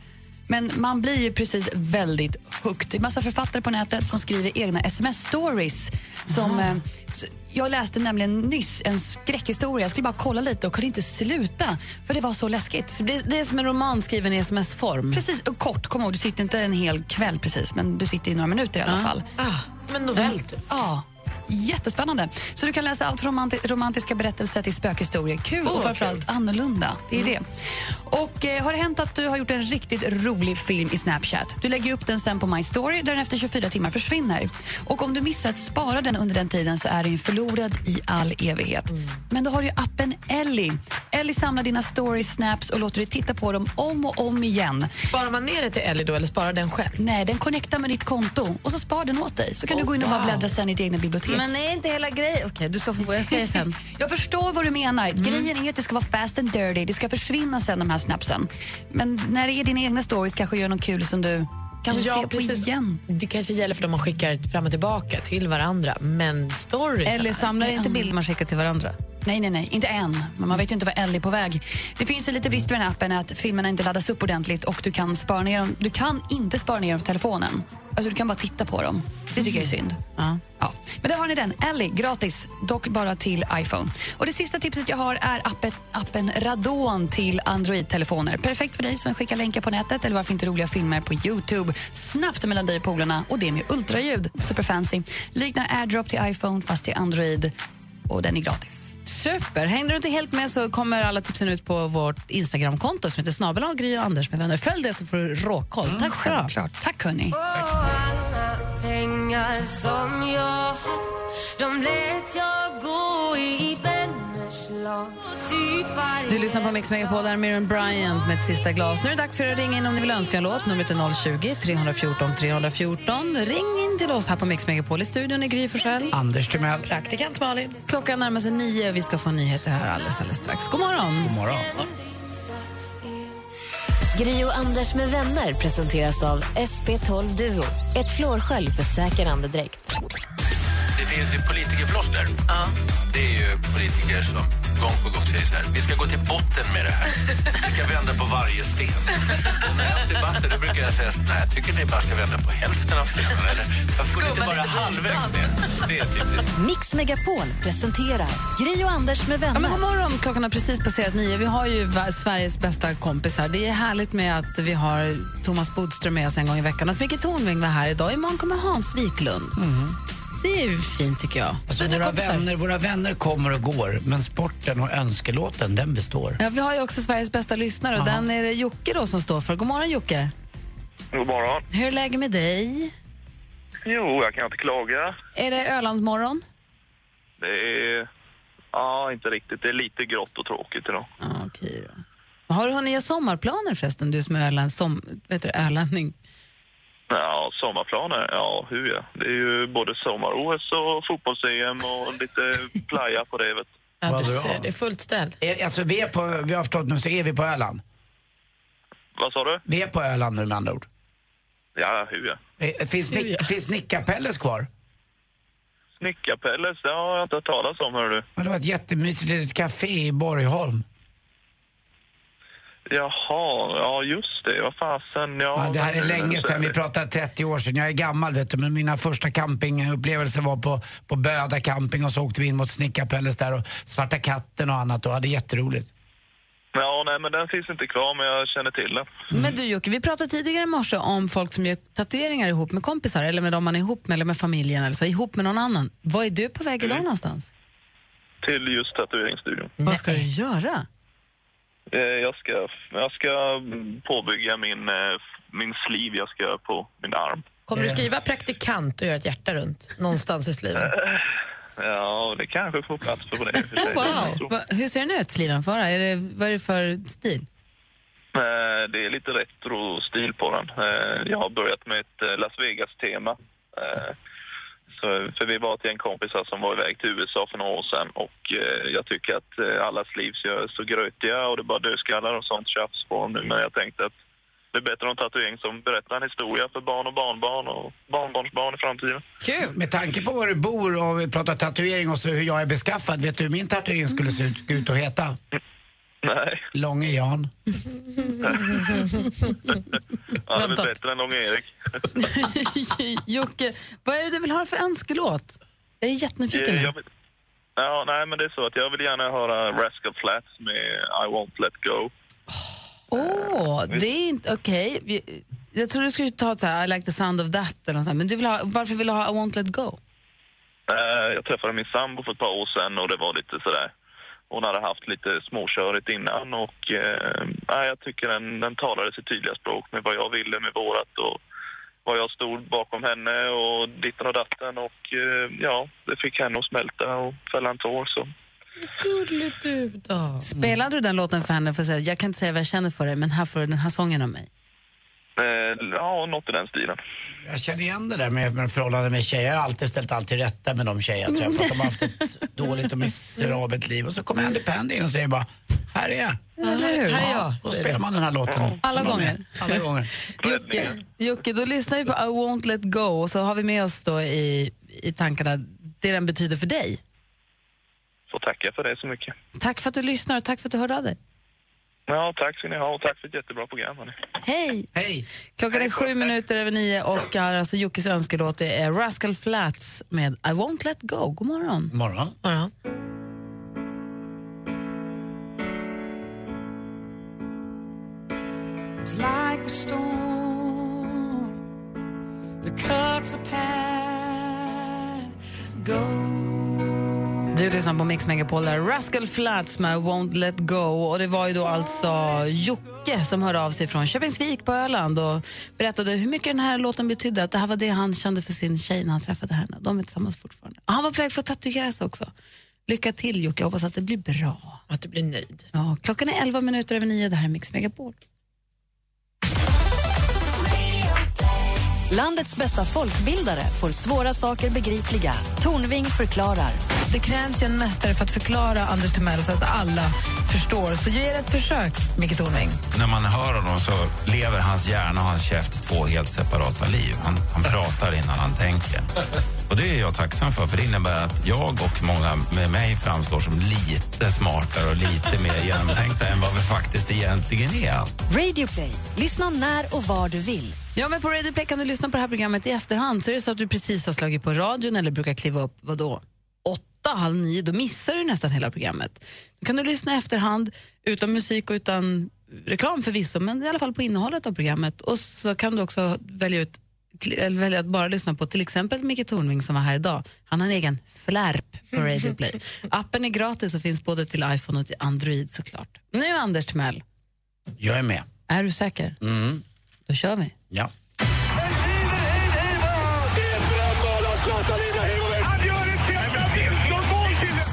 Speaker 29: Men man blir ju precis väldigt hooked. Det är massa författare på nätet som skriver egna sms-stories. Som, eh, s- jag läste nämligen nyss en skräckhistoria. Jag skulle bara kolla lite och kunde inte sluta, för det var så läskigt.
Speaker 2: det, är som en roman skriven i sms-form?
Speaker 29: Precis, och kort. Kom ihåg, du sitter inte en hel kväll precis, men du sitter i några minuter i alla fall.
Speaker 4: Ah, Som en novell, typ.
Speaker 29: Ja. Jättespännande. Så du kan läsa allt från romanti- romantiska berättelser till spökhistorier. Kul
Speaker 4: Åh,
Speaker 29: och
Speaker 4: vad
Speaker 29: framförallt annorlunda. Det är ju
Speaker 2: Mm.
Speaker 29: det. Och eh, Har det hänt att du har gjort en riktigt rolig film i Snapchat? Du lägger upp den sen på My Story där den efter 24 timmar försvinner. Och Om du missar att spara den under den tiden så är den ju förlorad i all evighet.
Speaker 2: Mm.
Speaker 29: Men då har du ju appen Ellie. Ellie samlar dina stories, snaps och låter dig titta på dem om och om igen.
Speaker 4: Sparar man ner det till Ellie då, eller sparar den själv?
Speaker 29: Nej, den connectar med ditt konto och så sparar den åt dig. Så kan
Speaker 2: Oh,
Speaker 29: du gå in och bara
Speaker 2: wow.
Speaker 29: bläddra sen i ditt egna bibliotek.
Speaker 2: Men är inte hela grejen... Okej, du ska få jag säger sen.
Speaker 29: Jag förstår vad du menar. Grejen är ju att det ska vara fast and dirty. Det ska försvinna sen, de här snapsen. Men när det är dina egna stories kanske gör någon kul som du kanske ser på igen.
Speaker 4: Det kanske gäller för de man skickar fram och tillbaka till varandra, men stories... Mm.
Speaker 2: Eller samlar inte bilder man skickar till varandra?
Speaker 29: Nej, nej, nej, inte än. Men man vet ju inte vad Ellie är på väg. Det finns ju lite brister med den här appen att filmerna inte laddas upp ordentligt och du kan spara ner dem. Du kan inte spara ner dem på telefonen. Alltså du kan bara titta på dem. Det tycker jag är synd. Ja. Men där har ni den. Ellie, gratis. Dock bara till iPhone. Och Det sista tipset jag har är appen, appen Radon till Android-telefoner. Perfekt för dig som skickar länkar på nätet eller varför inte roliga filmer på Youtube. Snabbt mellan dig och polarna och det med ultraljud. Superfancy. Liknar AirDrop till iPhone fast till Android. Och den är gratis.
Speaker 2: Super! Hänger du inte helt med så kommer alla tipsen ut på vårt Instagramkonto som heter snabel Gry och Anders med vänner. Följ det så får du råkoll.
Speaker 29: Mm,
Speaker 2: Tack ska du ha.
Speaker 29: självklart. Tack hörni.
Speaker 9: Pengar som jag haft De lät jag gå i vänners lag
Speaker 2: Du lyssnar på Mix Megapol, där är Miriam Bryant med ett sista glas. Nu är det dags för er att ringa in om ni vill önska en låt. Numret är 020-314 314. Ring in till oss här på Mix Megapol. I studion är Gry Forssell.
Speaker 3: Anders Timell.
Speaker 2: Praktikant Malin. Klockan närmar sig nio och vi ska få nyheter här alldeles, alldeles strax. God morgon!
Speaker 3: God morgon.
Speaker 21: Gri och Anders med vänner presenteras av SP12 Duo. Ett flårskölj för säker andedräkt.
Speaker 14: Det finns ju politikerfloskler. Det är ju politiker som gång på gång säger så här. Vi ska gå till botten med det här. Vi ska vända på varje sten. Och när jag har haft debatter då brukar jag säga så här, nej, jag tycker ni bara ska vända på hälften av stenarna. Eller varför går ni inte
Speaker 21: Skumma
Speaker 14: bara
Speaker 21: lite på
Speaker 14: halvvägs
Speaker 21: ytan."
Speaker 14: ner? Det är typiskt.
Speaker 21: Mix Megapol presenterar Gri och Anders med vänner.
Speaker 2: Ja, men god morgon, klockan har precis passerat nio. Vi har ju va- Sveriges bästa kompis här. Det är härligt med att vi har Thomas Bodström med oss en gång i veckan och att Micke Tornving var här idag. Imorgon kommer Hans Wiklund. Det är ju fint tycker jag.
Speaker 3: Alltså,
Speaker 2: Fina
Speaker 3: våra,
Speaker 2: kompisar.
Speaker 3: vänner, våra vänner kommer och går, men sporten och önskelåten, den består.
Speaker 2: Ja, vi har ju också Sveriges bästa lyssnare och den är det Jocke då som står för. God morgon Jocke.
Speaker 30: God morgon.
Speaker 2: Hur är läget med dig?
Speaker 30: Jo, jag kan inte klaga.
Speaker 2: Är det Ölandsmorgon?
Speaker 30: Det är... Ja, inte riktigt. Det är lite grått och tråkigt idag.
Speaker 2: Ah, Okej då. Har du hunnit göra sommarplaner förresten, du som är öland, som, vet du, ölänning?
Speaker 30: Ja, sommarplaner? Ja, hur ja. Det är ju både sommar-OS och fotbolls-EM och
Speaker 3: (laughs)
Speaker 30: lite playa på det, vet du.
Speaker 3: Ja, du
Speaker 30: ser,
Speaker 3: det
Speaker 4: är fullt ställ.
Speaker 3: Alltså, vi, är på, vi har förstått nu så är vi på Öland.
Speaker 30: Vad sa du?
Speaker 3: Vi är på Öland nu med andra ord.
Speaker 30: Ja, hur ja.
Speaker 3: Eh, Finns, nick, finns Nickapelles kvar?
Speaker 30: Snickarpelles, det har jag inte hört talas om, hör du.
Speaker 3: Ja, Det var ett jättemysigt litet café i Borgholm.
Speaker 30: Jaha, ja just det. Vad fasen. Ja,
Speaker 3: Ja, det här är länge sedan, vi pratar 30 år sedan. Jag är gammal vet du, men mina första campingupplevelser var på, på Böda camping och så åkte vi in mot Snickarpelles där och Svarta katten och annat och hade jätteroligt.
Speaker 30: Ja, nej men den finns inte kvar, men jag känner till den.
Speaker 2: Men du Jocke, vi pratade tidigare i morse om folk som gör tatueringar ihop med kompisar eller med dem man är ihop med eller med familjen eller så, ihop med någon annan. Vad är du på väg
Speaker 30: Mm.
Speaker 2: idag någonstans?
Speaker 30: Till just tatueringsstudion.
Speaker 2: Vad ska du göra?
Speaker 30: Eh, Jag ska, jag ska mm, påbygga min, eh, min sleeve jag ska göra på min arm.
Speaker 4: Kommer du
Speaker 3: Eh.
Speaker 4: skriva praktikant och göra ett hjärta runt någonstans i sliven?
Speaker 30: Eh, Ja, det kanske får plats för det. i och för
Speaker 4: (laughs)
Speaker 30: sig.
Speaker 2: Wow. Va, hur ser den ut, sliven? För? Är det, vad är det
Speaker 30: (laughs)
Speaker 2: för stil? (laughs)
Speaker 30: Eh, Det är lite retro-stil på den. Eh, Jag har börjat med ett eh, Las Vegas-tema. Eh, så- För vi var ett gäng kompisar som var iväg till USA för några år sedan och eh, jag tycker att eh, alla sleeves gör så grötiga och det är bara dödskallar och sånt tjafs på dem nu. Men jag tänkte att det är bättre att ha en tatuering som berättar en historia för barn och barnbarn och barnbarnsbarn i framtiden. (laughs)
Speaker 2: Kul!
Speaker 3: Med tanke på var du bor och vi pratar tatuering och så hur jag är beskaffad, vet du hur min tatuering skulle se ut, ut och heta?
Speaker 30: Nej.
Speaker 3: Långe Jan.
Speaker 30: Ja, det är väl bättre än Lång-Erik.
Speaker 2: Jocke, vad är det du vill ha för önskelåt? Jag är jättenyfiken.
Speaker 30: Eh,
Speaker 2: nu.
Speaker 30: jag vill- Ja, nej, men det är så att jag vill gärna höra Rascal Flats med I Won't Let Go.
Speaker 2: Åh, det är inte... Okej. Vi- Jag tror du skulle ta ett så här, I like the sound of that, eller något sånt, här, men du vill ha, varför vill du ha I won't let go?
Speaker 30: Eh, Jag träffade min sambo för ett par år sedan och det var lite sådär. Hon hade haft lite småkörigt innan och eh, nej, jag tycker den, den talade sitt tydliga språk med vad jag ville med vårat och vad jag stod bakom henne och ditten och datten och eh, ja, det fick henne att smälta och fälla en tår så.
Speaker 4: Gulligt du då.
Speaker 2: Spelade du den låten för henne för att säga jag kan inte säga vad jag känner för dig, men här får du den här sången av mig?
Speaker 30: Eh, ja, något i den stilen.
Speaker 3: Jag känner igen det där med, med förhållanden med tjejer. Jag har alltid ställt allt till rätta med de tjejer jag träffat. De har haft
Speaker 2: (laughs)
Speaker 3: ett dåligt och miserabelt liv. Och så kommer Andy Pandy in och säger bara, här är jag.
Speaker 2: Eller hur?
Speaker 3: Ja, Då spelar man den här låten.
Speaker 2: Alla
Speaker 3: som de
Speaker 2: gånger.
Speaker 3: är. Alla gånger.
Speaker 2: (laughs) Jocke, Jocke, då lyssnar vi på I won't let go och så har vi med oss då i, i tankarna det den betyder för dig.
Speaker 19: så tackar jag för det så mycket.
Speaker 2: Tack för att du lyssnar och tack för att du hörde av dig.
Speaker 19: Ja, tack ska ni ha och tack för ett jättebra program. Hörni.
Speaker 2: Hej! Hej! Klockan är sju minuter över nio och är alltså Jockes önskelåt det är Rascal Flats med I won't let go. God morgon.
Speaker 3: Morgon.
Speaker 2: morgon.
Speaker 5: It's like a storm that cuts a path. Go.
Speaker 2: Du lyssnar på Mix Megapol, där Rascal Flats med Won't Let Go. Och Det var ju då alltså Jocke som hörde av sig från Köpingsvik på Öland och berättade hur mycket den här låten betydde. Att det här var det han kände för sin tjej när han träffade henne. De är tillsammans fortfarande. Och han var på väg för att tatuera sig också. Lycka till Jocke, Jag hoppas att det blir bra.
Speaker 4: Att du blir nöjd.
Speaker 2: Ja, klockan är 11 minuter över 9, det här är Mix Megapol.
Speaker 1: Landets bästa folkbildare får svåra saker begripliga. Tornving förklarar.
Speaker 2: Det krävs ju en mästare för att förklara Anders Timell så att alla förstår. Så ge det ett försök, Micke Tornving.
Speaker 11: När man hör honom så lever hans hjärna och hans käft två helt separata liv. Han, han pratar innan han tänker. Och Det är jag tacksam för, för det innebär att jag och många med mig framstår som lite smartare och lite mer genomtänkta än vad vi faktiskt egentligen är.
Speaker 1: Radio Play. Lyssna när och var du vill.
Speaker 2: Ja, men på Radio Play kan du lyssna på det här programmet i efterhand. Så är det så att du precis har slagit på radion eller brukar kliva upp, vadå, åtta, halv nio, då missar du nästan hela programmet. Då kan du lyssna i efterhand, utan musik och utan reklam förvisso, men i alla fall på innehållet av programmet. Och så kan du också välja ut kli- eller välja att bara lyssna på till exempel Micke Tornving som var här idag. Han har en egen flärp på Radio Play. Appen är gratis och finns både till iPhone och till Android såklart. Nu Anders Timell,
Speaker 3: Jag är med.
Speaker 2: är du säker?
Speaker 3: Mm.
Speaker 2: Då kör vi.
Speaker 3: Ja.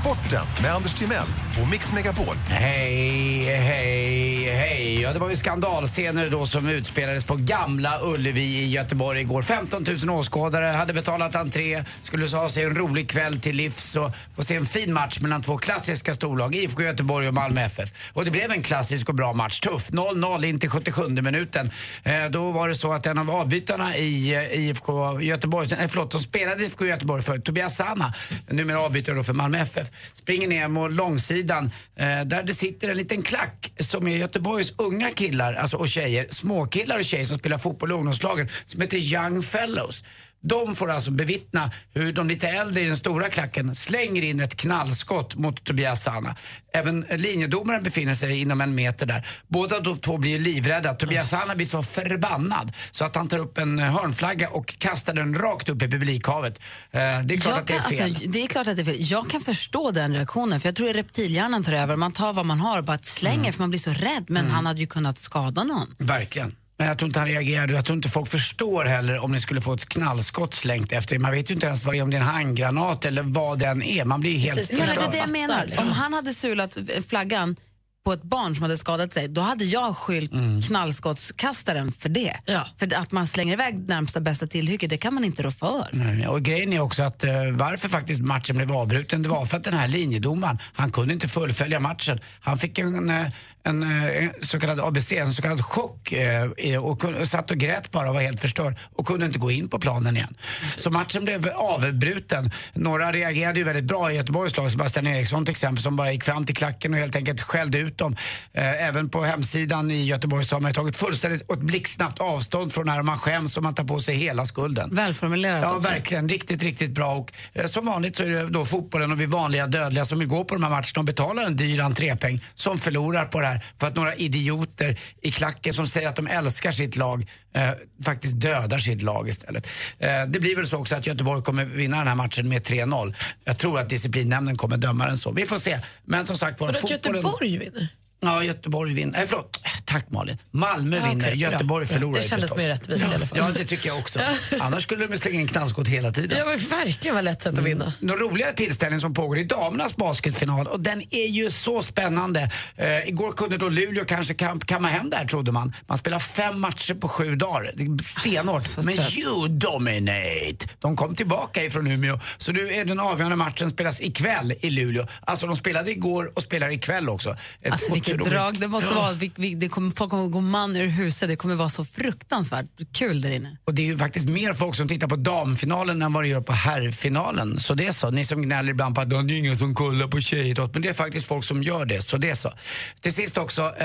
Speaker 7: Sporten med Anders Timell och Mix Megapol.
Speaker 3: Hej, hej, hej. Ja, det var ju skandalscener då som utspelades på Gamla Ullevi i Göteborg igår. 15 000 åskådare hade betalat entré, skulle så ha sig en rolig kväll till livs och få se en fin match mellan två klassiska storlag, IFK Göteborg och Malmö FF. Och det blev en klassisk och bra match. Tuff. 0-0 in till 77 minuten. Eh, då var det så att en av avbytarna i eh, IFK Göteborg, nej förlåt, de spelade IFK Göteborg för Tobias Sana, numera avbytare då för Malmö FF, springer ner mot långsidan eh, där det sitter en liten klack som är Göteborgs unga killar alltså, och tjejer, småkillar och tjejer som spelar fotboll i ungdomslagen som heter Young Fellows. De får alltså bevittna hur de lite äldre i den stora klacken slänger in ett knallskott mot Tobias Sana. Även linjedomaren befinner sig inom en meter där. Båda de två blir ju livrädda. Tobias
Speaker 2: Mm.
Speaker 3: Sana blir så förbannad så att han tar upp en hörnflagga och kastar den rakt upp i publikhavet. Eh, Det är klart
Speaker 2: Jag
Speaker 3: att det är
Speaker 2: kan-
Speaker 3: fel.
Speaker 2: Alltså, det är klart att det är fel. Jag kan förstå den reaktionen, för jag tror att reptilhjärnan tar över. Man tar vad man har och bara slänger,
Speaker 3: Mm.
Speaker 2: för man blir så rädd. Men han hade ju kunnat skada någon.
Speaker 3: Verkligen. Men jag tror inte han reagerade. Jag tror inte folk förstår heller om ni skulle få ett knallskott slängt efter er. Man vet ju inte ens vad det är, om det är en handgranat eller vad den är. Man blir ju helt liksom.
Speaker 2: Precis, men det är
Speaker 3: förstörd.
Speaker 2: det jag menar. Om han hade sulat eh, flaggan på ett barn som hade skadat sig, då hade jag skylt
Speaker 3: Mm.
Speaker 2: knallskottskastaren för det. För att man slänger iväg närmsta bästa tillhygge, det kan man inte rå för.
Speaker 3: Nej, Mm, Och grejen är också att eh, varför faktiskt matchen blev avbruten, det var för att den här linjedomaren, han kunde inte fullfölja matchen. Han fick en, eh, en, eh, en så kallad ABC, en så kallad chock eh, i- och kun- och satt och grät bara och var helt förstörd och kunde inte gå in på planen igen. Så matchen blev avbruten. Några reagerade ju väldigt bra i Göteborgs lag, Sebastian Eriksson till exempel, som bara gick fram till klacken och helt enkelt skällde ut dem. Eh, Även på hemsidan i Göteborg så har man ju tagit fullständigt och ett blixtsnabbt avstånd från det här och man skäms och man tar på sig hela skulden.
Speaker 2: Välformulerat
Speaker 3: Ja,
Speaker 2: också.
Speaker 3: verkligen. Riktigt, riktigt bra. Och, eh, som vanligt så är det då fotbollen och vi vanliga dödliga som vill gå på de här matcherna och betalar en dyr entrépeng som förlorar på det här för att några idioter i klacken som säger att de älskar sitt lag eh, faktiskt dödar sitt lag istället. Eh, det blir väl så också att Göteborg kommer vinna den här matchen med 3-0. Jag tror att disciplinnämnden kommer döma den så. Vi får se. Men som sagt var,
Speaker 4: Vadå, att Göteborg vinner?
Speaker 3: Ja, Göteborg vinner. Nej, förlåt. Eh, Tack Malin. Malmö
Speaker 4: Ja, okej,
Speaker 3: vinner,
Speaker 4: bra.
Speaker 3: Göteborg
Speaker 4: Bra.
Speaker 3: förlorar
Speaker 4: Det kändes
Speaker 3: förstås.
Speaker 4: mer rättvist i alla fall.
Speaker 3: Ja, det tycker
Speaker 4: (laughs)
Speaker 3: jag också. Annars skulle de ju slänga in knallskott hela tiden.
Speaker 4: Det var verkligen vad lätt sätt
Speaker 3: Mm.
Speaker 4: att vinna.
Speaker 3: Någon roligare tillställning som pågår i damernas basketfinal och den är ju så spännande. Eh, igår kunde då Luleå kanske kam- kamma hem det här trodde man. Man spelar fem matcher på sju dagar. Det är Stenhårt. Men
Speaker 12: trött.
Speaker 3: you dominate! De kom tillbaka ifrån Umeå. Så nu är den avgörande matchen spelas ikväll i Luleå. Alltså de spelade igår och spelar ikväll också. Ett
Speaker 2: Alltså, vilken
Speaker 3: kul att
Speaker 2: drag.
Speaker 3: gå
Speaker 2: Det
Speaker 3: ut.
Speaker 2: måste
Speaker 3: Ja.
Speaker 2: vara, vi, vi, det kommer, folk kommer gå man ur huset. Det kommer vara så fruktansvärt kul där inne.
Speaker 3: Och det är ju faktiskt mer folk som tittar på damfinalen än vad det gör på herrfinalen. Så det är så. Ni som gnäller ibland på att det är ingen som kollar på tjejidrott. Men det är faktiskt folk som gör det. Så det är så. Till sist också... Eh...
Speaker 2: (laughs)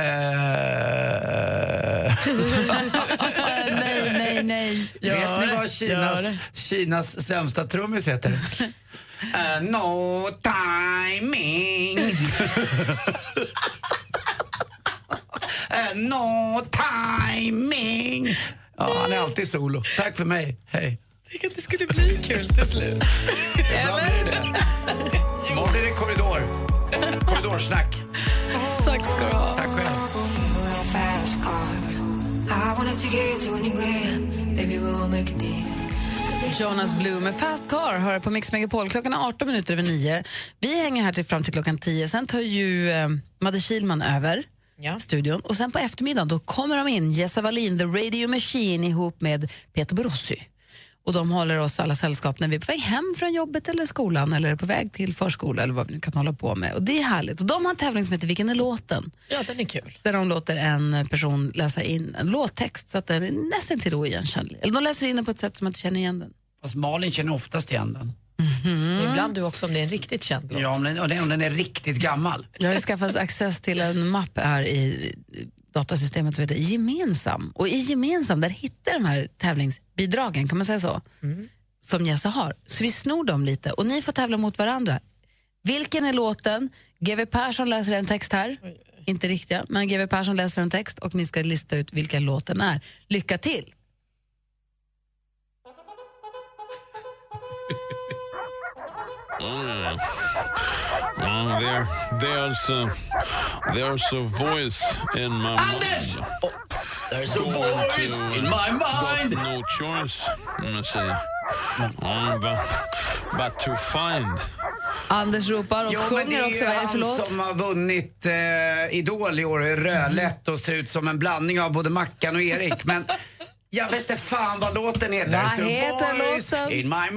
Speaker 2: nej, nej, nej.
Speaker 3: Vet ni vad Kinas, Kinas sämsta trummis heter? Eh, no timing. (laughs) Eh, no timing. Ja, han är alltid solo. Tack för mig. Hej.
Speaker 4: Tänk att det skulle bli kul till slut.
Speaker 3: Ibland blir det det. Imorgon blir det korridor. Korridorsnack.
Speaker 2: Tack ska du ha.
Speaker 3: Tack själv.
Speaker 2: Jonas Blue med Fast Car hör på Mix Megapol. Klockan är 18 minuter över 9. Vi hänger här till fram till klockan 10. Sen tar ju eh, Madde Kilman över studion. Och sen på eftermiddagen då kommer de in, Jessa Wallin, The Radio Machine ihop med Peter Borossi. Och de håller oss alla sällskap när vi är på väg hem från jobbet eller skolan eller på väg till förskola eller vad vi nu kan hålla på med. Och det är härligt. Och de har en tävling som heter Vilken är låten?
Speaker 4: Ja, den är kul.
Speaker 2: Där de låter en person läsa in en låttext så att den är nästan till oigenkännlig. Eller de läser in den på ett sätt som man inte känner igen den.
Speaker 3: Fast Malin känner oftast igen den.
Speaker 4: Ibland du också om det är en riktigt känd låt.
Speaker 3: Ja, om den, om den- om den är riktigt gammal.
Speaker 2: Jag har ju skaffat access till en mapp här i datasystemet som heter Gemensam. Och i Gemensam där hittar jag de här tävlingsbidragen, kan man säga så?
Speaker 4: Mm.
Speaker 2: Som Jesse har. Så vi snor dem lite och ni får tävla mot varandra. Vilken är låten? GW Persson läser en text här. Inte riktiga, men GW Persson läser en text och ni ska lista ut vilken låten är. Lycka till!
Speaker 20: Mm. Mm, there, there's a, there's a voice in my
Speaker 3: Anders!
Speaker 20: mind.
Speaker 3: There's a
Speaker 20: Going
Speaker 3: voice
Speaker 20: to-
Speaker 3: in my mind.
Speaker 20: Got no choice. Let me see. Mm, but, but to find.
Speaker 2: Anders ropar och
Speaker 3: Jo, men
Speaker 2: sjunger också.
Speaker 3: ju
Speaker 2: Vad är det för
Speaker 3: han
Speaker 2: låt?
Speaker 3: som har vunnit eh, Idol i år och är rödlätt och ser ut som en blandning av både Mackan och Erik. Men (laughs) jag vet inte fan vad låten heter.
Speaker 2: Vad
Speaker 3: So
Speaker 2: heter
Speaker 3: voice
Speaker 2: låten?
Speaker 3: In my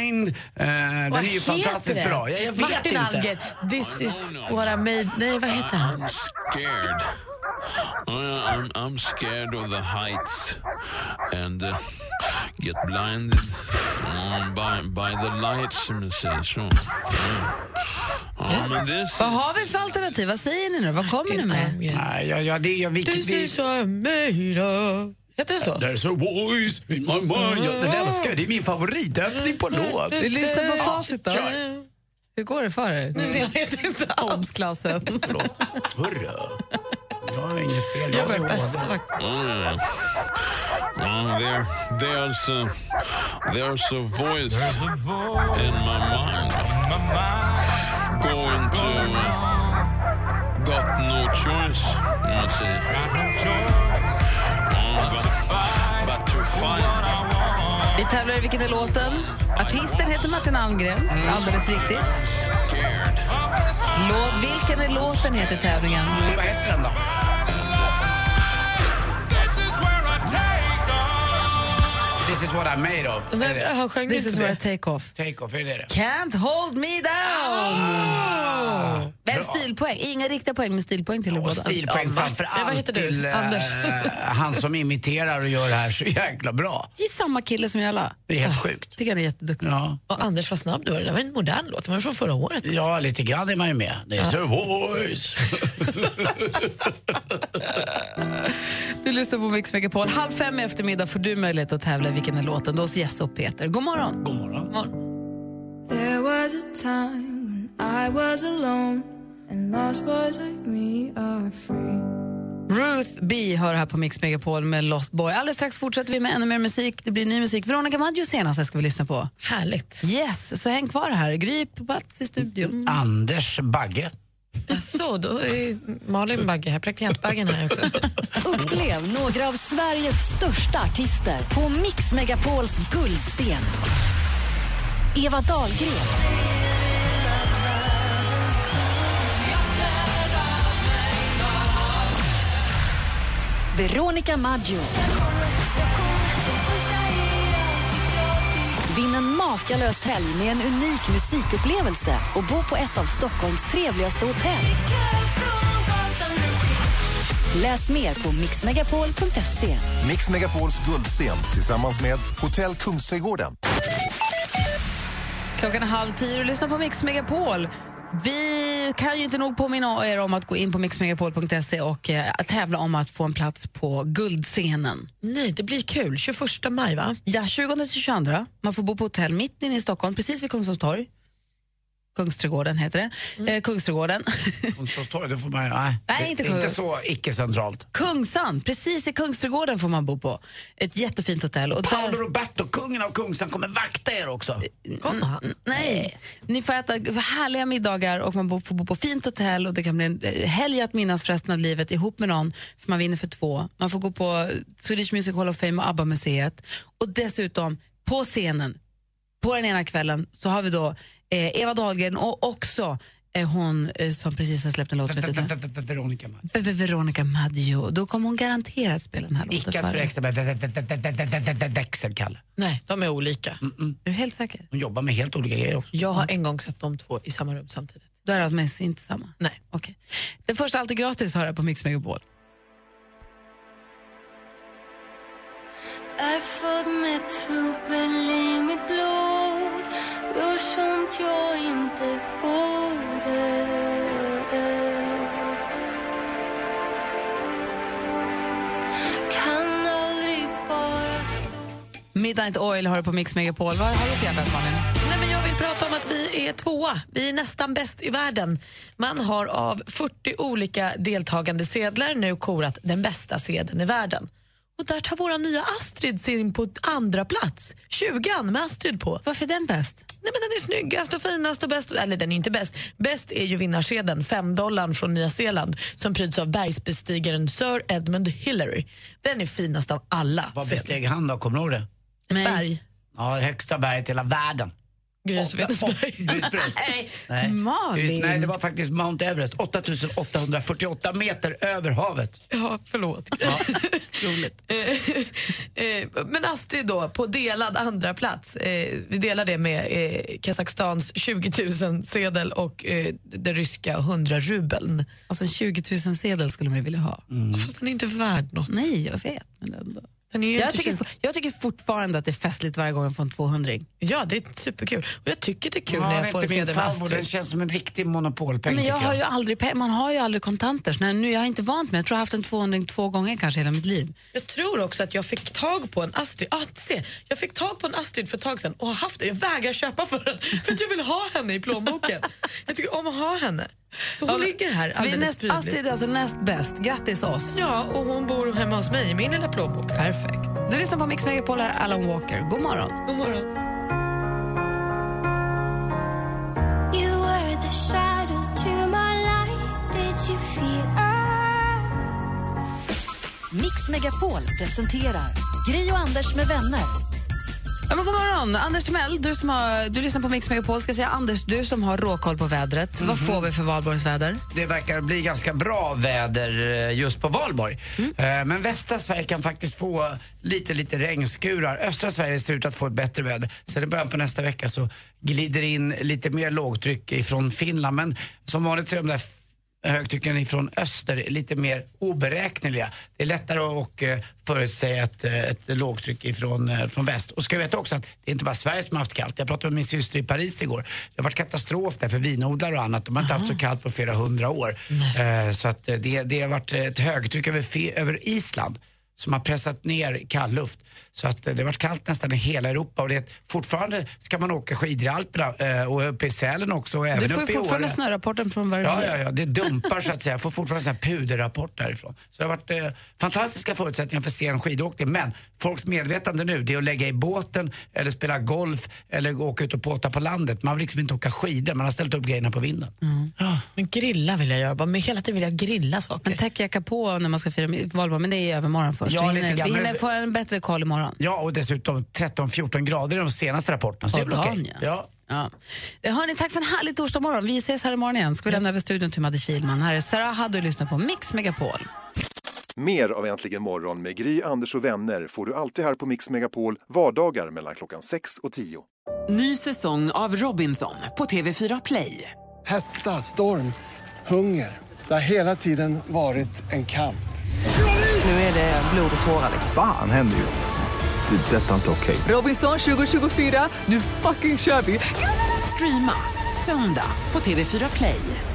Speaker 3: mind. Eh, den
Speaker 4: Vad
Speaker 3: är ju
Speaker 4: heter
Speaker 3: fantastiskt
Speaker 4: den?
Speaker 3: bra. Jag, jag vet
Speaker 4: Martin
Speaker 3: inte. Oh,
Speaker 4: Algren, this is what I made... Nej, vad heter han?
Speaker 20: scared. Uh, I'm, I'm scared of the heights and uh, get blinded um, by, by the lights, som jag säger så. Mm. Ja, men Um, this
Speaker 2: Vad har vi för alternativ? Vad säger ni nu? Vad kommer ni med?
Speaker 3: Nej, jag, jag, det, jag, vilket, det,
Speaker 4: Heter det så?
Speaker 3: There's a voice in my mind. Jag, den älskar jag. Det är min favoritöppning på låt.
Speaker 2: Vi lyssnar på
Speaker 3: Ja,
Speaker 2: facit då.
Speaker 3: kör.
Speaker 2: Hur går det för er? Jag vet inte Obsklassen.
Speaker 3: Hurra. Jag har inget fel.
Speaker 20: Jag
Speaker 3: har
Speaker 20: var bäst
Speaker 3: ADHD.
Speaker 20: Mm. Mm, there, there's a, there's a voice in my mind. Going to got no choice. Let's see. Mm, but, but to find.
Speaker 2: Vi tävlar i Vilken är låten? Artisten heter Martin Almgren, alldeles riktigt. Låt, vilken är låten heter tävlingen.
Speaker 3: Vad heter den då? This is what I made of. Är det det?
Speaker 2: This is where I take off.
Speaker 3: Take off, är det det?
Speaker 2: Can't hold me down!
Speaker 3: Ah,
Speaker 2: Väl
Speaker 3: bra.
Speaker 2: stilpoäng. Inga riktiga poäng, men stilpoäng till er båda.
Speaker 3: Stilpoäng framför allt till eh, (laughs) han som imiterar och gör det här så jäkla bra.
Speaker 2: Det är samma kille som jag alla.
Speaker 3: Det är helt sjukt.
Speaker 2: Tycker han är jätteduktig.
Speaker 3: Ja.
Speaker 4: Och Anders, vad snabb du var. Det där var en modern låt. Den var från förra året.
Speaker 3: Ja, lite grann är man ju med. Det är
Speaker 4: Ja.
Speaker 3: så voice.
Speaker 2: Du lyssnar på Mix Megapol. Halv fem i eftermiddag får du möjlighet att tävla i Vilken är låten? Då hos Jesse och Peter. God morgon!
Speaker 3: God morgon.
Speaker 23: There was a time when I was alone and lost boys like me are free.
Speaker 2: Ruth B hör här på Mix Megapol med Lost Boy. Alldeles strax fortsätter vi med ännu mer musik. Det blir ny musik. Veronica Maggio senast ska vi lyssna på.
Speaker 4: Härligt.
Speaker 2: Yes, så häng kvar här. Gry på plats i studion.
Speaker 3: Anders Bagge.
Speaker 4: Så då är Malin Bagge här, praktikantbaggen här också.
Speaker 3: (laughs)
Speaker 1: Upplev några av Sveriges största artister på Mix Megapols guldscen.
Speaker 31: Eva Dahlgren.
Speaker 1: Veronica Maggio. Vinn en makalös helg med en unik musikupplevelse och bo på ett av Stockholms trevligaste hotell. Läs mer på mixmegapol.se.
Speaker 7: Mix Megapols guldscen tillsammans med Hotell Kungsträdgården.
Speaker 2: Klockan är halv tio och lyssna på Mix Megapol. Vi kan ju inte nog påminna er om att gå in på mixmegapol.se och eh, att tävla om att få en plats på guldscenen.
Speaker 4: Nej, det blir kul. 21 maj, va?
Speaker 2: Ja, 20 till 22. Man får bo på hotell mitt inne i Stockholm, precis vid Kungsholms torg. Kungsträdgården heter det.
Speaker 4: Mm.
Speaker 2: Eh, Kungsträdgården. (laughs)
Speaker 3: Kungstorg, det får man ju- nej.
Speaker 2: Nej,
Speaker 3: Det-
Speaker 2: inte
Speaker 3: inte
Speaker 2: Kung-
Speaker 3: så icke-centralt.
Speaker 2: Kungsan, precis i Kungsträdgården får man bo på. Ett jättefint hotell. Och
Speaker 3: Paolo Roberto, kungen av Kungsan, kommer vakta er också.
Speaker 2: Kom han? Nej. Ni får äta härliga middagar och man bo- får bo på fint hotell och det kan bli en eh, helg att minnas för resten av livet ihop med någon för man vinner för två. Man får gå på Swedish Music Hall of Fame och ABBA-museet och dessutom på scenen på den ena kvällen så har vi då eh, Eva Dahlgren och också eh, hon eh, som precis har släppt en låt som heter
Speaker 3: Veronica Maggio.
Speaker 2: Ve- Ve- Veronica Maggio. Då kommer hon garanterat spela den här låten
Speaker 3: Icke att
Speaker 2: för er.
Speaker 3: förväxla med ve- ve- ve- ve- ve- ve- ve- ve- växelkalle.
Speaker 4: Nej, de är olika.
Speaker 2: Är du helt säker?
Speaker 3: De jobbar med helt olika grejer också.
Speaker 4: Jag har
Speaker 2: Mm.
Speaker 4: en gång sett de två i samma rum samtidigt.
Speaker 2: Då är det inte samma?
Speaker 4: Nej.
Speaker 2: Okej. Den första Alltid gratis har jag på Mix Megapol.
Speaker 9: Är född med trubbel i mitt blod Gör sånt jag inte borde Kan aldrig bara
Speaker 2: Midnight Oil har du på Mix Megapol. Vad har du på hjärtat, Malin?
Speaker 4: Nej, men jag vill prata om att vi är tvåa. Vi är nästan bäst i världen. Man har av 40 olika deltagande sedlar nu korat den bästa sedeln i världen. Och där tar våra nya Astrid sin på andra plats. 20 med Astrid på.
Speaker 2: Varför är den bäst?
Speaker 4: Nej, men den är snyggast och finast och bäst. Eller den är inte bäst. Bäst är ju vinnarsedeln, 5 dollarn från Nya Zeeland som pryds av bergsbestigaren Sir Edmund Hillary. Den är finast av alla.
Speaker 3: Vad besteg han då? Kommer du ihåg det?
Speaker 4: Berg.
Speaker 3: Ja, högsta berget i hela världen.
Speaker 4: Grusvedensberg. Nej.
Speaker 3: Nej.
Speaker 2: Malin.
Speaker 3: Nej, det var faktiskt Mount Everest. 8848 meter över havet.
Speaker 4: Ja, förlåt. (laughs) Eh, eh, Men Astrid då, på delad andra plats. Eh, Vi delar det med eh, Kazakstans 20 000 sedel och eh, den ryska 100 rubeln.
Speaker 2: Alltså en 20 000 sedel skulle man vilja ha.
Speaker 4: Fast den är inte värd något.
Speaker 2: Nej, jag vet. Men ändå.
Speaker 4: Den är ju
Speaker 2: Jag
Speaker 4: inte
Speaker 2: tycker,
Speaker 4: tjugo.
Speaker 2: fo- jag tycker fortfarande att det är festligt varje gång jag får en 200
Speaker 4: Ja, det är superkul. Och jag tycker det är kul
Speaker 3: Ja,
Speaker 4: när
Speaker 3: det är
Speaker 4: jag får en
Speaker 3: inte min
Speaker 4: sedel med
Speaker 3: farmor. Den
Speaker 4: Astrid.
Speaker 3: känns som en riktig monopolpeng.
Speaker 2: men jag
Speaker 3: tycker
Speaker 2: har ju aldrig, pe- man har ju aldrig kontanter. Så när jag, nu, jag är inte vant med Jag tror jag har haft en 200 två gånger kanske hela mitt liv.
Speaker 4: Jag tror också att jag fick tag på en Astrid. Ah, se, jag fick tag på en Astrid för ett tag sedan och har haft den. Jag vägrar köpa för den för att jag vill ha henne i plånboken. jag tycker om att ha henne. Så hon
Speaker 2: Ja, men-
Speaker 4: ligger här
Speaker 2: så vi är
Speaker 4: alldeles
Speaker 2: näst, Astrid är alltså näst bäst. Grattis oss.
Speaker 4: Ja, och hon bor hemma hos mig i min lilla plånbok.
Speaker 2: Perfekt. Du lyssnar på Mix Megapol, här är Alan Walker. God morgon.
Speaker 4: God morgon.
Speaker 9: You were the shadow to my light Did you feel us?
Speaker 32: Mix Megapol presenterar Gri och Anders med vänner.
Speaker 2: Ja, men god morgon, Anders Timell. Du, som har, du lyssnar på Mix Megapol. Ska säga, Anders, du som har råkoll på vädret. Vad
Speaker 3: Mhm.
Speaker 2: får vi för valborgsväder?
Speaker 3: Det verkar bli ganska bra väder eh, just på valborg. Eh, Men västra Sverige kan faktiskt få lite, lite regnskurar. Östra Sverige ser ut att få ett bättre väder. Sen i början på nästa vecka så glider in lite mer lågtryck ifrån Finland. Men som vanligt så är de där f- högtrycken ifrån öster lite mer oberäkneliga. Det är lättare att eh, förutsäga ett, eh, ett lågtryck ifrån eh, från väst. Och ska jag veta också att det är inte bara Sverige som har haft kallt. Jag pratade med min syster i Paris igår. Det har varit katastrof där för vinodlare och annat. De har inte haft så kallt på flera hundra år. Eh, Så att eh, det, det har varit ett högtryck över, fe- över Island som har pressat ner kallluft. Så att eh, det har varit kallt nästan i hela Europa och det är ett- fortfarande ska man åka skidor i Alperna eh, och uppe i Sälen också och även
Speaker 2: du får
Speaker 3: uppe
Speaker 2: ju
Speaker 3: i
Speaker 2: fortfarande
Speaker 3: Åre.
Speaker 2: snörapporten från varje
Speaker 3: Ja, ja, ja, det dumpar så att säga. Jag får fortfarande så här puderrapport därifrån. Så det har varit eh, fantastiska förutsättningar för sen skidåkning. Men folks medvetande nu, det är att lägga i båten eller spela golf eller gå- åka ut och påta på landet. Man vill liksom inte åka skidor, man har ställt upp grejerna på vinden.
Speaker 4: Men grilla vill jag göra. Bara, men hela tiden vill jag grilla saker.
Speaker 2: En täckjacka på när man ska fira mi- valborg, men det är ju övermorgon först.
Speaker 3: Ja,
Speaker 2: vi
Speaker 3: lite
Speaker 2: hinner,
Speaker 3: grann,
Speaker 2: vi
Speaker 3: men
Speaker 2: hinner
Speaker 3: det-
Speaker 2: få en bättre koll imorgon.
Speaker 3: Ja, och dessutom 13-14 grader i de senaste rapporterna. Så det är väl
Speaker 2: På dagen,
Speaker 3: okej. Ja.
Speaker 2: Ja. Eh, Hörni, tack för en härlig torsdag morgon. Vi ses här imorgon igen. Ska vi lämna över studion till Madde Kihlman. Här är Sarah Hadu och lyssnar på Mix Megapol.
Speaker 7: Mer av Äntligen morgon med Gry, Anders och vänner får du alltid här på Mix Megapol vardagar mellan klockan 6 och 10.
Speaker 33: Ny säsong av Robinson på TV4 Play.
Speaker 34: Hetta, storm, hunger. Det har hela tiden varit en kamp.
Speaker 9: Nu är det blod och tårar. liksom.
Speaker 14: Fan händer just det. Det är detta inte okej.
Speaker 9: Robinson 2024, nu fucking kör vi!
Speaker 22: Streama söndag på TV4 Play.